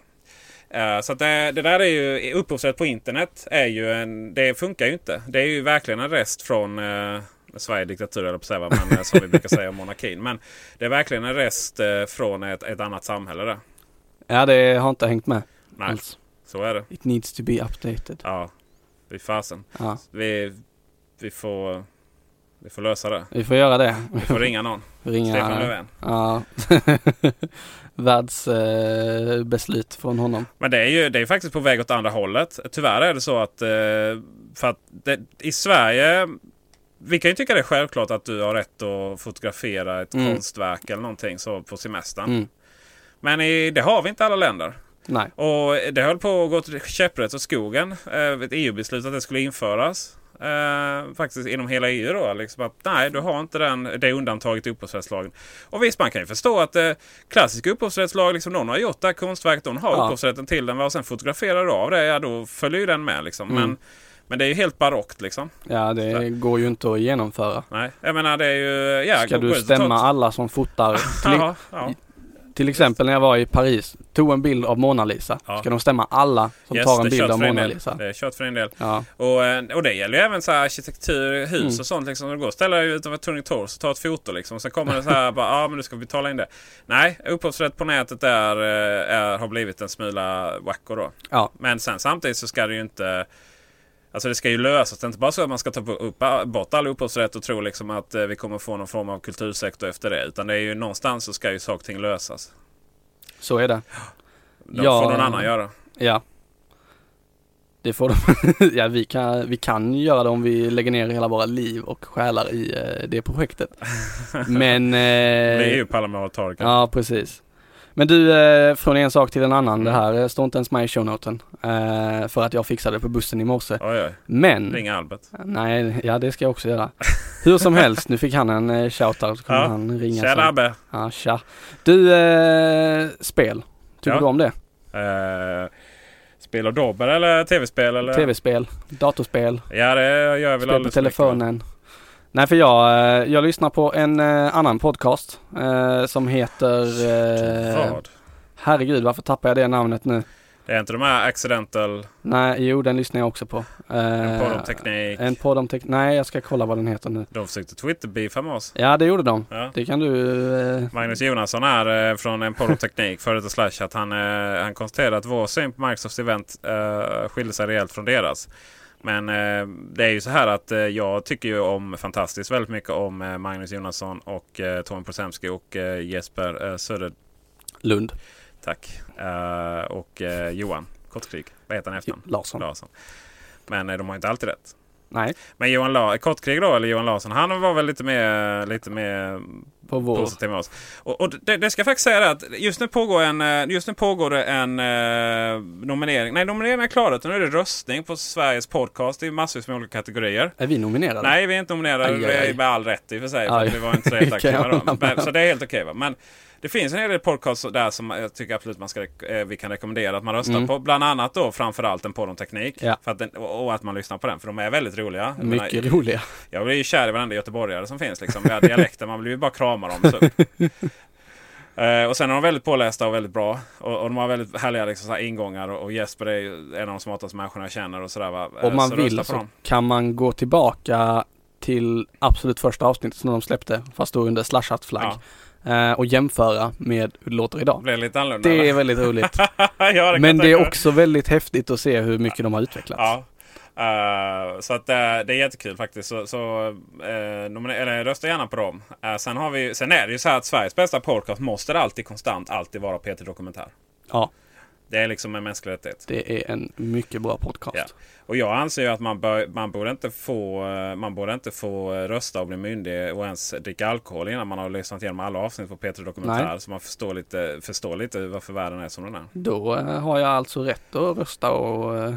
[SPEAKER 1] Eh, Så att det, det där är ju, upphovsrätt på internet är ju en, det funkar ju inte. Det är ju verkligen en rest från eh, Sverige diktatur eller på att säga, vad, men eh, som vi brukar säga om monarkin. Men det är verkligen en rest eh, från ett, ett annat samhälle där.
[SPEAKER 2] Ja, det har inte hängt med
[SPEAKER 1] Nej,
[SPEAKER 2] alls.
[SPEAKER 1] så är det.
[SPEAKER 2] It needs to be updated.
[SPEAKER 1] Ja, fy fasen.
[SPEAKER 2] Ja,
[SPEAKER 1] Vi, vi, får, vi får lösa det.
[SPEAKER 2] vi får göra det.
[SPEAKER 1] Vi får ringa någon.
[SPEAKER 2] *laughs* Ringa
[SPEAKER 1] Stefan Löfven.
[SPEAKER 2] Ja. *laughs* Världsbeslut eh, beslut från honom.
[SPEAKER 1] Men det är ju det är faktiskt på väg åt andra hållet. Tyvärr är det så att, eh, för att det, i Sverige vi kan ju tycka det är självklart att du har rätt att fotografera ett
[SPEAKER 2] Mm.
[SPEAKER 1] konstverk eller någonting så på semestern.
[SPEAKER 2] Mm.
[SPEAKER 1] Men i, det har vi inte i alla länder.
[SPEAKER 2] Nej.
[SPEAKER 1] Och det höll på att gå till käpprätt åt skogen. Eh, Ett EU-beslut att det skulle införas. Eh, Eh, faktiskt inom hela EU då. Liksom att, nej, du har inte den, det undantaget i upphovsrättslagen. Och visst, man kan ju förstå att eh, klassisk upphovsrättslag, liksom, någon har gjort det här konstverket, någon har
[SPEAKER 2] Ja.
[SPEAKER 1] upphovsrätten till den va, och sen fotograferar du av det, ja då följer ju den med liksom.
[SPEAKER 2] Mm.
[SPEAKER 1] Men, men det är ju helt barockt liksom.
[SPEAKER 2] Ja, det går ju inte att genomföra.
[SPEAKER 1] Nej, jag menar det är ju... Ja,
[SPEAKER 2] Ska
[SPEAKER 1] gå-
[SPEAKER 2] du
[SPEAKER 1] gå ut och ta
[SPEAKER 2] stämma
[SPEAKER 1] ett-
[SPEAKER 2] alla
[SPEAKER 1] *laughs*
[SPEAKER 2] som fotar? Till,
[SPEAKER 1] Ja, ja.
[SPEAKER 2] till exempel när jag var i Paris, tog en bild av Mona Lisa.
[SPEAKER 1] Ja.
[SPEAKER 2] Ska de stämma alla som
[SPEAKER 1] Yes,
[SPEAKER 2] tar
[SPEAKER 1] det
[SPEAKER 2] en
[SPEAKER 1] är
[SPEAKER 2] bild
[SPEAKER 1] kört
[SPEAKER 2] av
[SPEAKER 1] för en
[SPEAKER 2] Mona
[SPEAKER 1] del.
[SPEAKER 2] Lisa?
[SPEAKER 1] Det är kört för en del.
[SPEAKER 2] Ja.
[SPEAKER 1] Och, eh, och det gäller ju även så här arkitektur, hus
[SPEAKER 2] Mm.
[SPEAKER 1] och sånt. Liksom. Om Du går och ställer dig utanför Turning Torso och tar ett foto. Liksom. Sen kommer det så här, *laughs* bara, ja men du ska betala in det. Nej, upphovsrätt på nätet är, eh, är, har blivit en smula wacko då.
[SPEAKER 2] Ja.
[SPEAKER 1] Men sen samtidigt så ska det ju inte... Alltså det ska ju lösas. Det är inte bara så att man ska ta upp, bort all upphovsrätt och tro liksom att eh, vi kommer få någon form av kultursektor efter det. Utan det är ju någonstans så ska ju saker och ting lösas.
[SPEAKER 2] Så är det.
[SPEAKER 1] Det får någon annan göra.
[SPEAKER 2] Ja. Det får de. *laughs* ja, vi kan, vi kan ju göra det om vi lägger ner hela våra liv och själar i eh, det projektet.
[SPEAKER 1] *laughs*
[SPEAKER 2] Men... Eh,
[SPEAKER 1] Vi är ju parlamentariker.
[SPEAKER 2] Ja, precis. Men du, eh, från en sak till en annan. Det
[SPEAKER 1] Mm.
[SPEAKER 2] här eh, står inte ens med i shownoten. Eh, för att jag fixade det på bussen i morse.
[SPEAKER 1] Oj, oj.
[SPEAKER 2] Men...
[SPEAKER 1] Ring Albert.
[SPEAKER 2] Nej, ja det ska jag också göra. Hur som helst, nu fick han en eh, shoutout så kommer
[SPEAKER 1] Ja.
[SPEAKER 2] han ringa
[SPEAKER 1] Tja, Dabbe.
[SPEAKER 2] Ja, tja. Du, eh, spel. Tycker
[SPEAKER 1] Ja.
[SPEAKER 2] du om det?
[SPEAKER 1] Eh, spel och dobber eller tv-spel? Eller?
[SPEAKER 2] Tv-spel, datorspel,
[SPEAKER 1] Ja, det gör jag väl
[SPEAKER 2] spel på
[SPEAKER 1] alldeles för mycket, va?
[SPEAKER 2] telefonen. Nej, för jag, eh, jag lyssnar på en eh, annan podcast eh, som heter... Eh,
[SPEAKER 1] Vad?
[SPEAKER 2] herregud, varför tappar jag det namnet nu?
[SPEAKER 1] Det är inte de här accidental...
[SPEAKER 2] Nej, jo den lyssnar jag också på. Eh,
[SPEAKER 1] En podd om teknik.
[SPEAKER 2] En podd om teknik. Nej, jag ska kolla vad den heter nu.
[SPEAKER 1] De försökte twitterbeefa med oss.
[SPEAKER 2] Ja, det gjorde de.
[SPEAKER 1] Ja.
[SPEAKER 2] Det kan du... Eh,
[SPEAKER 1] Magnus Jonasson här eh, från en podd om teknik, *laughs* före detta Slash, att han, eh, han konstaterar att vår syn på Microsofts event eh, skiljer sig rejält från deras. Men eh, det är ju så här att eh, jag tycker ju om fantastiskt väldigt mycket om eh, Magnus Jonasson och eh, Tommy Prosemski och eh, Jesper eh, Söder...
[SPEAKER 2] Lund.
[SPEAKER 1] Tack. Eh, och eh, Johan Kortkrig. Vad heter han efter?
[SPEAKER 2] Larsson.
[SPEAKER 1] Larsson. Men eh, de har inte alltid rätt.
[SPEAKER 2] Nej.
[SPEAKER 1] Men Johan La- Kortkrig då, eller Johan Larsson, han var väl lite mer, lite mer
[SPEAKER 2] På vår.
[SPEAKER 1] positiv med oss. Och, och det, det ska jag faktiskt säga det att just nu pågår, en, eh, just nu pågår det en eh, nominering. Nej, nomineringen är klar. utan Nu är det röstning på Sveriges podcast i massvis med olika kategorier.
[SPEAKER 2] Är vi nominerade?
[SPEAKER 1] Nej, vi är inte nominerade.
[SPEAKER 2] Aj,
[SPEAKER 1] Det
[SPEAKER 2] aj,
[SPEAKER 1] är
[SPEAKER 2] aj.
[SPEAKER 1] med all rätt i och för sig. För
[SPEAKER 2] Aj.
[SPEAKER 1] att vi var inte så
[SPEAKER 2] Kan
[SPEAKER 1] helt
[SPEAKER 2] jag
[SPEAKER 1] aktiva då.
[SPEAKER 2] hålla med
[SPEAKER 1] Men, så det är helt okej. va? Men det finns en hel del podcasts där som jag tycker absolut man ska, rek- eh, vi kan rekommendera att man röstar
[SPEAKER 2] Mm.
[SPEAKER 1] på. Bland annat då framförallt en podd om teknik.
[SPEAKER 2] Ja.
[SPEAKER 1] För att den, och, och att man lyssnar på den. För de är väldigt roliga. Jag menar,
[SPEAKER 2] Mycket roliga.
[SPEAKER 1] jag blir ju kär i varenda göteborgare som finns. Liksom. Vi har dialekter, man blir ju bara kramar om. Så.
[SPEAKER 2] *laughs*
[SPEAKER 1] Eh, och sen är de väldigt pålästa och väldigt bra. Och, och de har väldigt härliga liksom, så här ingångar. Och, och Jesper är ju en av de smartaste människorna jag känner. Och sådär, va? Eh,
[SPEAKER 2] Om man
[SPEAKER 1] så rösta
[SPEAKER 2] vill
[SPEAKER 1] på
[SPEAKER 2] så
[SPEAKER 1] dem.
[SPEAKER 2] kan man gå tillbaka till absolut första avsnittet som de släppte, fast då under slashat flagg. eh, Och jämföra med hur det låter idag.
[SPEAKER 1] Blir det lite annorlunda?
[SPEAKER 2] Det är
[SPEAKER 1] eller?
[SPEAKER 2] väldigt roligt.
[SPEAKER 1] *laughs* Ja, det kan
[SPEAKER 2] Men
[SPEAKER 1] jag
[SPEAKER 2] det
[SPEAKER 1] tänka
[SPEAKER 2] är
[SPEAKER 1] mig.
[SPEAKER 2] också väldigt häftigt att se hur mycket de har utvecklats.
[SPEAKER 1] Ja. Eh, så att, eh, det är jättekul faktiskt. Så, så, eh, nomine- eller, rösta gärna på dem. Eh, sen, har vi, sen är det ju så här att Sveriges bästa podcast måste alltid konstant alltid vara Peter Dokumentär.
[SPEAKER 2] Ja.
[SPEAKER 1] Det är liksom en mänsklig rättighet.
[SPEAKER 2] Det är en mycket bra podcast.
[SPEAKER 1] Ja. Och jag anser ju att man, bör, man, borde inte få, eh, man borde inte få eh, rösta och bli myndig och ens dricka alkohol innan man har lyssnat igenom alla avsnitt på Peter Dokumentär.
[SPEAKER 2] Nej.
[SPEAKER 1] Så man förstår lite, förstår lite varför världen är som den är.
[SPEAKER 2] Då eh, har jag alltså rätt att rösta och eh,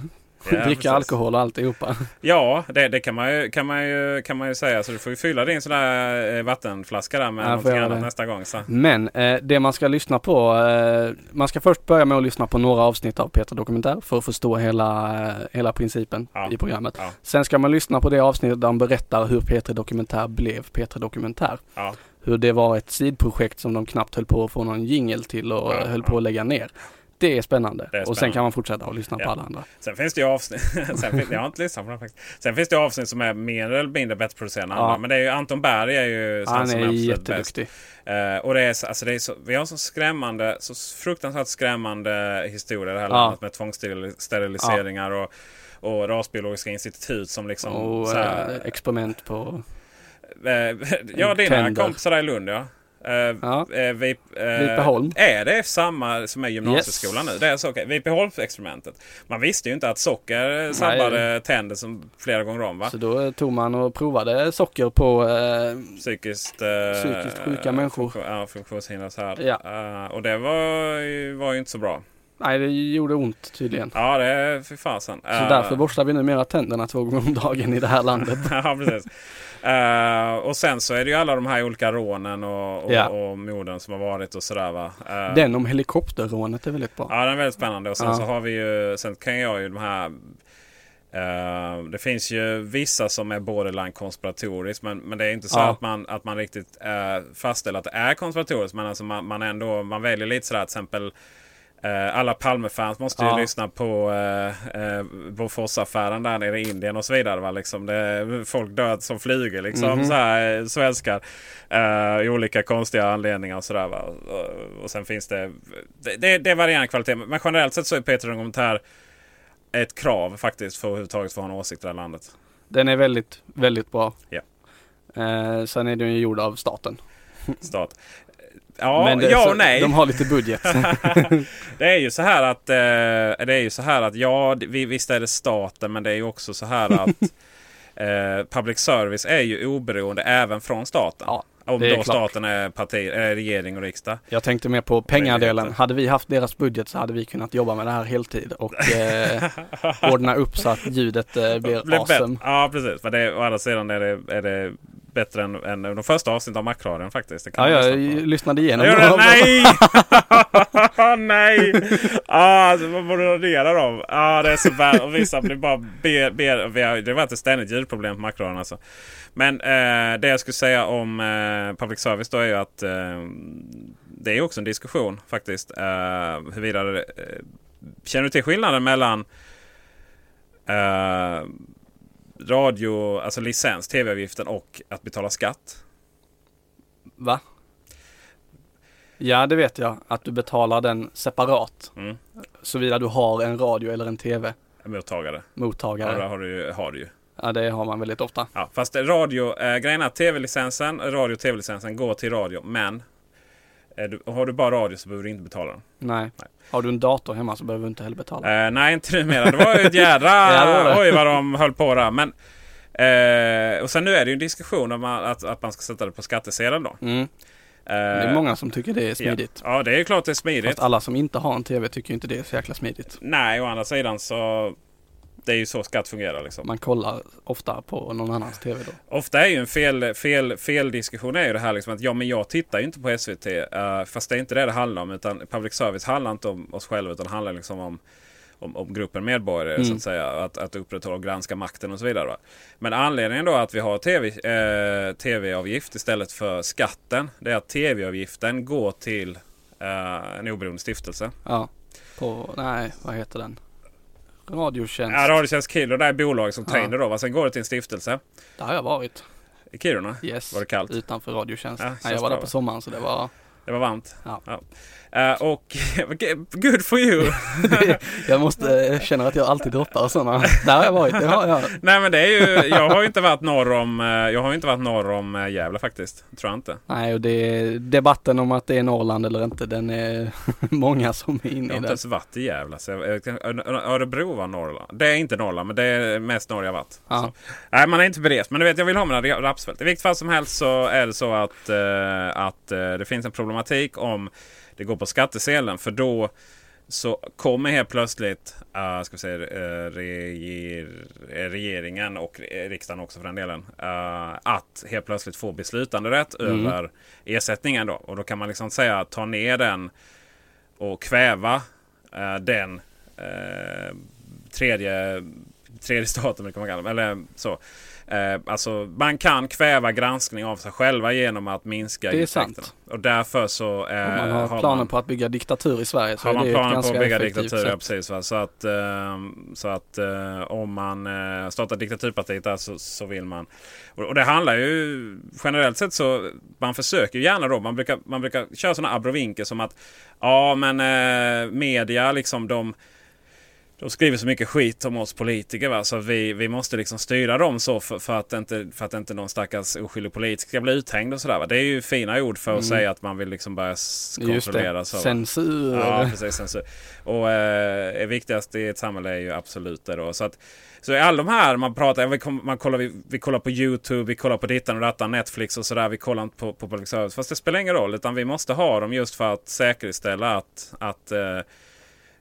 [SPEAKER 1] Ja,
[SPEAKER 2] dricka
[SPEAKER 1] precis.
[SPEAKER 2] alkohol och alltihopa.
[SPEAKER 1] Ja, det, det kan, man ju, kan, man ju, kan man ju säga. Så du får ju fylla din sån där eh, vattenflaska där med
[SPEAKER 2] Ja, får
[SPEAKER 1] någonting
[SPEAKER 2] jag göra
[SPEAKER 1] annat
[SPEAKER 2] det?
[SPEAKER 1] nästa gång. Så.
[SPEAKER 2] Men eh, det man ska lyssna på, eh, man ska först börja med att lyssna på några avsnitt av Peter Dokumentär för att förstå hela, eh, hela principen
[SPEAKER 1] Ja.
[SPEAKER 2] i programmet.
[SPEAKER 1] Ja.
[SPEAKER 2] Sen ska man lyssna på det avsnitt där han berättar hur Peter Dokumentär blev Peter Dokumentär.
[SPEAKER 1] Ja.
[SPEAKER 2] Hur det var ett sidprojekt som de knappt höll på att få någon jingel till och
[SPEAKER 1] Ja,
[SPEAKER 2] höll
[SPEAKER 1] ja.
[SPEAKER 2] på att lägga ner. Det är spännande.
[SPEAKER 1] Det är
[SPEAKER 2] Och sen
[SPEAKER 1] spännande.
[SPEAKER 2] kan man fortsätta att lyssna
[SPEAKER 1] Ja.
[SPEAKER 2] på alla andra.
[SPEAKER 1] Sen finns det ju avsnitt. *laughs* sen finns, jag har inte lyssnat på dem faktiskt. Sen finns det ju avsnitt som är mer eller mindre bättre producerade än
[SPEAKER 2] Ja.
[SPEAKER 1] andra. Men det är ju Anton Berg är ju
[SPEAKER 2] Han
[SPEAKER 1] som
[SPEAKER 2] är
[SPEAKER 1] absolut bäst.
[SPEAKER 2] jätteduktig.
[SPEAKER 1] Eh, och det är, så- alltså det är så, vi har så skrämmande, så fruktansvärt skrämmande historia i det här
[SPEAKER 2] Ja.
[SPEAKER 1] landet med tvångssteriliseringar och, och rasbiologiska institut som liksom...
[SPEAKER 2] Och
[SPEAKER 1] så här,
[SPEAKER 2] eh, experiment på...
[SPEAKER 1] Eh, ja, dina
[SPEAKER 2] Tänder.
[SPEAKER 1] kompisar där i Lund ja. Eh,
[SPEAKER 2] Ja.
[SPEAKER 1] eh, vi, eh,
[SPEAKER 2] Vipeholm.
[SPEAKER 1] Är det samma som är gymnasieskolan nu? Det är så okej. Vipeholmsexperimentet. Man visste ju inte att socker eh, sabbade tänder som flera gånger om va?
[SPEAKER 2] Så då eh, tog man och provade socker på eh,
[SPEAKER 1] Psykiskt, eh,
[SPEAKER 2] Psykiskt sjuka människor.
[SPEAKER 1] Funktion, ja, funktionshinder så här.
[SPEAKER 2] Ja.
[SPEAKER 1] Eh, och det var, ju- var ju inte så bra.
[SPEAKER 2] Nej, det gjorde ont tydligen.
[SPEAKER 1] Ja, det är för fasen. Eh,
[SPEAKER 2] Så därför borstar vi numera tänderna två gånger om dagen i det här landet.
[SPEAKER 1] *laughs* ja, precis. Eh, och sen så är det ju alla de här olika rånen och, och,
[SPEAKER 2] Ja.
[SPEAKER 1] och morden som har varit och sådär va. Eh,
[SPEAKER 2] Den om helikopterrånet är väldigt bra.
[SPEAKER 1] Ja, den är väldigt spännande. Och sen
[SPEAKER 2] Ja.
[SPEAKER 1] så har vi ju, sen kan jag ju de här eh, det finns ju vissa som är borderline konspiratoriskt men, men det är inte så
[SPEAKER 2] Ja.
[SPEAKER 1] att, man, att man riktigt eh, fastställer att det är konspiratoriskt. Men alltså man, man ändå man väljer lite sådär till exempel eh, alla Palmefans måste ju
[SPEAKER 2] Ja.
[SPEAKER 1] lyssna på eh, eh, Boforsaffären där nere i Indien och så vidare. Va? Liksom det, folk död som flyger liksom.
[SPEAKER 2] Mhm.
[SPEAKER 1] Så här, eh, svenskar. Eh, I olika konstiga anledningar och sådär. va. Och, och sen finns det... Det, det, det varierar i kvalitet. Men generellt sett så är Peter en kommentar ett krav faktiskt för att överhuvudtaget få ha en åsikt i det här landet.
[SPEAKER 2] Den är väldigt, väldigt bra.
[SPEAKER 1] Ja.
[SPEAKER 2] Eh, sen är den ju gjord av staten.
[SPEAKER 1] Stat. Ja,
[SPEAKER 2] Men det-
[SPEAKER 1] ja
[SPEAKER 2] så
[SPEAKER 1] och nej.
[SPEAKER 2] De har
[SPEAKER 1] *laughs*
[SPEAKER 2] lite budget.
[SPEAKER 1] det är ju så här att eh, det är ju så här att ja, det- vi- visst är det staten, men det är ju också så här
[SPEAKER 2] *laughs*
[SPEAKER 1] att eh, public service är ju oberoende även från staten. Om
[SPEAKER 2] det är
[SPEAKER 1] då
[SPEAKER 2] klart.
[SPEAKER 1] staten är parti, eh, regering och riksdag.
[SPEAKER 2] Jag tänkte mer på pengadelen. Hade vi haft deras budget så hade vi kunnat jobba med det här heltid och eh, ordna upp så att
[SPEAKER 1] *laughs*
[SPEAKER 2] ljudet eh, blir
[SPEAKER 1] Blir bättre.
[SPEAKER 2] awesome.
[SPEAKER 1] Ja, precis. Men det, är- å andra sidan är det, är det bättre än, än de första avsnitten av Macradion faktiskt. Det kan
[SPEAKER 2] Ja,
[SPEAKER 1] man
[SPEAKER 2] jag
[SPEAKER 1] lyssna på.
[SPEAKER 2] lyssnade igenom.
[SPEAKER 1] Jag
[SPEAKER 2] några *laughs*
[SPEAKER 1] gjorde
[SPEAKER 2] av
[SPEAKER 1] det.
[SPEAKER 2] dem.
[SPEAKER 1] Nej! Nej! *laughs* Ah, alltså, man borde radera dem. Ah, det är så bad. Och vissa blir bara ber, ber, vi har- Det var ett ständigt ljudproblem på Macradion alltså. Men eh, det jag skulle säga om eh, public service då är ju att eh, det är också en diskussion faktiskt. Eh, huruvida det, eh, känner du till skillnaden mellan eh, radio, alltså licens, tv-avgiften och att betala skatt?
[SPEAKER 2] Va? Ja, det vet jag. Att du betalar den separat.
[SPEAKER 1] Mm.
[SPEAKER 2] Såvida du har en radio eller en tv.
[SPEAKER 1] Mottagare. Ja, det
[SPEAKER 2] Mottagare.
[SPEAKER 1] har du ju. Har du ju.
[SPEAKER 2] Ja, det har man väldigt ofta.
[SPEAKER 1] Ja, fast radio, eh, grejen är att tv-licensen, radio och tv-licensen går till radio. Men eh, du, har du bara radio så behöver du inte betala den.
[SPEAKER 2] Nej. Har du en dator hemma så behöver du inte heller betala.
[SPEAKER 1] Eh, nej, inte numera. Det var ju ett jädra...
[SPEAKER 2] *laughs* Ja, det var det.
[SPEAKER 1] Oj, vad de höll på där. Men, eh, och sen nu är det ju en diskussion om att, att man ska sätta det på skattesedeln då.
[SPEAKER 2] Mm.
[SPEAKER 1] det
[SPEAKER 2] Det är många som tycker det är smidigt.
[SPEAKER 1] Ja, det är ju klart det är smidigt.
[SPEAKER 2] Fast alla som inte har en tv tycker ju inte det är så jäkla smidigt.
[SPEAKER 1] Nej, å andra sidan så... Det är ju så skatt fungerar liksom.
[SPEAKER 2] Man kollar ofta på någon annans tv då.
[SPEAKER 1] Ofta är ju en fel, fel, fel diskussion är ju det här liksom att ja men jag tittar ju inte på SVT. eh, fast det är inte det det handlar om. Utan public service handlar inte om oss själva utan handlar liksom om, om, om gruppen medborgare.
[SPEAKER 2] Mm.
[SPEAKER 1] Så att säga. Att, att upprätthålla och granska makten och så vidare. Va? Men anledningen då att vi har TV, eh, tv-avgift istället för skatten. Det är att tv-avgiften går till eh, en oberoende stiftelse.
[SPEAKER 2] Ja. På, nej, vad heter den? Radiotjänst.
[SPEAKER 1] Ja, Radiotjänst Kiruna det är bolag som tar
[SPEAKER 2] Ja.
[SPEAKER 1] in det då. Va? Sen går det till en stiftelse.
[SPEAKER 2] Där har jag varit.
[SPEAKER 1] I Kiruna?
[SPEAKER 2] Yes.
[SPEAKER 1] Var det kallt?
[SPEAKER 2] Utanför Radiotjänst.
[SPEAKER 1] Ja,
[SPEAKER 2] nej, jag
[SPEAKER 1] känns
[SPEAKER 2] var där
[SPEAKER 1] bra,
[SPEAKER 2] på
[SPEAKER 1] va?
[SPEAKER 2] sommaren så det var...
[SPEAKER 1] Det var varmt.
[SPEAKER 2] Ja.
[SPEAKER 1] Eh, och *laughs* good for you!
[SPEAKER 2] jag måste, jag känner att jag alltid droppar sådana. Där har jag varit. Det har jag.
[SPEAKER 1] Nej men det är ju, jag har ju inte varit norr om, eh, jag har ju inte varit norr om eh, Gävle faktiskt. Tror jag inte.
[SPEAKER 2] Nej, och det, debatten om att det är Norrland eller inte, den är *laughs* många som är
[SPEAKER 1] Jag
[SPEAKER 2] inne
[SPEAKER 1] har
[SPEAKER 2] i
[SPEAKER 1] inte
[SPEAKER 2] den.
[SPEAKER 1] ens varit i Gävle. Så jag, jag, kan- Ö- Ö- Örebro var Norrland. Det är inte Norrland men det är mest norr jag varit.
[SPEAKER 2] Ja.
[SPEAKER 1] Nej man är inte berest. Men du vet jag vill ha mina ra- rapsfält. I vilket fall som helst så är det så att, eh, att eh, det finns en problematik om det går på skattesedeln. För då så kommer helt plötsligt eh, ska vi säga, eh, reger, eh, regeringen och eh, riksdagen också för den delen. eh, att helt plötsligt få beslutanderätt
[SPEAKER 2] Mm.
[SPEAKER 1] över ersättningen. Då. Och då kan man liksom säga ta ner den och kväva eh, den eh, tredje, tredje staten. brukar man kalla dem, Eller så. Eh, alltså man kan kväva granskning av sig själva genom att minska
[SPEAKER 2] Det är
[SPEAKER 1] intäkterna.
[SPEAKER 2] sant.
[SPEAKER 1] Och därför så eh,
[SPEAKER 2] Om man har, planer på att bygga diktatur i Sverige så
[SPEAKER 1] har
[SPEAKER 2] är
[SPEAKER 1] man
[SPEAKER 2] det ett
[SPEAKER 1] planer på
[SPEAKER 2] ganska
[SPEAKER 1] att bygga
[SPEAKER 2] effektivt
[SPEAKER 1] diktatur, ja,
[SPEAKER 2] sätt.
[SPEAKER 1] precis. Va? Så att, ehm, så att eh, om man eh, startar diktaturpartiet där så, så vill man... Och, och det handlar ju generellt sett så... Man försöker ju gärna då. Man brukar, man brukar köra sådana abrovinker som att ja men eh, media liksom de... De skriver så mycket skit om oss politiker va? så vi, vi måste liksom styra dem så för, för, att inte, för att inte någon stackars oskyldig politiker ska bli uthängd och sådär. Va? Det är ju fina ord för att
[SPEAKER 2] Mm.
[SPEAKER 1] säga att man vill liksom börja s-
[SPEAKER 2] Just
[SPEAKER 1] kontrollera.
[SPEAKER 2] det,
[SPEAKER 1] så, va?
[SPEAKER 2] censur.
[SPEAKER 1] Ja, precis. Censur. Och eh, det viktigaste i ett samhälle är ju absolut det då. Så, att, så i alla de här man pratar, ja, vi, kom, man kollar, vi, vi kollar på YouTube, vi kollar på dittan och dattan, Netflix och sådär. Vi kollar inte på, på public service. Fast det spelar ingen roll, utan vi måste ha dem just för att säkerställa att, att eh,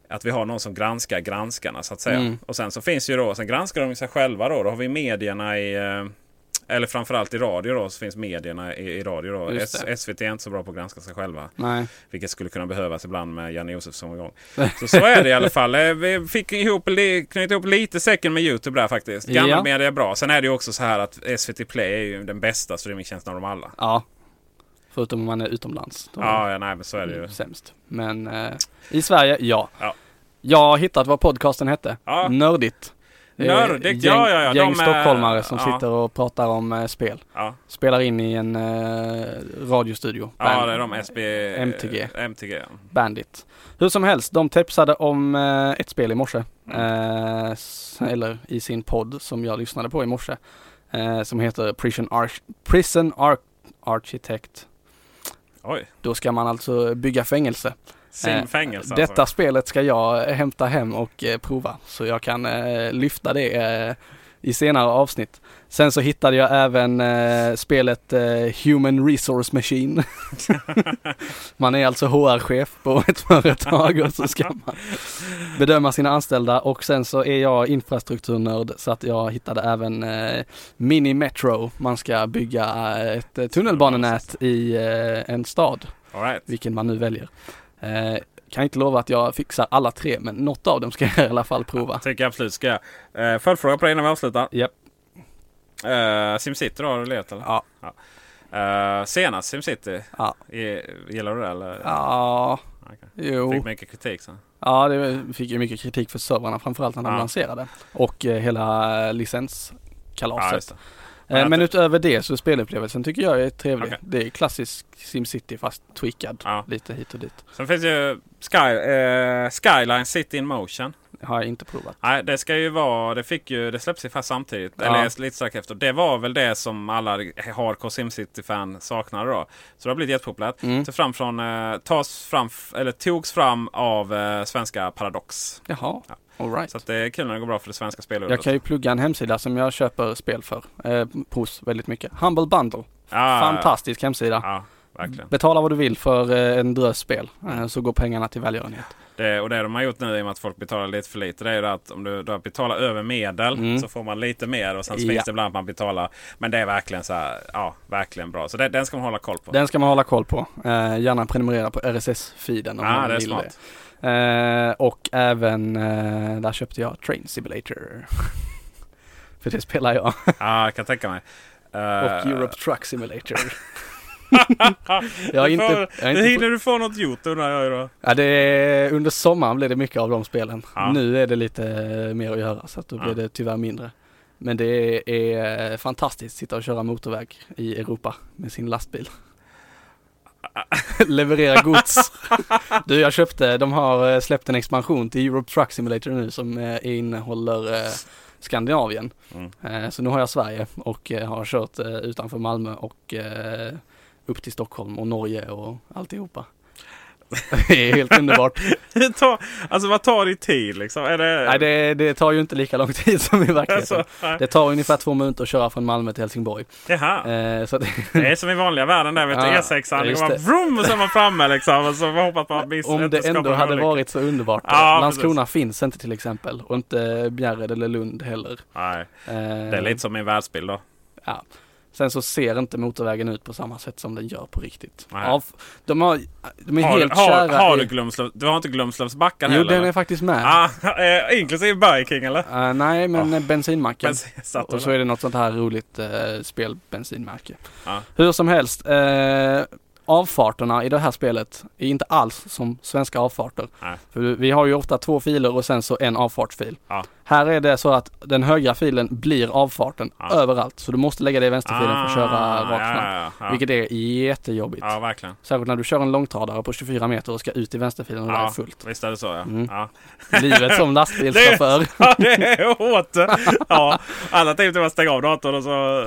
[SPEAKER 1] Att vi har någon som granskar granskarna så att säga.
[SPEAKER 2] Mm.
[SPEAKER 1] Och sen så finns ju då, sen granskar de ju sig själva då. Då har vi medierna i, eh, eller framförallt i radio då, så finns medierna i, i radio då.
[SPEAKER 2] Just
[SPEAKER 1] S-
[SPEAKER 2] det.
[SPEAKER 1] SVT är inte så bra på att granska sig själva.
[SPEAKER 2] Nej.
[SPEAKER 1] Vilket skulle kunna behövas ibland med Janne Josefsson
[SPEAKER 2] *laughs*
[SPEAKER 1] igång. Så så är det i alla fall. Eh, Vi fick ihop, li- knöt ihop lite säcken med Youtube där faktiskt.
[SPEAKER 2] Ja.
[SPEAKER 1] Gammal media är bra. Sen är det ju också så här att SVT Play är ju den bästa streamingtjänsten av dem alla.
[SPEAKER 2] Ja. Förutom om man är utomlands. Då-
[SPEAKER 1] Ja, ja, nej men så är
[SPEAKER 2] Mm,
[SPEAKER 1] det ju.
[SPEAKER 2] Sämst. Men eh, i Sverige, ja.
[SPEAKER 1] Ja.
[SPEAKER 2] Jag har hittat vad podcasten hette.
[SPEAKER 1] Ja.
[SPEAKER 2] Nördigt. Det är
[SPEAKER 1] Nördigt, ja, ja, ja.
[SPEAKER 2] Gäng
[SPEAKER 1] De är-
[SPEAKER 2] stockholmare som
[SPEAKER 1] ja.
[SPEAKER 2] sitter och pratar om eh, spel.
[SPEAKER 1] Ja.
[SPEAKER 2] Spelar in i en eh, radiostudio.
[SPEAKER 1] Ja,
[SPEAKER 2] Band-
[SPEAKER 1] det är de eh, SB...
[SPEAKER 2] MTG.
[SPEAKER 1] MTG, ja.
[SPEAKER 2] Bandit. Hur som helst, de tipsade om eh, ett spel i morse.
[SPEAKER 1] Mm.
[SPEAKER 2] Eh, s- eller i sin podd som jag lyssnade på i morse. Eh, som heter Prison, Arch- Prison Ar- Architect.
[SPEAKER 1] Oj.
[SPEAKER 2] Då ska man alltså bygga fängelse. Eh,
[SPEAKER 1] Simfängelse
[SPEAKER 2] Detta
[SPEAKER 1] alltså.
[SPEAKER 2] spelet ska jag eh, hämta hem och eh, prova så jag kan eh, lyfta det eh, i senare avsnitt. Sen så hittade jag även eh, spelet eh, Human Resource Machine. man är alltså HR-chef på ett företag och så ska man bedöma sina anställda och sen så är jag infrastrukturnörd så att jag hittade även eh, Mini Metro. Man ska bygga ett eh, tunnelbanenät i eh, en stad
[SPEAKER 1] All right.
[SPEAKER 2] vilken man nu väljer. Eh, kan inte lova att jag fixar alla tre, men något av dem ska jag i alla fall prova.
[SPEAKER 1] Tycker jag absolut ska jag. Eh, följdfråga på det innan vi avslutar.
[SPEAKER 2] Japp.
[SPEAKER 1] Eh, Simcity då, har du letat eller?
[SPEAKER 2] Ja.
[SPEAKER 1] Eh, senast Simcity.
[SPEAKER 2] Ja.
[SPEAKER 1] I- Gillar du det eller?
[SPEAKER 2] Ja,
[SPEAKER 1] Okej.
[SPEAKER 2] jo.
[SPEAKER 1] Fick mycket kritik sen.
[SPEAKER 2] Ja, det fick ju mycket kritik för servrarna, framförallt när de
[SPEAKER 1] Ja.
[SPEAKER 2] lanserade. Och eh, hela eh,
[SPEAKER 1] Ja, just
[SPEAKER 2] licenskalaset.
[SPEAKER 1] det.
[SPEAKER 2] eh,
[SPEAKER 1] Men
[SPEAKER 2] men
[SPEAKER 1] att-
[SPEAKER 2] utöver det så spelupplevelsen tycker jag är trevlig.
[SPEAKER 1] Okej.
[SPEAKER 2] Det är klassisk SimCity fast tweakad
[SPEAKER 1] Ja.
[SPEAKER 2] lite hit och dit.
[SPEAKER 1] Sen finns ju Sky, eh, Skyline City in Motion.
[SPEAKER 2] Har jag inte provat.
[SPEAKER 1] Nej, det ska ju vara, det fick ju, det släpps ju fast samtidigt.
[SPEAKER 2] Ja.
[SPEAKER 1] Eller lite strax efter. Det var väl det som alla hardcore SimCity-fan saknade då. Så det har blivit jättepopulärt.
[SPEAKER 2] Mm.
[SPEAKER 1] Tas fram från, eh, tas fram, f- eller togs fram av eh, svenska Paradox.
[SPEAKER 2] Jaha,
[SPEAKER 1] Ja.
[SPEAKER 2] alright.
[SPEAKER 1] Så att det är kul när det går bra för det svenska
[SPEAKER 2] Jag
[SPEAKER 1] spelordet.
[SPEAKER 2] kan ju plugga en hemsida som jag köper spel för. Eh, hos väldigt mycket. Humble Bundle.
[SPEAKER 1] Ja,
[SPEAKER 2] Fantastisk hemsida.
[SPEAKER 1] Ja, verkligen.
[SPEAKER 2] Betala vad du vill för eh, en drös spel eh, så går pengarna till välgörenhet.
[SPEAKER 1] Det, Eh, och det de har gjort nu i och med att folk betalar lite för lite. Det är ju det att om du, du betalar över medel
[SPEAKER 2] Mm.
[SPEAKER 1] så får man lite mer. Och sen så
[SPEAKER 2] Ja.
[SPEAKER 1] finns det ibland att man betalar. Men det är verkligen så här, ja, verkligen bra. Så det, den ska man hålla koll på.
[SPEAKER 2] Den ska man hålla koll på. Eh, gärna prenumerera på RSS-feeden om
[SPEAKER 1] ah,
[SPEAKER 2] man
[SPEAKER 1] det är
[SPEAKER 2] vill
[SPEAKER 1] smart.
[SPEAKER 2] det. Eh, och även eh, där köpte jag Train Simulator. *laughs* för det spelar jag.
[SPEAKER 1] Ja, ah, jag kan tänka mig.
[SPEAKER 2] och
[SPEAKER 1] Eh, *laughs*
[SPEAKER 2] Europe Truck Simulator. jag har
[SPEAKER 1] du
[SPEAKER 2] inte...
[SPEAKER 1] får-
[SPEAKER 2] Jag har
[SPEAKER 1] det
[SPEAKER 2] inte
[SPEAKER 1] hinner du få något gjort undrar jag ju då. *laughs*
[SPEAKER 2] ja, det är, under sommaren blev det mycket av de spelen.
[SPEAKER 1] Ja.
[SPEAKER 2] Nu är det lite eh, mer att göra så att då
[SPEAKER 1] Ja.
[SPEAKER 2] blir det tyvärr mindre. Men det är eh, fantastiskt, sitta och köra motorväg i Europa med sin lastbil. *laughs* Leverera gods.
[SPEAKER 1] *laughs*
[SPEAKER 2] Du, jag köpte, de har eh, släppt en expansion till Europe Truck Simulator nu som eh, innehåller eh, Skandinavien.
[SPEAKER 1] Mm.
[SPEAKER 2] Eh, Så nu har jag Sverige och eh, har kört eh, utanför Malmö och eh, upp till Stockholm och Norge och alltihopa. *laughs* Det är helt underbart.
[SPEAKER 1] Det tar- alltså vad tar det tid liksom? Är det...
[SPEAKER 2] Nej, det, det tar ju inte lika lång tid som i
[SPEAKER 1] *laughs*
[SPEAKER 2] verkligheten.
[SPEAKER 1] alltså, nej.
[SPEAKER 2] Det tar ungefär två minuter att köra från Malmö till Helsingborg.
[SPEAKER 1] Jaha.
[SPEAKER 2] Eh, Så att,
[SPEAKER 1] Det är som i vanliga världen där. Vet du,
[SPEAKER 2] Ja,
[SPEAKER 1] E6an. Det
[SPEAKER 2] just
[SPEAKER 1] bara
[SPEAKER 2] det.
[SPEAKER 1] vroom och så är man framme liksom. Och så har man hoppat på att miss-
[SPEAKER 2] *laughs* om
[SPEAKER 1] inte
[SPEAKER 2] det
[SPEAKER 1] skapa
[SPEAKER 2] ändå
[SPEAKER 1] en
[SPEAKER 2] hade
[SPEAKER 1] olycka.
[SPEAKER 2] varit så underbart.
[SPEAKER 1] Ja,
[SPEAKER 2] Landskrona finns inte till exempel och inte Bjärred eller Lund heller.
[SPEAKER 1] Nej,
[SPEAKER 2] Eh,
[SPEAKER 1] det är lite som min världsbild då.
[SPEAKER 2] Ja. Sen så ser inte motorvägen ut på samma sätt som den gör på riktigt.
[SPEAKER 1] Nej.
[SPEAKER 2] Ja, f- de, har, de är
[SPEAKER 1] Har,
[SPEAKER 2] helt
[SPEAKER 1] har,
[SPEAKER 2] kära
[SPEAKER 1] har
[SPEAKER 2] i-
[SPEAKER 1] du Glömslövs... Du har inte Glömslövs backar
[SPEAKER 2] Jo,
[SPEAKER 1] heller?
[SPEAKER 2] den
[SPEAKER 1] eller?
[SPEAKER 2] är faktiskt med.
[SPEAKER 1] Ah, *laughs* eh, inklusive Biking eller?
[SPEAKER 2] Eh, nej, men oh. bensinmacken.
[SPEAKER 1] Men *laughs* så- satt
[SPEAKER 2] och
[SPEAKER 1] och
[SPEAKER 2] så är det något sånt här roligt eh, spel, bensinmärke.
[SPEAKER 1] Ja.
[SPEAKER 2] Hur som helst, eh, avfarterna i det här spelet är inte alls som svenska avfarter.
[SPEAKER 1] Nej.
[SPEAKER 2] För vi har ju ofta två filer och sen så en avfartsfil.
[SPEAKER 1] Ja.
[SPEAKER 2] Här är det så att den högra filen blir avfarten
[SPEAKER 1] Ja.
[SPEAKER 2] överallt. Så du måste lägga dig i vänsterfilen för att köra
[SPEAKER 1] Ah,
[SPEAKER 2] rakt
[SPEAKER 1] ja,
[SPEAKER 2] fram.
[SPEAKER 1] ja, ja.
[SPEAKER 2] Vilket är jättejobbigt.
[SPEAKER 1] ja, verkligen.
[SPEAKER 2] Särskilt när du kör en långtradare på 24 meter och ska ut i vänsterfilen och det är
[SPEAKER 1] Ja,
[SPEAKER 2] fullt.
[SPEAKER 1] visst är det så ja.
[SPEAKER 2] Mm.
[SPEAKER 1] ja. *laughs*
[SPEAKER 2] Livet som lastbilschaufför.
[SPEAKER 1] Ja, det är hårt.
[SPEAKER 2] *laughs*
[SPEAKER 1] Ja, alternativet är att stänga av datorn och så... eh,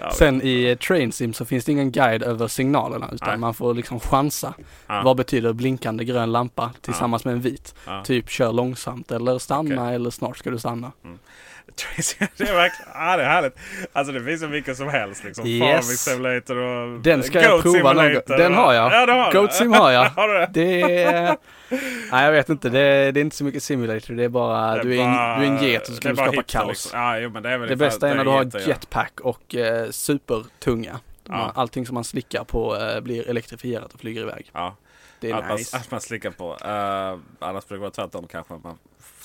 [SPEAKER 1] Ja, *laughs*
[SPEAKER 2] Sen i eh, Train Sim så finns det ingen guide över signalerna utan man får liksom chansa.
[SPEAKER 1] Ja.
[SPEAKER 2] Vad betyder blinkande grön lampa tillsammans med en vit?
[SPEAKER 1] Ja.
[SPEAKER 2] Typ kör långsamt eller stanna eller snart ska du stanna.
[SPEAKER 1] Mm. Tracy, det är verkligen ah, det är härligt. Alltså det finns så mycket som helst liksom.
[SPEAKER 2] Yes.
[SPEAKER 1] Farming Simulator och
[SPEAKER 2] Den ska
[SPEAKER 1] Goat
[SPEAKER 2] jag prova någon gång.
[SPEAKER 1] Simulator
[SPEAKER 2] Den
[SPEAKER 1] och-
[SPEAKER 2] har jag.
[SPEAKER 1] Ja, det har
[SPEAKER 2] Goat
[SPEAKER 1] du.
[SPEAKER 2] Sim har jag.
[SPEAKER 1] *laughs* har du det?
[SPEAKER 2] Det är... Nej jag vet inte, det är, det är inte så mycket simulator. Det är bara,
[SPEAKER 1] Det
[SPEAKER 2] du, är
[SPEAKER 1] bara-
[SPEAKER 2] en, du är en get och så
[SPEAKER 1] det är
[SPEAKER 2] kan du
[SPEAKER 1] bara
[SPEAKER 2] skapa
[SPEAKER 1] hitta,
[SPEAKER 2] kaos.
[SPEAKER 1] liksom. Ja, jo, men det är väl
[SPEAKER 2] det
[SPEAKER 1] ungefär-
[SPEAKER 2] beta är
[SPEAKER 1] det
[SPEAKER 2] när du har
[SPEAKER 1] heter, ja.
[SPEAKER 2] jetpack och eh, supertunga. De-
[SPEAKER 1] Ja.
[SPEAKER 2] Allting som man slickar på eh, blir elektrifierat och flyger iväg.
[SPEAKER 1] Ja.
[SPEAKER 2] Det är
[SPEAKER 1] att,
[SPEAKER 2] nice.
[SPEAKER 1] man, att man slickar på. Uh, annars brukar det vara tvärtom kanske. Att man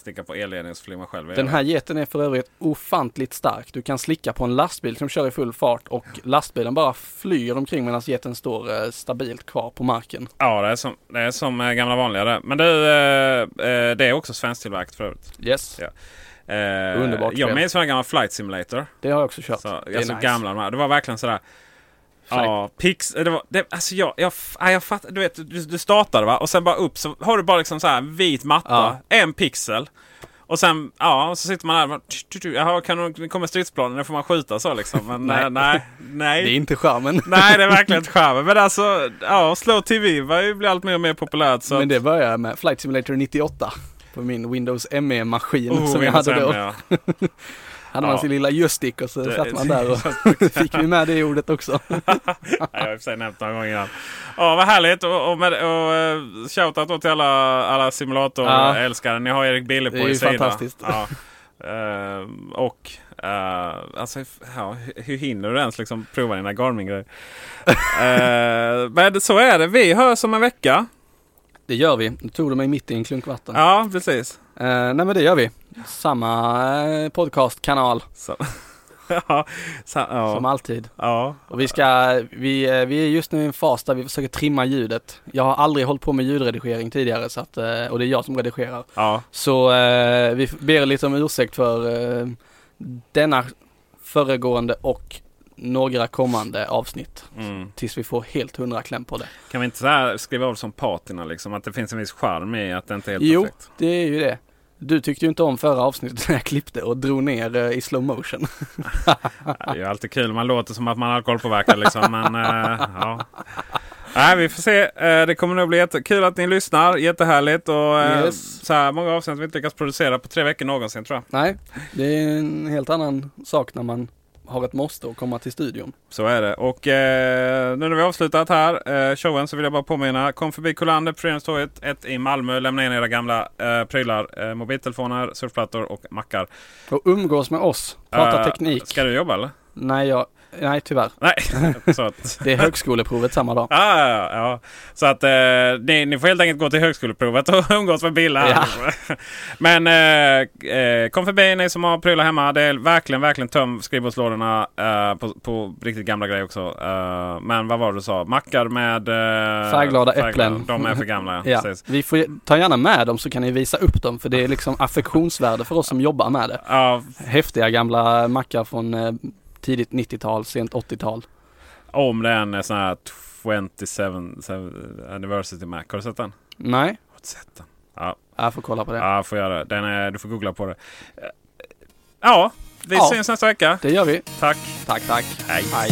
[SPEAKER 1] slickar på elledningen så flyger man själv
[SPEAKER 2] Den
[SPEAKER 1] iväg.
[SPEAKER 2] här geten är för övrigt ofantligt stark. Du kan slicka på en lastbil som kör i full fart och lastbilen bara flyger omkring medan geten står eh, stabilt kvar på marken.
[SPEAKER 1] Ja, det är som, det är som eh, gamla vanliga det. Men du, eh, eh, det är också svensktillverkat förut.
[SPEAKER 2] Yes.
[SPEAKER 1] Ja. Eh,
[SPEAKER 2] Underbart
[SPEAKER 1] Jag
[SPEAKER 2] spel.
[SPEAKER 1] minns den här gamla Flight Simulator.
[SPEAKER 2] Det har jag också kört.
[SPEAKER 1] Så,
[SPEAKER 2] Det är
[SPEAKER 1] alltså
[SPEAKER 2] nice.
[SPEAKER 1] gamla de här. Det var verkligen sådär. Ja, pix. Det var, det, alltså jag, jag, f- nej, jag fattar. Du vet, du, du startar va och sen bara upp så har du bara liksom så här vit matta, en pixel. Och sen, ja, och så sitter man där och bara, tju, tju, tju. Jaha, kan de, kommer stridsplanen, då får man skjuta så liksom.
[SPEAKER 2] *laughs*
[SPEAKER 1] Men nej,
[SPEAKER 2] Nej.
[SPEAKER 1] nej.
[SPEAKER 2] Det
[SPEAKER 1] nej.
[SPEAKER 2] är inte charmen.
[SPEAKER 1] *laughs* Nej, det är verkligen inte charmen. Men alltså, ja, slow TV var ju blir allt mer och mer populärt. Så
[SPEAKER 2] Men det började jag med Flight Simulator 98 på min Windows ME-maskin
[SPEAKER 1] Oh,
[SPEAKER 2] som jag
[SPEAKER 1] Windows
[SPEAKER 2] hade då.
[SPEAKER 1] ME,
[SPEAKER 2] *laughs* hade
[SPEAKER 1] Ja.
[SPEAKER 2] man sin lilla joystick och så
[SPEAKER 1] Det-
[SPEAKER 2] satt
[SPEAKER 1] *laughs*
[SPEAKER 2] man där och fick vi med det ordet också.
[SPEAKER 1] Ja, jag har i och för sig nämnt några gånger innan. Ja, vad härligt. Och, och, med, och eh, shoutout då till alla, alla
[SPEAKER 2] Ja.
[SPEAKER 1] simulatorälskare. Ni har Erik Bille på
[SPEAKER 2] Det är
[SPEAKER 1] er
[SPEAKER 2] ju
[SPEAKER 1] sida.
[SPEAKER 2] fantastiskt.
[SPEAKER 1] Ja. Ehm, och eh, alltså, ja, hur- hur hinner du ens liksom prova dina
[SPEAKER 2] *laughs*
[SPEAKER 1] Garmin-grejer? Eh, men så är det. Vi hörs om en vecka.
[SPEAKER 2] Det gör vi. Nu tog du mig mitt i en klunk vatten.
[SPEAKER 1] Ja, precis. *laughs*
[SPEAKER 2] Eh, nej men det gör vi. Samma eh, podcastkanal
[SPEAKER 1] Så. ja, så, ja.
[SPEAKER 2] som alltid.
[SPEAKER 1] ja.
[SPEAKER 2] Och vi ska, vi, eh, vi är just nu i en fas där vi försöker trimma ljudet. Jag har aldrig hållit på med ljudredigering tidigare så att, eh, och det är jag som redigerar.
[SPEAKER 1] ja.
[SPEAKER 2] Så eh, vi ber lite om ursäkt för eh, denna föregående och några kommande avsnitt.
[SPEAKER 1] Mm.
[SPEAKER 2] Tills vi får helt hundra kläm på det.
[SPEAKER 1] Kan vi inte så här skriva av som patina liksom? Att det finns en viss charm i att det inte är helt
[SPEAKER 2] Jo,
[SPEAKER 1] perfekt.
[SPEAKER 2] det är ju det. Du tyckte ju inte om förra avsnittet när jag klippte och drog ner eh, i slow motion.
[SPEAKER 1] Ja, Det är ju alltid kul. Man låter som att man är alkoholpåverkad liksom. Men eh, ja. Nej, vi får se. Eh, det kommer nog bli jättekul att ni lyssnar. Jättehärligt. Och eh,
[SPEAKER 2] Yes.
[SPEAKER 1] så här många avsnitt vi inte lyckats producera på tre veckor någonsin tror jag.
[SPEAKER 2] Nej, det är en helt annan sak när man har ett måste att komma till studion.
[SPEAKER 1] Så är det. Och eh, nu när vi har avslutat här eh, showen så vill jag bara påminna. Kom förbi Kullander på Föreningstorget 1 i Malmö. Lämna in era gamla eh, prylar. Eh, mobiltelefoner, surfplattor och mackar.
[SPEAKER 2] Och umgås med oss, prata
[SPEAKER 1] Eh,
[SPEAKER 2] teknik.
[SPEAKER 1] Ska du jobba eller?
[SPEAKER 2] Nej, jag, nej tyvärr.
[SPEAKER 1] Nej. så att, *laughs*
[SPEAKER 2] Det är högskoleprovet samma dag.
[SPEAKER 1] ah, ja, ja. Så att eh, ni, ni får helt enkelt gå till högskoleprovet och *laughs* umgås med Bill här. *laughs* Men eh, eh, kom förbi ni som har prylar hemma. Det är verkligen, verkligen töm skrivbordslådorna eh, på, på riktigt gamla grejer också. Eh, men vad var det du sa? Mackar med eh,
[SPEAKER 2] Färgglada äpplen.
[SPEAKER 1] De
[SPEAKER 2] *laughs*
[SPEAKER 1] är för gamla. ja.
[SPEAKER 2] Ja,
[SPEAKER 1] Precis.
[SPEAKER 2] vi får ta gärna med dem så kan ni visa upp dem för det är liksom affektionsvärde för oss som jobbar med det.
[SPEAKER 1] Ja,
[SPEAKER 2] Häftiga gamla mackar från eh, tidigt 90-tal, sent 80-tal.
[SPEAKER 1] om det är en eh, sån här 27 seven- Anniversary Mac. Har du sett den?
[SPEAKER 2] Nej,
[SPEAKER 1] Har du sett den? Ja,
[SPEAKER 2] jag får kolla på det.
[SPEAKER 1] ja får göra det. Den är, du får googla på det. Eh, Ja, vi
[SPEAKER 2] Ja.
[SPEAKER 1] syns nästa vecka.
[SPEAKER 2] Det gör vi.
[SPEAKER 1] Tack.
[SPEAKER 2] Tack, tack.
[SPEAKER 1] Hej.
[SPEAKER 2] Hej.